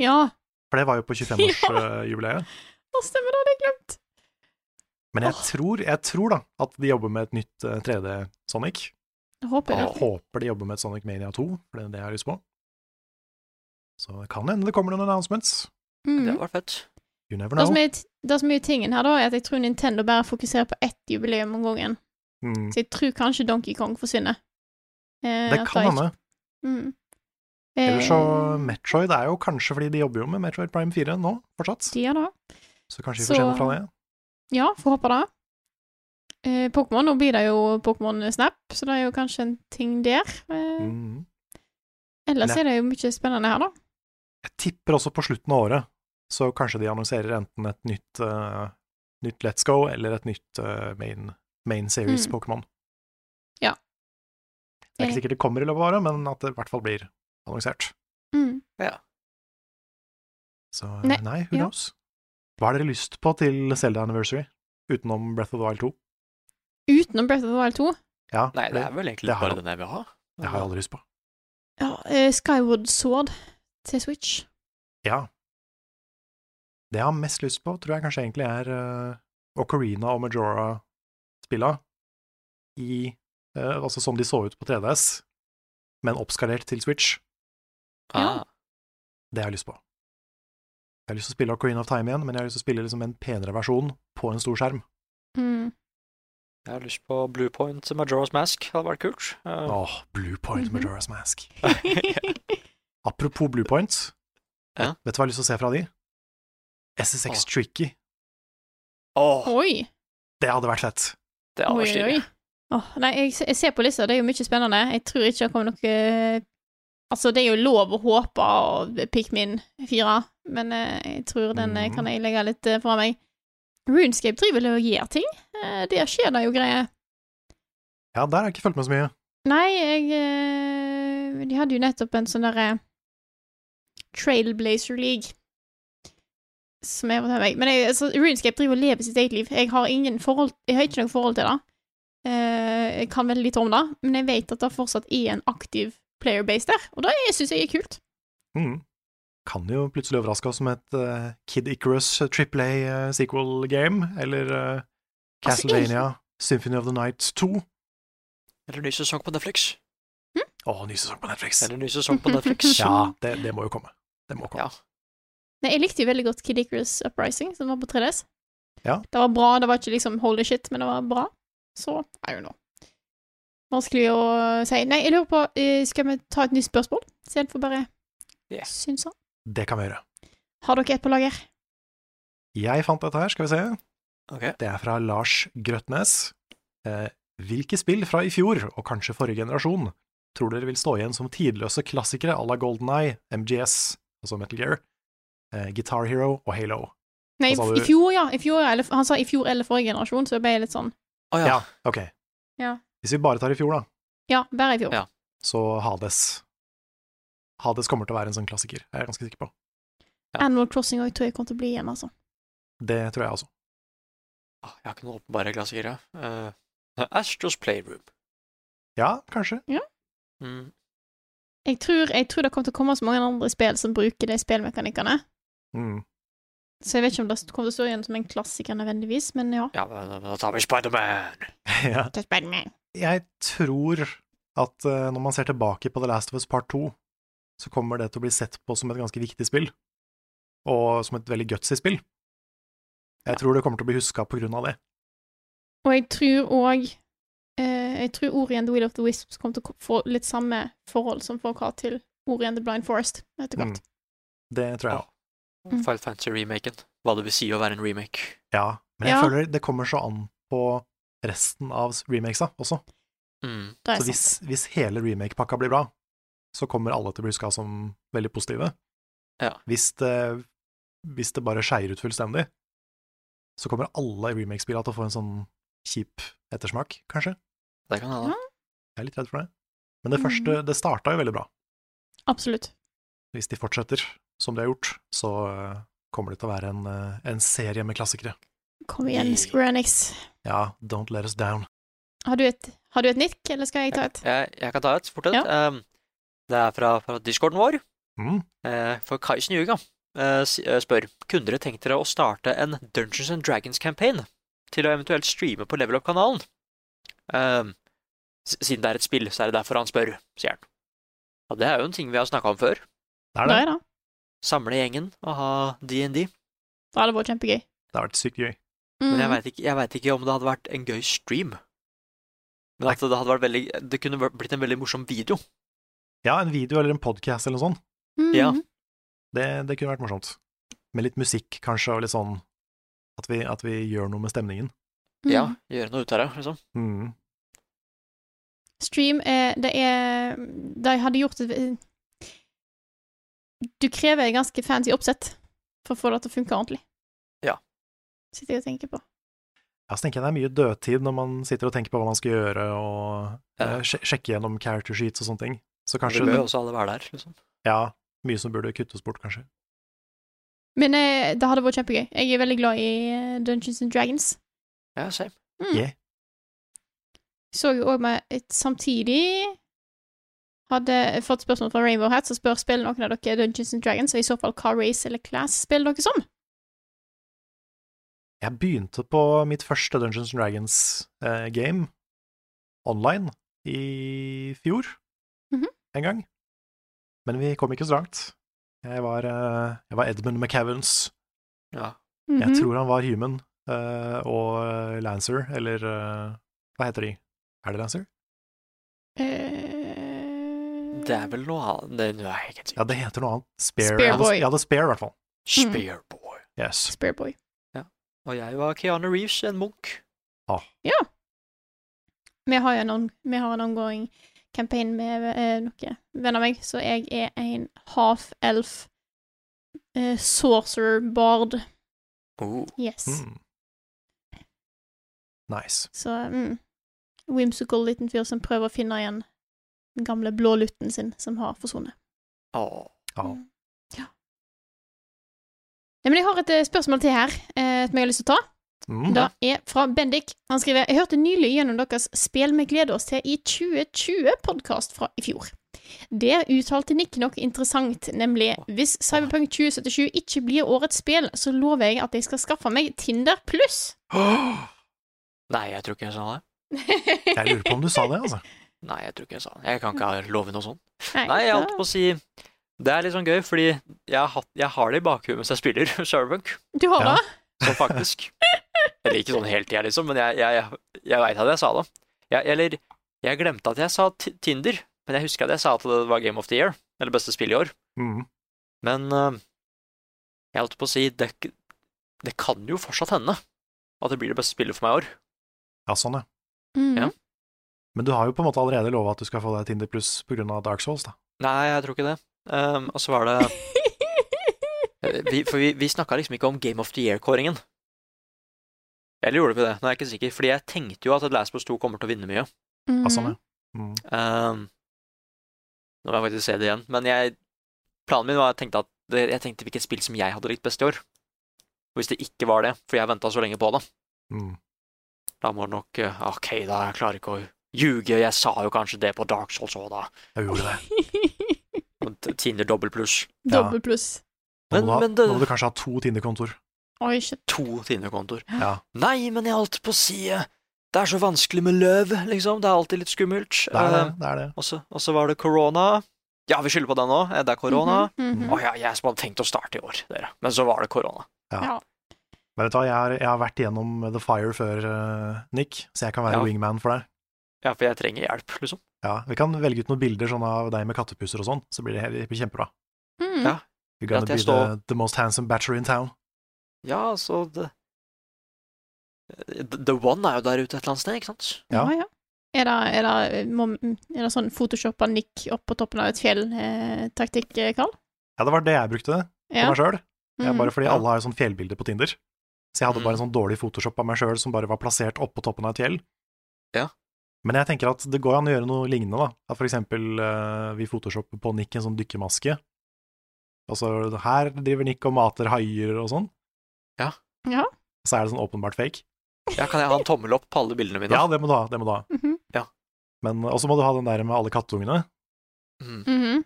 Speaker 2: Ja,
Speaker 3: for det var jo på eh, 25-årsjubileet.
Speaker 2: hva stemmer det? Det er glemt.
Speaker 3: Men jeg tror, jeg tror da at de jobber med et nytt eh, 3D-Sonic.
Speaker 2: Jeg håper
Speaker 3: Jeg
Speaker 2: det.
Speaker 3: håper de jobber med et Sonic Mania 2, for det er det jeg har lyst på. Så det kan hende det kommer noen announcements.
Speaker 2: Mm.
Speaker 1: Det hadde vært fett.
Speaker 3: You never
Speaker 2: Det Sånn som
Speaker 3: know.
Speaker 2: er, det som er tingen her, da, er at jeg tror Nintendo bare fokuserer på ett jubileum om gangen.
Speaker 3: Mm.
Speaker 2: Så jeg tror kanskje Donkey Kong forsvinner. Eh,
Speaker 3: Det
Speaker 2: at
Speaker 3: kan
Speaker 2: ikke-
Speaker 3: hende.
Speaker 2: Mm.
Speaker 3: Eller så
Speaker 2: Eh,
Speaker 3: Metroid er jo kanskje fordi de jobber jo med Metroid Prime 4 nå, fortsatt.
Speaker 2: de er da.
Speaker 3: Så kanskje vi
Speaker 2: Så-
Speaker 3: får se noe fra det.
Speaker 2: Ja, får håpe det. Eh, Pokémon, nå blir det jo Pokémon Snap, så det er jo kanskje en ting der. Eh,
Speaker 3: Mhm.
Speaker 2: ellers er det jo mye spennende her, da.
Speaker 3: Jeg tipper også på slutten av året, så kanskje de annonserer enten et nytt, eh, nytt Let's Go eller et nytt eh, main, main series
Speaker 2: Mm.
Speaker 3: Pokémon.
Speaker 2: Ja.
Speaker 3: Det er
Speaker 2: Enig.
Speaker 3: ikke sikkert det kommer i løpet av året, men at det i hvert fall blir annonsert.
Speaker 2: Mm.
Speaker 3: Så eh,
Speaker 2: Nei,
Speaker 3: nei, who
Speaker 2: ja.
Speaker 3: knows? Hva har dere lyst på til Zelda Anniversary, utenom Breath of the Wild 2?
Speaker 2: Utenom Breath of the Wild 2.
Speaker 3: Ja,
Speaker 1: Nei, det
Speaker 3: det,
Speaker 1: er vel egentlig
Speaker 3: det har-
Speaker 1: bare den jeg vil ha.
Speaker 3: det har jeg aldri lyst på.
Speaker 2: Ja, eh, Skyward Sword til Switch.
Speaker 3: Ja. Det jeg har mest lyst på, tror jeg kanskje egentlig er eh, Ocarina og Majora-spilla i eh, Altså som de så ut på 3DS, men oppskalert til Switch.
Speaker 1: Ah,
Speaker 3: Det har jeg lyst på. Jeg har lyst til å spille Ocarina of Time igjen, men jeg har lyst til å spille liksom en penere versjon på en stor skjerm.
Speaker 2: Mm.
Speaker 1: Jeg har lyst på Blue Point Majora's Mask. Det hadde vært kult. Eh,
Speaker 3: Åh, Blue Point Majora's Mask. Apropos Blue Points,
Speaker 1: Ja.
Speaker 3: vet du hva jeg har lyst til å se fra de? SSX Tricky.
Speaker 1: Åh,
Speaker 2: Oi.
Speaker 3: Det hadde vært fett.
Speaker 1: det hadde
Speaker 2: Oi,
Speaker 1: vært
Speaker 2: oi.
Speaker 1: stilig.
Speaker 2: Åh, nei, jeg, se- jeg ser på lista, det er jo mye spennende. Jeg tror ikke det kommer noe Altså, det er jo lov å håpe av Pikmin 4, men eh, jeg tror den eh,
Speaker 3: Mhm.
Speaker 2: kan jeg legge litt eh, fra meg. Runescape driver vel og gjør ting. Eh, der skjer det jo greier.
Speaker 3: Ja, der har jeg ikke fulgt med så mye.
Speaker 2: Nei, jeg eh, De hadde jo nettopp en sånn derre Trailblazer League. Som jeg var til meg. Men jeg, altså, Runescape driver og lever sitt eget liv. Jeg har, ingen forhold, jeg har ikke noe forhold til det. Eh, jeg kan veldig lite om det, men jeg vet at det fortsatt er en aktiv playerbase der, og det syns jeg er kult.
Speaker 3: Mm. Kan jo plutselig overraske oss med et eh, Kid Icarus Triple A eh, sequel game, eller eh,
Speaker 2: Altså,
Speaker 3: Castlevania Symphony of the Night 2.
Speaker 1: Eller ny sesong på Netflix.
Speaker 3: Å, ny sesong på Netflix.
Speaker 1: Eller ny sesong på Netflix.
Speaker 3: Ja, det, det må jo komme. Det må komme.
Speaker 1: Ja.
Speaker 2: Nei, jeg likte jo veldig godt Kid Icarus Uprising, som var på 3DS.
Speaker 3: Ja.
Speaker 2: Det var bra, det var ikke liksom holy shit, men det var bra. Så I don't know. Vanskelig å si. Nei, jeg lurer på, eh, skal vi ta et nytt spørsmål? Istedenfor bare
Speaker 1: Ja.
Speaker 2: synser.
Speaker 3: Det kan vi gjøre.
Speaker 2: Har dere et på lager?
Speaker 3: Jeg fant dette her, skal vi se.
Speaker 1: Ok.
Speaker 3: Det er fra Lars Grøtnes. Eh, hvilke spill fra i fjor, og kanskje forrige generasjon, tror dere vil stå igjen som tidløse klassikere à la Golden Eye, MGS, altså Metal Gear, eh, Guitar Hero og Halo?
Speaker 2: Nei,
Speaker 3: Hva sa
Speaker 2: i
Speaker 3: du?
Speaker 2: fjor, ja. I fjor, eller, han sa i fjor eller forrige generasjon, så jeg ble litt sånn
Speaker 1: Å ja.
Speaker 3: Ja, ok.
Speaker 2: Ja.
Speaker 3: Hvis vi bare tar i fjor, da,
Speaker 2: Ja, bare i fjor.
Speaker 1: Ja.
Speaker 3: så Hades. Hades kommer til å være en sånn klassiker, er jeg ganske sikker på.
Speaker 1: Ja.
Speaker 2: Animal Crossing og jeg tror jeg kommer til å bli igjen, altså.
Speaker 3: Det tror jeg også.
Speaker 1: Åh, Ah, Jeg har ikke noen åpenbare klassikere. Uh, Astros Playroom.
Speaker 3: Ja, kanskje.
Speaker 1: Mm.
Speaker 2: Jeg tror, jeg tror det kommer til å komme så mange andre spill som bruker de spillmekanikkene.
Speaker 3: Mm.
Speaker 2: Så jeg vet ikke om det kommer til å stå igjen som en klassiker nødvendigvis, men ja.
Speaker 1: Ja, men men da tar vi Spiderman.
Speaker 3: ja.
Speaker 2: Det er spennende.
Speaker 3: jeg tror at eh, når man ser tilbake på The Last of Us Part 2, så kommer det til å bli sett på som et ganske viktig spill, og som et veldig gutsy spill. Jeg tror det kommer til å bli huska på grunn av det.
Speaker 2: Og jeg tror òg eh, Jeg tror Ori and the Will of the Wisps kommer til å ko- få litt samme forhold som folk har til Ori and the Blind Forest etter hvert.
Speaker 3: Mm.
Speaker 1: Mm.
Speaker 3: Det tror jeg òg.
Speaker 2: Mm.
Speaker 1: Final Fantasy-remaken. Hva det vil si å være en remake.
Speaker 3: Ja. Men jeg
Speaker 2: Ja.
Speaker 3: føler det kommer så an på resten av remakesa også.
Speaker 1: Mm.
Speaker 2: Det
Speaker 3: Så
Speaker 2: er
Speaker 3: hvis,
Speaker 2: sant.
Speaker 3: hvis hele remake-pakka blir bra, så kommer alle til å bli huska som veldig positive.
Speaker 1: Ja.
Speaker 3: Hvis, det, hvis det bare skeier ut fullstendig, så kommer alle remake-spilla til å få en sånn kjip ettersmak, kanskje.
Speaker 1: Det kan hende.
Speaker 3: Jeg er litt redd for det. Men det
Speaker 2: Mm.
Speaker 3: første, det starta jo veldig bra.
Speaker 2: Absolutt.
Speaker 3: Hvis de fortsetter som de har gjort, så eh, kommer det til å være en, eh, en serie med klassikere.
Speaker 2: Kom igjen, Square Enix.
Speaker 3: Ja, Don't Let Us Down.
Speaker 2: Har du et, har du et nikk, eller skal jeg ta et?
Speaker 1: Jeg, jeg kan ta et fort et. Um, det er fra, fra discorden vår.
Speaker 3: Mm.
Speaker 1: Eh, for Kaisen Yuga eh, s- eh, spør Kunne dere tenkt dere å starte en Dungeons and Dragons-campaign til å eventuelt streame på Level Up-kanalen? Eh, s- siden det er et spill, så er det derfor han spør, sier han. Og det er jo en ting vi har snakka om før.
Speaker 3: Det er
Speaker 2: Det
Speaker 3: det.
Speaker 2: er det.
Speaker 1: Samle gjengen og ha DND.
Speaker 2: Det hadde vært kjempegøy.
Speaker 3: Det har vært sykt gøy.
Speaker 1: Men jeg
Speaker 2: Mm.
Speaker 1: veit ikke, jeg vet ikke om det hadde vært en gøy stream. Men at det hadde vært veldig Det kunne vært- blitt en veldig morsom video.
Speaker 3: Ja, en video eller en podkast eller noe sånt.
Speaker 2: Mm.
Speaker 1: ja.
Speaker 3: Det, det kunne vært morsomt. Med litt musikk, kanskje, og litt sånn at vi, at vi gjør noe med stemningen.
Speaker 2: Mm.
Speaker 1: Ja, gjøre noe ut av det, liksom.
Speaker 4: Mm-hmm.
Speaker 3: Mm.
Speaker 2: Stream er Det er De hadde gjort et Du krever ganske fancy oppsett for å få det til å funke ordentlig.
Speaker 1: Ja.
Speaker 2: Sitter jeg og tenker på.
Speaker 3: Ja, så tenker jeg det er mye dødtid når man sitter og tenker på hva man skal gjøre, og
Speaker 1: Ja.
Speaker 3: eh, sje- sjekke gjennom character sheets og sånne ting. Så
Speaker 1: Kanskje
Speaker 3: kanskje
Speaker 1: det bør jo også alle være der, liksom.
Speaker 3: Ja, mye som burde kuttes bort, kanskje.
Speaker 2: Men eh, det hadde vært kjempegøy. Jeg er veldig glad i eh, Dungeons and Dragons.
Speaker 1: Ja, same.
Speaker 2: Mm.
Speaker 3: Yeah.
Speaker 2: Så jo òg med et samtidig hadde fått spørsmål fra Rainbow Hat, som spør spiller noen av dere Dungeons and Dragons, og i så fall hva race eller class spiller dere som?
Speaker 3: Jeg begynte på mitt første Dungeons and Dragons-game online i fjor,
Speaker 2: Mhm.
Speaker 3: en gang. Men vi kom ikke så langt. Jeg var, eh, jeg var Edmund McCavans.
Speaker 1: Ja.
Speaker 2: Mhm.
Speaker 3: Jeg tror han var human, eh, og Lancer, eller eh, hva heter de? Er det Lancer?
Speaker 2: Eh,
Speaker 1: Det er vel noe annet Nei, nå er jeg ikke
Speaker 3: Ja, det heter noe annet. Spare.
Speaker 2: Spare
Speaker 3: Jeg hadde,
Speaker 2: Boy.
Speaker 3: jeg hadde Spare, i hvert fall.
Speaker 1: Spearboy.
Speaker 3: Yes.
Speaker 2: Spearboy.
Speaker 1: Og jeg var Keanu Reeves, en munk.
Speaker 2: Vi har jo en, on, vi har en ongoing campaign med eh, noen venner av meg, så jeg er en half-elf eh, sorcerer bard.
Speaker 1: Oh.
Speaker 2: Yes.
Speaker 3: Mm. Nice.
Speaker 2: Så mm. Whimsical liten fyr som prøver å finne igjen den gamle blålutten sin som har forsvunnet.
Speaker 1: Åh.
Speaker 3: Ja.
Speaker 2: Mm. Ja. Nei, men jeg har et eh, spørsmål til her eh, som jeg har lyst til å ta.
Speaker 3: Mm.
Speaker 2: Da er fra Bendik. Han skriver Jeg hørte nylig gjennom deres Spel vi gleder oss til i 2020-podkast fra i fjor. Der uttalte Nick noe interessant, nemlig hvis Cyberpunk 2077 ikke blir årets spill, så lover jeg at jeg skal skaffe meg Tinder pluss.
Speaker 1: Nei, jeg tror ikke jeg sa det.
Speaker 3: Jeg lurer på om du sa det, altså.
Speaker 1: Nei, jeg tror ikke jeg sa det. Jeg kan ikke love noe sånt.
Speaker 2: Nei,
Speaker 1: Nei, jeg holdt på å si Det er litt sånn gøy, fordi jeg har, hatt- jeg har det i bakhuet mens jeg spiller Cyberpunk.
Speaker 2: Du har
Speaker 3: Ja.
Speaker 2: det?
Speaker 1: Så faktisk. Eller ikke sånn helt, jeg, liksom, men jeg, jeg, jeg, jeg veit at jeg sa det. Jeg, eller jeg glemte at jeg sa Ti- Tinder, men jeg husker at jeg sa at det var Game of the Year, eller beste spill i år.
Speaker 3: Mm.
Speaker 1: Men eh, jeg holdt på å si det, k- det kan jo fortsatt hende at det blir det beste spillet for meg i år.
Speaker 3: Ja, sånn, ja.
Speaker 2: Mm.
Speaker 1: Ja.
Speaker 3: Men du har jo på en måte allerede lova at du skal få deg Tinder pluss pga. Dark Souls, da.
Speaker 1: Nei, jeg tror ikke det. Ehm, og så var det Eh, vi, For vi, vi snakka liksom ikke om Game of the Year-kåringen. Eller gjorde vi det? Nå er jeg ikke sikker, fordi jeg tenkte jo at The Last Boss 2 kommer til å vinne mye.
Speaker 3: Ja,
Speaker 1: Altså,
Speaker 2: Mhm.
Speaker 3: sånn, ja. Mm.
Speaker 1: Ehm, nå må jeg faktisk se det igjen. Men jeg, planen min var jeg tenkte at det, jeg tenkte hvilket spill som jeg hadde likt best i år. Og hvis det ikke var det, for jeg venta så lenge på det,
Speaker 3: Mm.
Speaker 1: da må det nok eh, Ok, da, jeg klarer ikke å ljuge. Jeg sa jo kanskje det på Dark Souls òg, da.
Speaker 3: Jeg gjorde det.
Speaker 1: Og t- Tinder dobbel pluss.
Speaker 2: Dobbel pluss.
Speaker 3: Nå
Speaker 1: Men-
Speaker 3: må, du ha,
Speaker 1: men det-
Speaker 3: nå må du kanskje ha to Tinder-kontoer.
Speaker 2: Oi, shit.
Speaker 1: To Tinder-kontoer.
Speaker 3: Ja.
Speaker 1: Nei, men jeg holdt på å si eh, Det er så vanskelig med løv, liksom. Det er alltid litt skummelt.
Speaker 3: Det er det.
Speaker 1: Eh,
Speaker 3: det, er det.
Speaker 1: Og så og så var det korona. Ja, vi skylder på den òg. Det er korona.
Speaker 2: Mhm, mhm.
Speaker 1: Å ja, jeg som hadde tenkt å starte i år, dere. Men så var det korona.
Speaker 3: Men vet du hva, jeg har, jeg har vært igjennom The Fire før, eh, Nick, så jeg kan være
Speaker 1: Ja.
Speaker 3: wingman for deg.
Speaker 1: Ja, for jeg trenger hjelp, liksom.
Speaker 3: Ja, Vi kan velge ut noen bilder sånn av deg med kattepusser og sånn, så blir det, helt- det blir kjempebra.
Speaker 2: Mm.
Speaker 1: Ja.
Speaker 3: You're gonna
Speaker 1: Ja,
Speaker 3: be
Speaker 1: jeg
Speaker 3: the, the most handsome bachelor in town.
Speaker 1: Ja, så det The The One er jo der ute et eller annet sted, ikke sant?
Speaker 3: Ja.
Speaker 2: Ja, ja. Er det, er, det, må, er det sånn photoshoppa nikk opp på toppen av et fjell-taktikk, eh, Karl?
Speaker 3: Ja, det var det jeg brukte på
Speaker 2: Ja.
Speaker 3: meg sjøl.
Speaker 2: Mhm.
Speaker 3: Bare fordi
Speaker 1: Mm. Ja. Mm.
Speaker 3: alle har jo sånn fjellbilder på Tinder. Så jeg hadde bare en sånn dårlig Photoshop av meg sjøl som bare var plassert oppå toppen av et fjell.
Speaker 1: Ja.
Speaker 3: Men jeg tenker at det går an å gjøre noe lignende, da. At for eksempel eh, vi photoshopper på Nick en sånn dykkermaske. Og så sånn, her driver Nick og mater haier og sånn.
Speaker 1: Ja.
Speaker 2: Ja.
Speaker 3: Så er det sånn åpenbart fake.
Speaker 1: Ja, kan jeg ha en tommel opp på alle bildene mine?
Speaker 3: Ja, det må du ha. det må du ha.
Speaker 2: Mhm,
Speaker 3: Men eh, Og så må du ha den der med alle kattungene.
Speaker 1: Mm.
Speaker 2: mhm.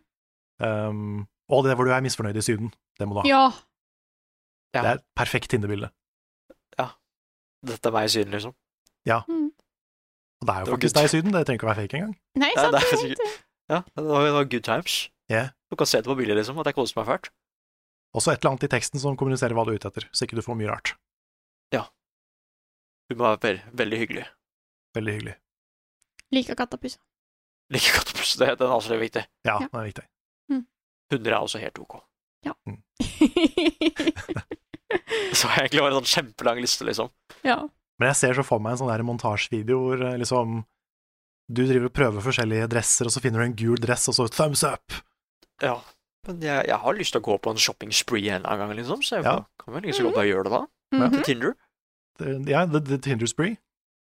Speaker 3: Um, og det hvor du er misfornøyd i Syden. Det må du ha.
Speaker 2: Ja.
Speaker 1: Ja.
Speaker 3: Det er et perfekt Tinder-bilde.
Speaker 1: Dette er meg i Syden, liksom.
Speaker 2: Mm.
Speaker 3: Og det
Speaker 1: Det var
Speaker 3: er jo faktisk
Speaker 1: good.
Speaker 3: deg i Syden, det trenger ikke å være fake engang.
Speaker 2: Nei,
Speaker 1: Ja,
Speaker 2: sant?
Speaker 1: det er
Speaker 2: sant.
Speaker 1: Ja, det var, det var good times.
Speaker 3: Ja.
Speaker 1: Du kan se det på bildet, liksom, at jeg koste meg fælt.
Speaker 3: Også et eller annet i teksten som kommuniserer hva du er ute etter, så ikke du får mye rart.
Speaker 1: Du må være ve- veldig hyggelig.
Speaker 3: Veldig hyggelig.
Speaker 2: Liker kattepuser.
Speaker 1: Like godt å puste, den er også litt viktig.
Speaker 3: Ja,
Speaker 2: Ja.
Speaker 3: det er viktig.
Speaker 1: Hunder er også helt ok.
Speaker 2: ja.
Speaker 1: Så jeg egentlig var en sånn kjempelang liste, liksom.
Speaker 3: Men jeg ser så for meg en sånn der montasjevideo hvor eh, liksom du driver og prøver forskjellige dresser, og så finner du en gul dress, og så thumbs up!
Speaker 1: Ja. Men jeg, jeg har lyst til å gå på en shopping spree en eller annen gang, liksom, så jeg
Speaker 3: Ja.
Speaker 1: kan vel ikke så godt bare gjøre det da.
Speaker 2: Mhm.
Speaker 1: Til Tinder.
Speaker 3: Det- Ja, the, the Tinder spree.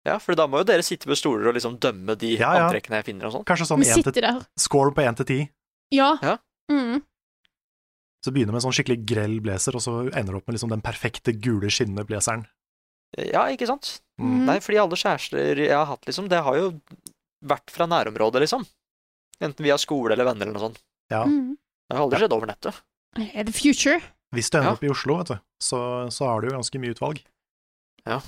Speaker 1: Ja, for da må jo dere sitte ved stoler og liksom dømme de
Speaker 3: Ja, ja.
Speaker 1: antrekkene jeg finner og sånn.
Speaker 3: Kanskje sånn
Speaker 2: Vi
Speaker 3: en til,
Speaker 2: sitter der.
Speaker 3: score på én til ti.
Speaker 2: Ja.
Speaker 1: Ja.
Speaker 2: Mhm.
Speaker 3: Så begynner du med en sånn skikkelig grell blazer, og så ender du opp med liksom den perfekte gule skinnende blazeren. Mm.
Speaker 1: Ja, ikke sant?
Speaker 2: Mhm.
Speaker 1: Nei, fordi alle kjærester jeg har hatt, liksom, det har jo vært fra nærområdet, liksom. Enten via skole eller venner eller noe sånt.
Speaker 3: Ja.
Speaker 2: Mhm.
Speaker 1: Det har aldri skjedd over nettet.
Speaker 2: Er det future?
Speaker 3: Hvis du ender
Speaker 1: Ja.
Speaker 3: opp i Oslo, vet du, så, så har du jo ganske mye utvalg.
Speaker 1: Ja.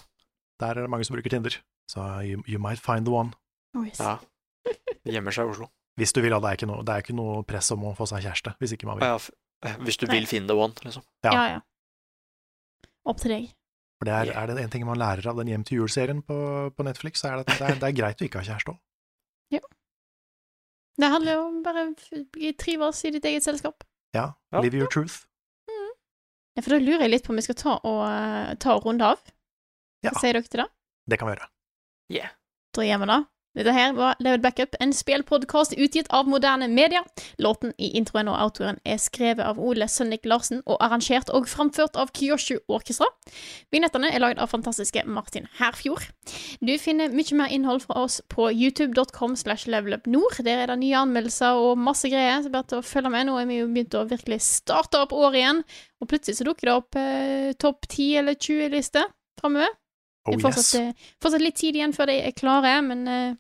Speaker 3: Der er det mange som bruker Tinder, så uh, you, you might find the one.
Speaker 2: Oh, yes.
Speaker 1: Ja. Det Gjemmer seg i Oslo.
Speaker 3: Hvis du vil, da. Det er ikke noe, det er ikke noe press om å få seg kjæreste, hvis ikke man vil.
Speaker 1: eh, Ja, f- hvis du vil finne the one, liksom.
Speaker 3: Ja.
Speaker 2: ja, ja. Opp til deg.
Speaker 3: For det er,
Speaker 1: Ja.
Speaker 3: er det en ting man lærer av den Hjem til jul-serien på, på Netflix, så er det at det er, det er greit å ikke ha kjæreste òg.
Speaker 2: Det handler jo om bare å bli- trives i ditt eget selskap.
Speaker 3: Ja.
Speaker 1: Ja.
Speaker 3: Live your truth.
Speaker 2: Ja, for da lurer jeg litt på om vi skal ta og, eh, ta og runde av.
Speaker 3: Ja.
Speaker 2: Hva sier dere til det?
Speaker 3: Det kan vi gjøre.
Speaker 2: Da gjør vi det. Dette her var Level Backup, en spillpodkast utgitt av moderne medier. Låten i introen og outroen er skrevet av Ole Sønnik Larsen og arrangert og framført av Kyoshu Orkestra. Vignettene er lagd av fantastiske Martin Herfjord. Du finner mye mer innhold fra oss på youtube.com slash levelupnord. Der er det nye anmeldelser og masse greier, så bare til å følge med. Nå er vi jo begynt å virkelig starte opp året igjen, og plutselig så dukker det opp eh, topp 10 eller 20-lister framover.
Speaker 3: Oh
Speaker 2: Det er fortsatt,
Speaker 3: yes.
Speaker 2: eh, fortsatt litt tid igjen før de er klare, men eh,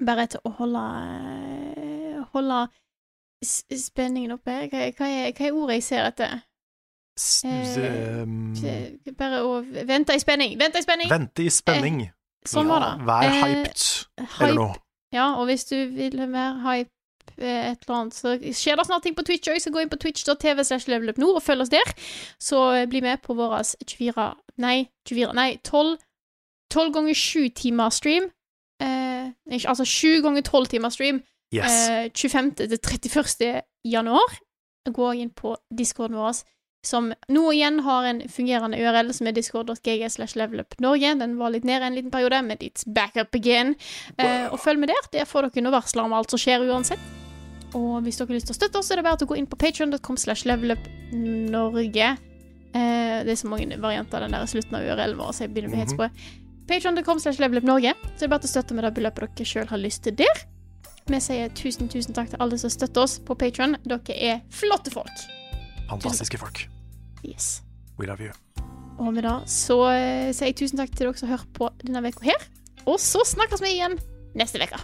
Speaker 2: bare til å holde eh, Holde s- spenningen oppe. her. Hva, er- hva, er, hva er ordet jeg ser etter?
Speaker 3: S-
Speaker 2: eh,
Speaker 3: um,
Speaker 2: Bare å vente i spenning. Vente i spenning!
Speaker 3: Vente i spenning.
Speaker 2: Sånn var det.
Speaker 3: Vær
Speaker 2: Eh,
Speaker 3: hyped, eller
Speaker 2: hype.
Speaker 3: noe.
Speaker 2: Ja, og hvis du vil være hype eh, et eller annet, så skjer det snart ting på Twitch òg, så gå inn på twitch.tv slash levelupnord og følg oss der. Så eh, bli med på vår 24 Nei, 24, nei 12, 12 ganger 7 timer stream. Eh, ikke, altså 7 ganger 12 timer stream.
Speaker 3: Yes.
Speaker 2: Eh, 25. til 31. januar. Gå inn på discorden vår, som nå igjen har en fungerende URL, som er discord.gg slash levelupnorge. Den var litt nede en liten periode, men it's back up again. Eh, og følg med der. Der får dere noe varsler om alt som skjer uansett. Og hvis dere har lyst til å støtte oss, så er det bare til å gå inn på patreon.com slash levelupnorge. Eh, det er så mange varianter av den der slutten av URL-en vår, så jeg begynner å bli helt
Speaker 3: Mhm.
Speaker 2: sprø. Patreon.com slash levelupnorge. Så er det bare til å støtte med det beløpet dere sjøl har lyst til der. Vi sier tusen, tusen takk til alle som støtter oss på Patreon. Dere er flotte folk.
Speaker 3: Fantastiske folk.
Speaker 2: Yes.
Speaker 3: We love you.
Speaker 2: Og med det så eh, sier jeg tusen takk til dere som hører på denne uka her. Og så snakkes vi igjen neste uke.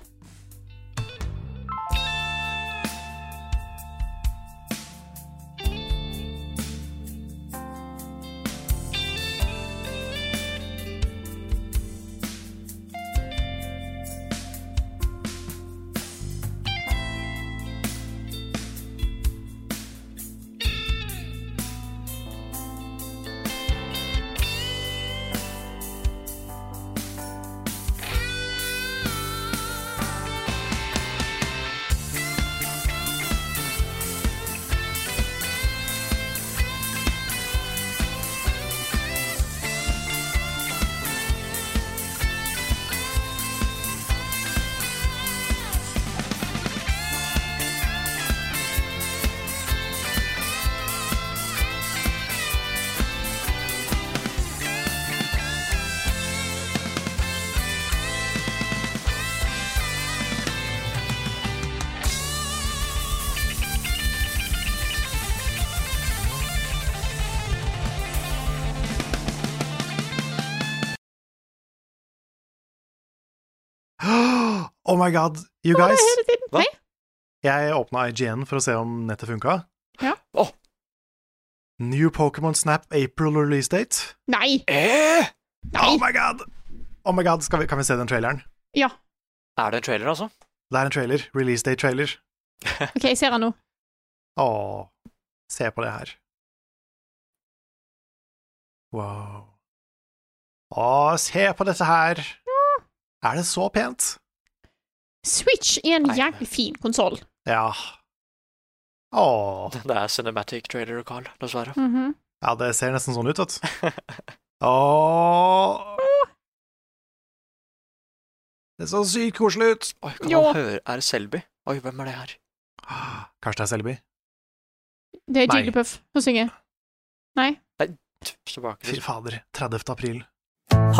Speaker 3: Oh my god, you
Speaker 2: Ha det
Speaker 3: guys.
Speaker 2: hele tiden.
Speaker 1: Hva?
Speaker 2: Hei.
Speaker 3: Jeg åpna IGN for å se om nettet funka.
Speaker 2: Ja.
Speaker 1: Åh.
Speaker 3: New Pokémon Snap April release date.
Speaker 2: Nei.
Speaker 1: Eh!
Speaker 2: Nei.
Speaker 3: Oh my god! Oh my god, skal vi, Kan vi se den traileren?
Speaker 2: Ja.
Speaker 1: Er det en trailer, altså?
Speaker 3: Det er en trailer. Release date-trailer.
Speaker 2: OK, jeg ser han nå.
Speaker 3: Åh, se på det her. Wow. Åh, se på dette her! Er det så pent?
Speaker 2: Switch er en
Speaker 1: Nei.
Speaker 2: jævlig fin konsoll.
Speaker 3: Ja. Åh.
Speaker 1: Det er cinematic trailer, Carl. Dessverre.
Speaker 2: Mhm.
Speaker 3: Ja, det ser nesten sånn ut, vet du. Åh. Det er så sykt koselig ut.
Speaker 1: Oi, kan
Speaker 2: Jo.
Speaker 1: man høre Er det Selby? Oi, hvem er det her?
Speaker 3: Kanskje det er Selby?
Speaker 2: Det er
Speaker 3: Nei.
Speaker 2: Jigglypuff som synger. Nei.
Speaker 1: Står bak
Speaker 3: Fy fader, 30. april.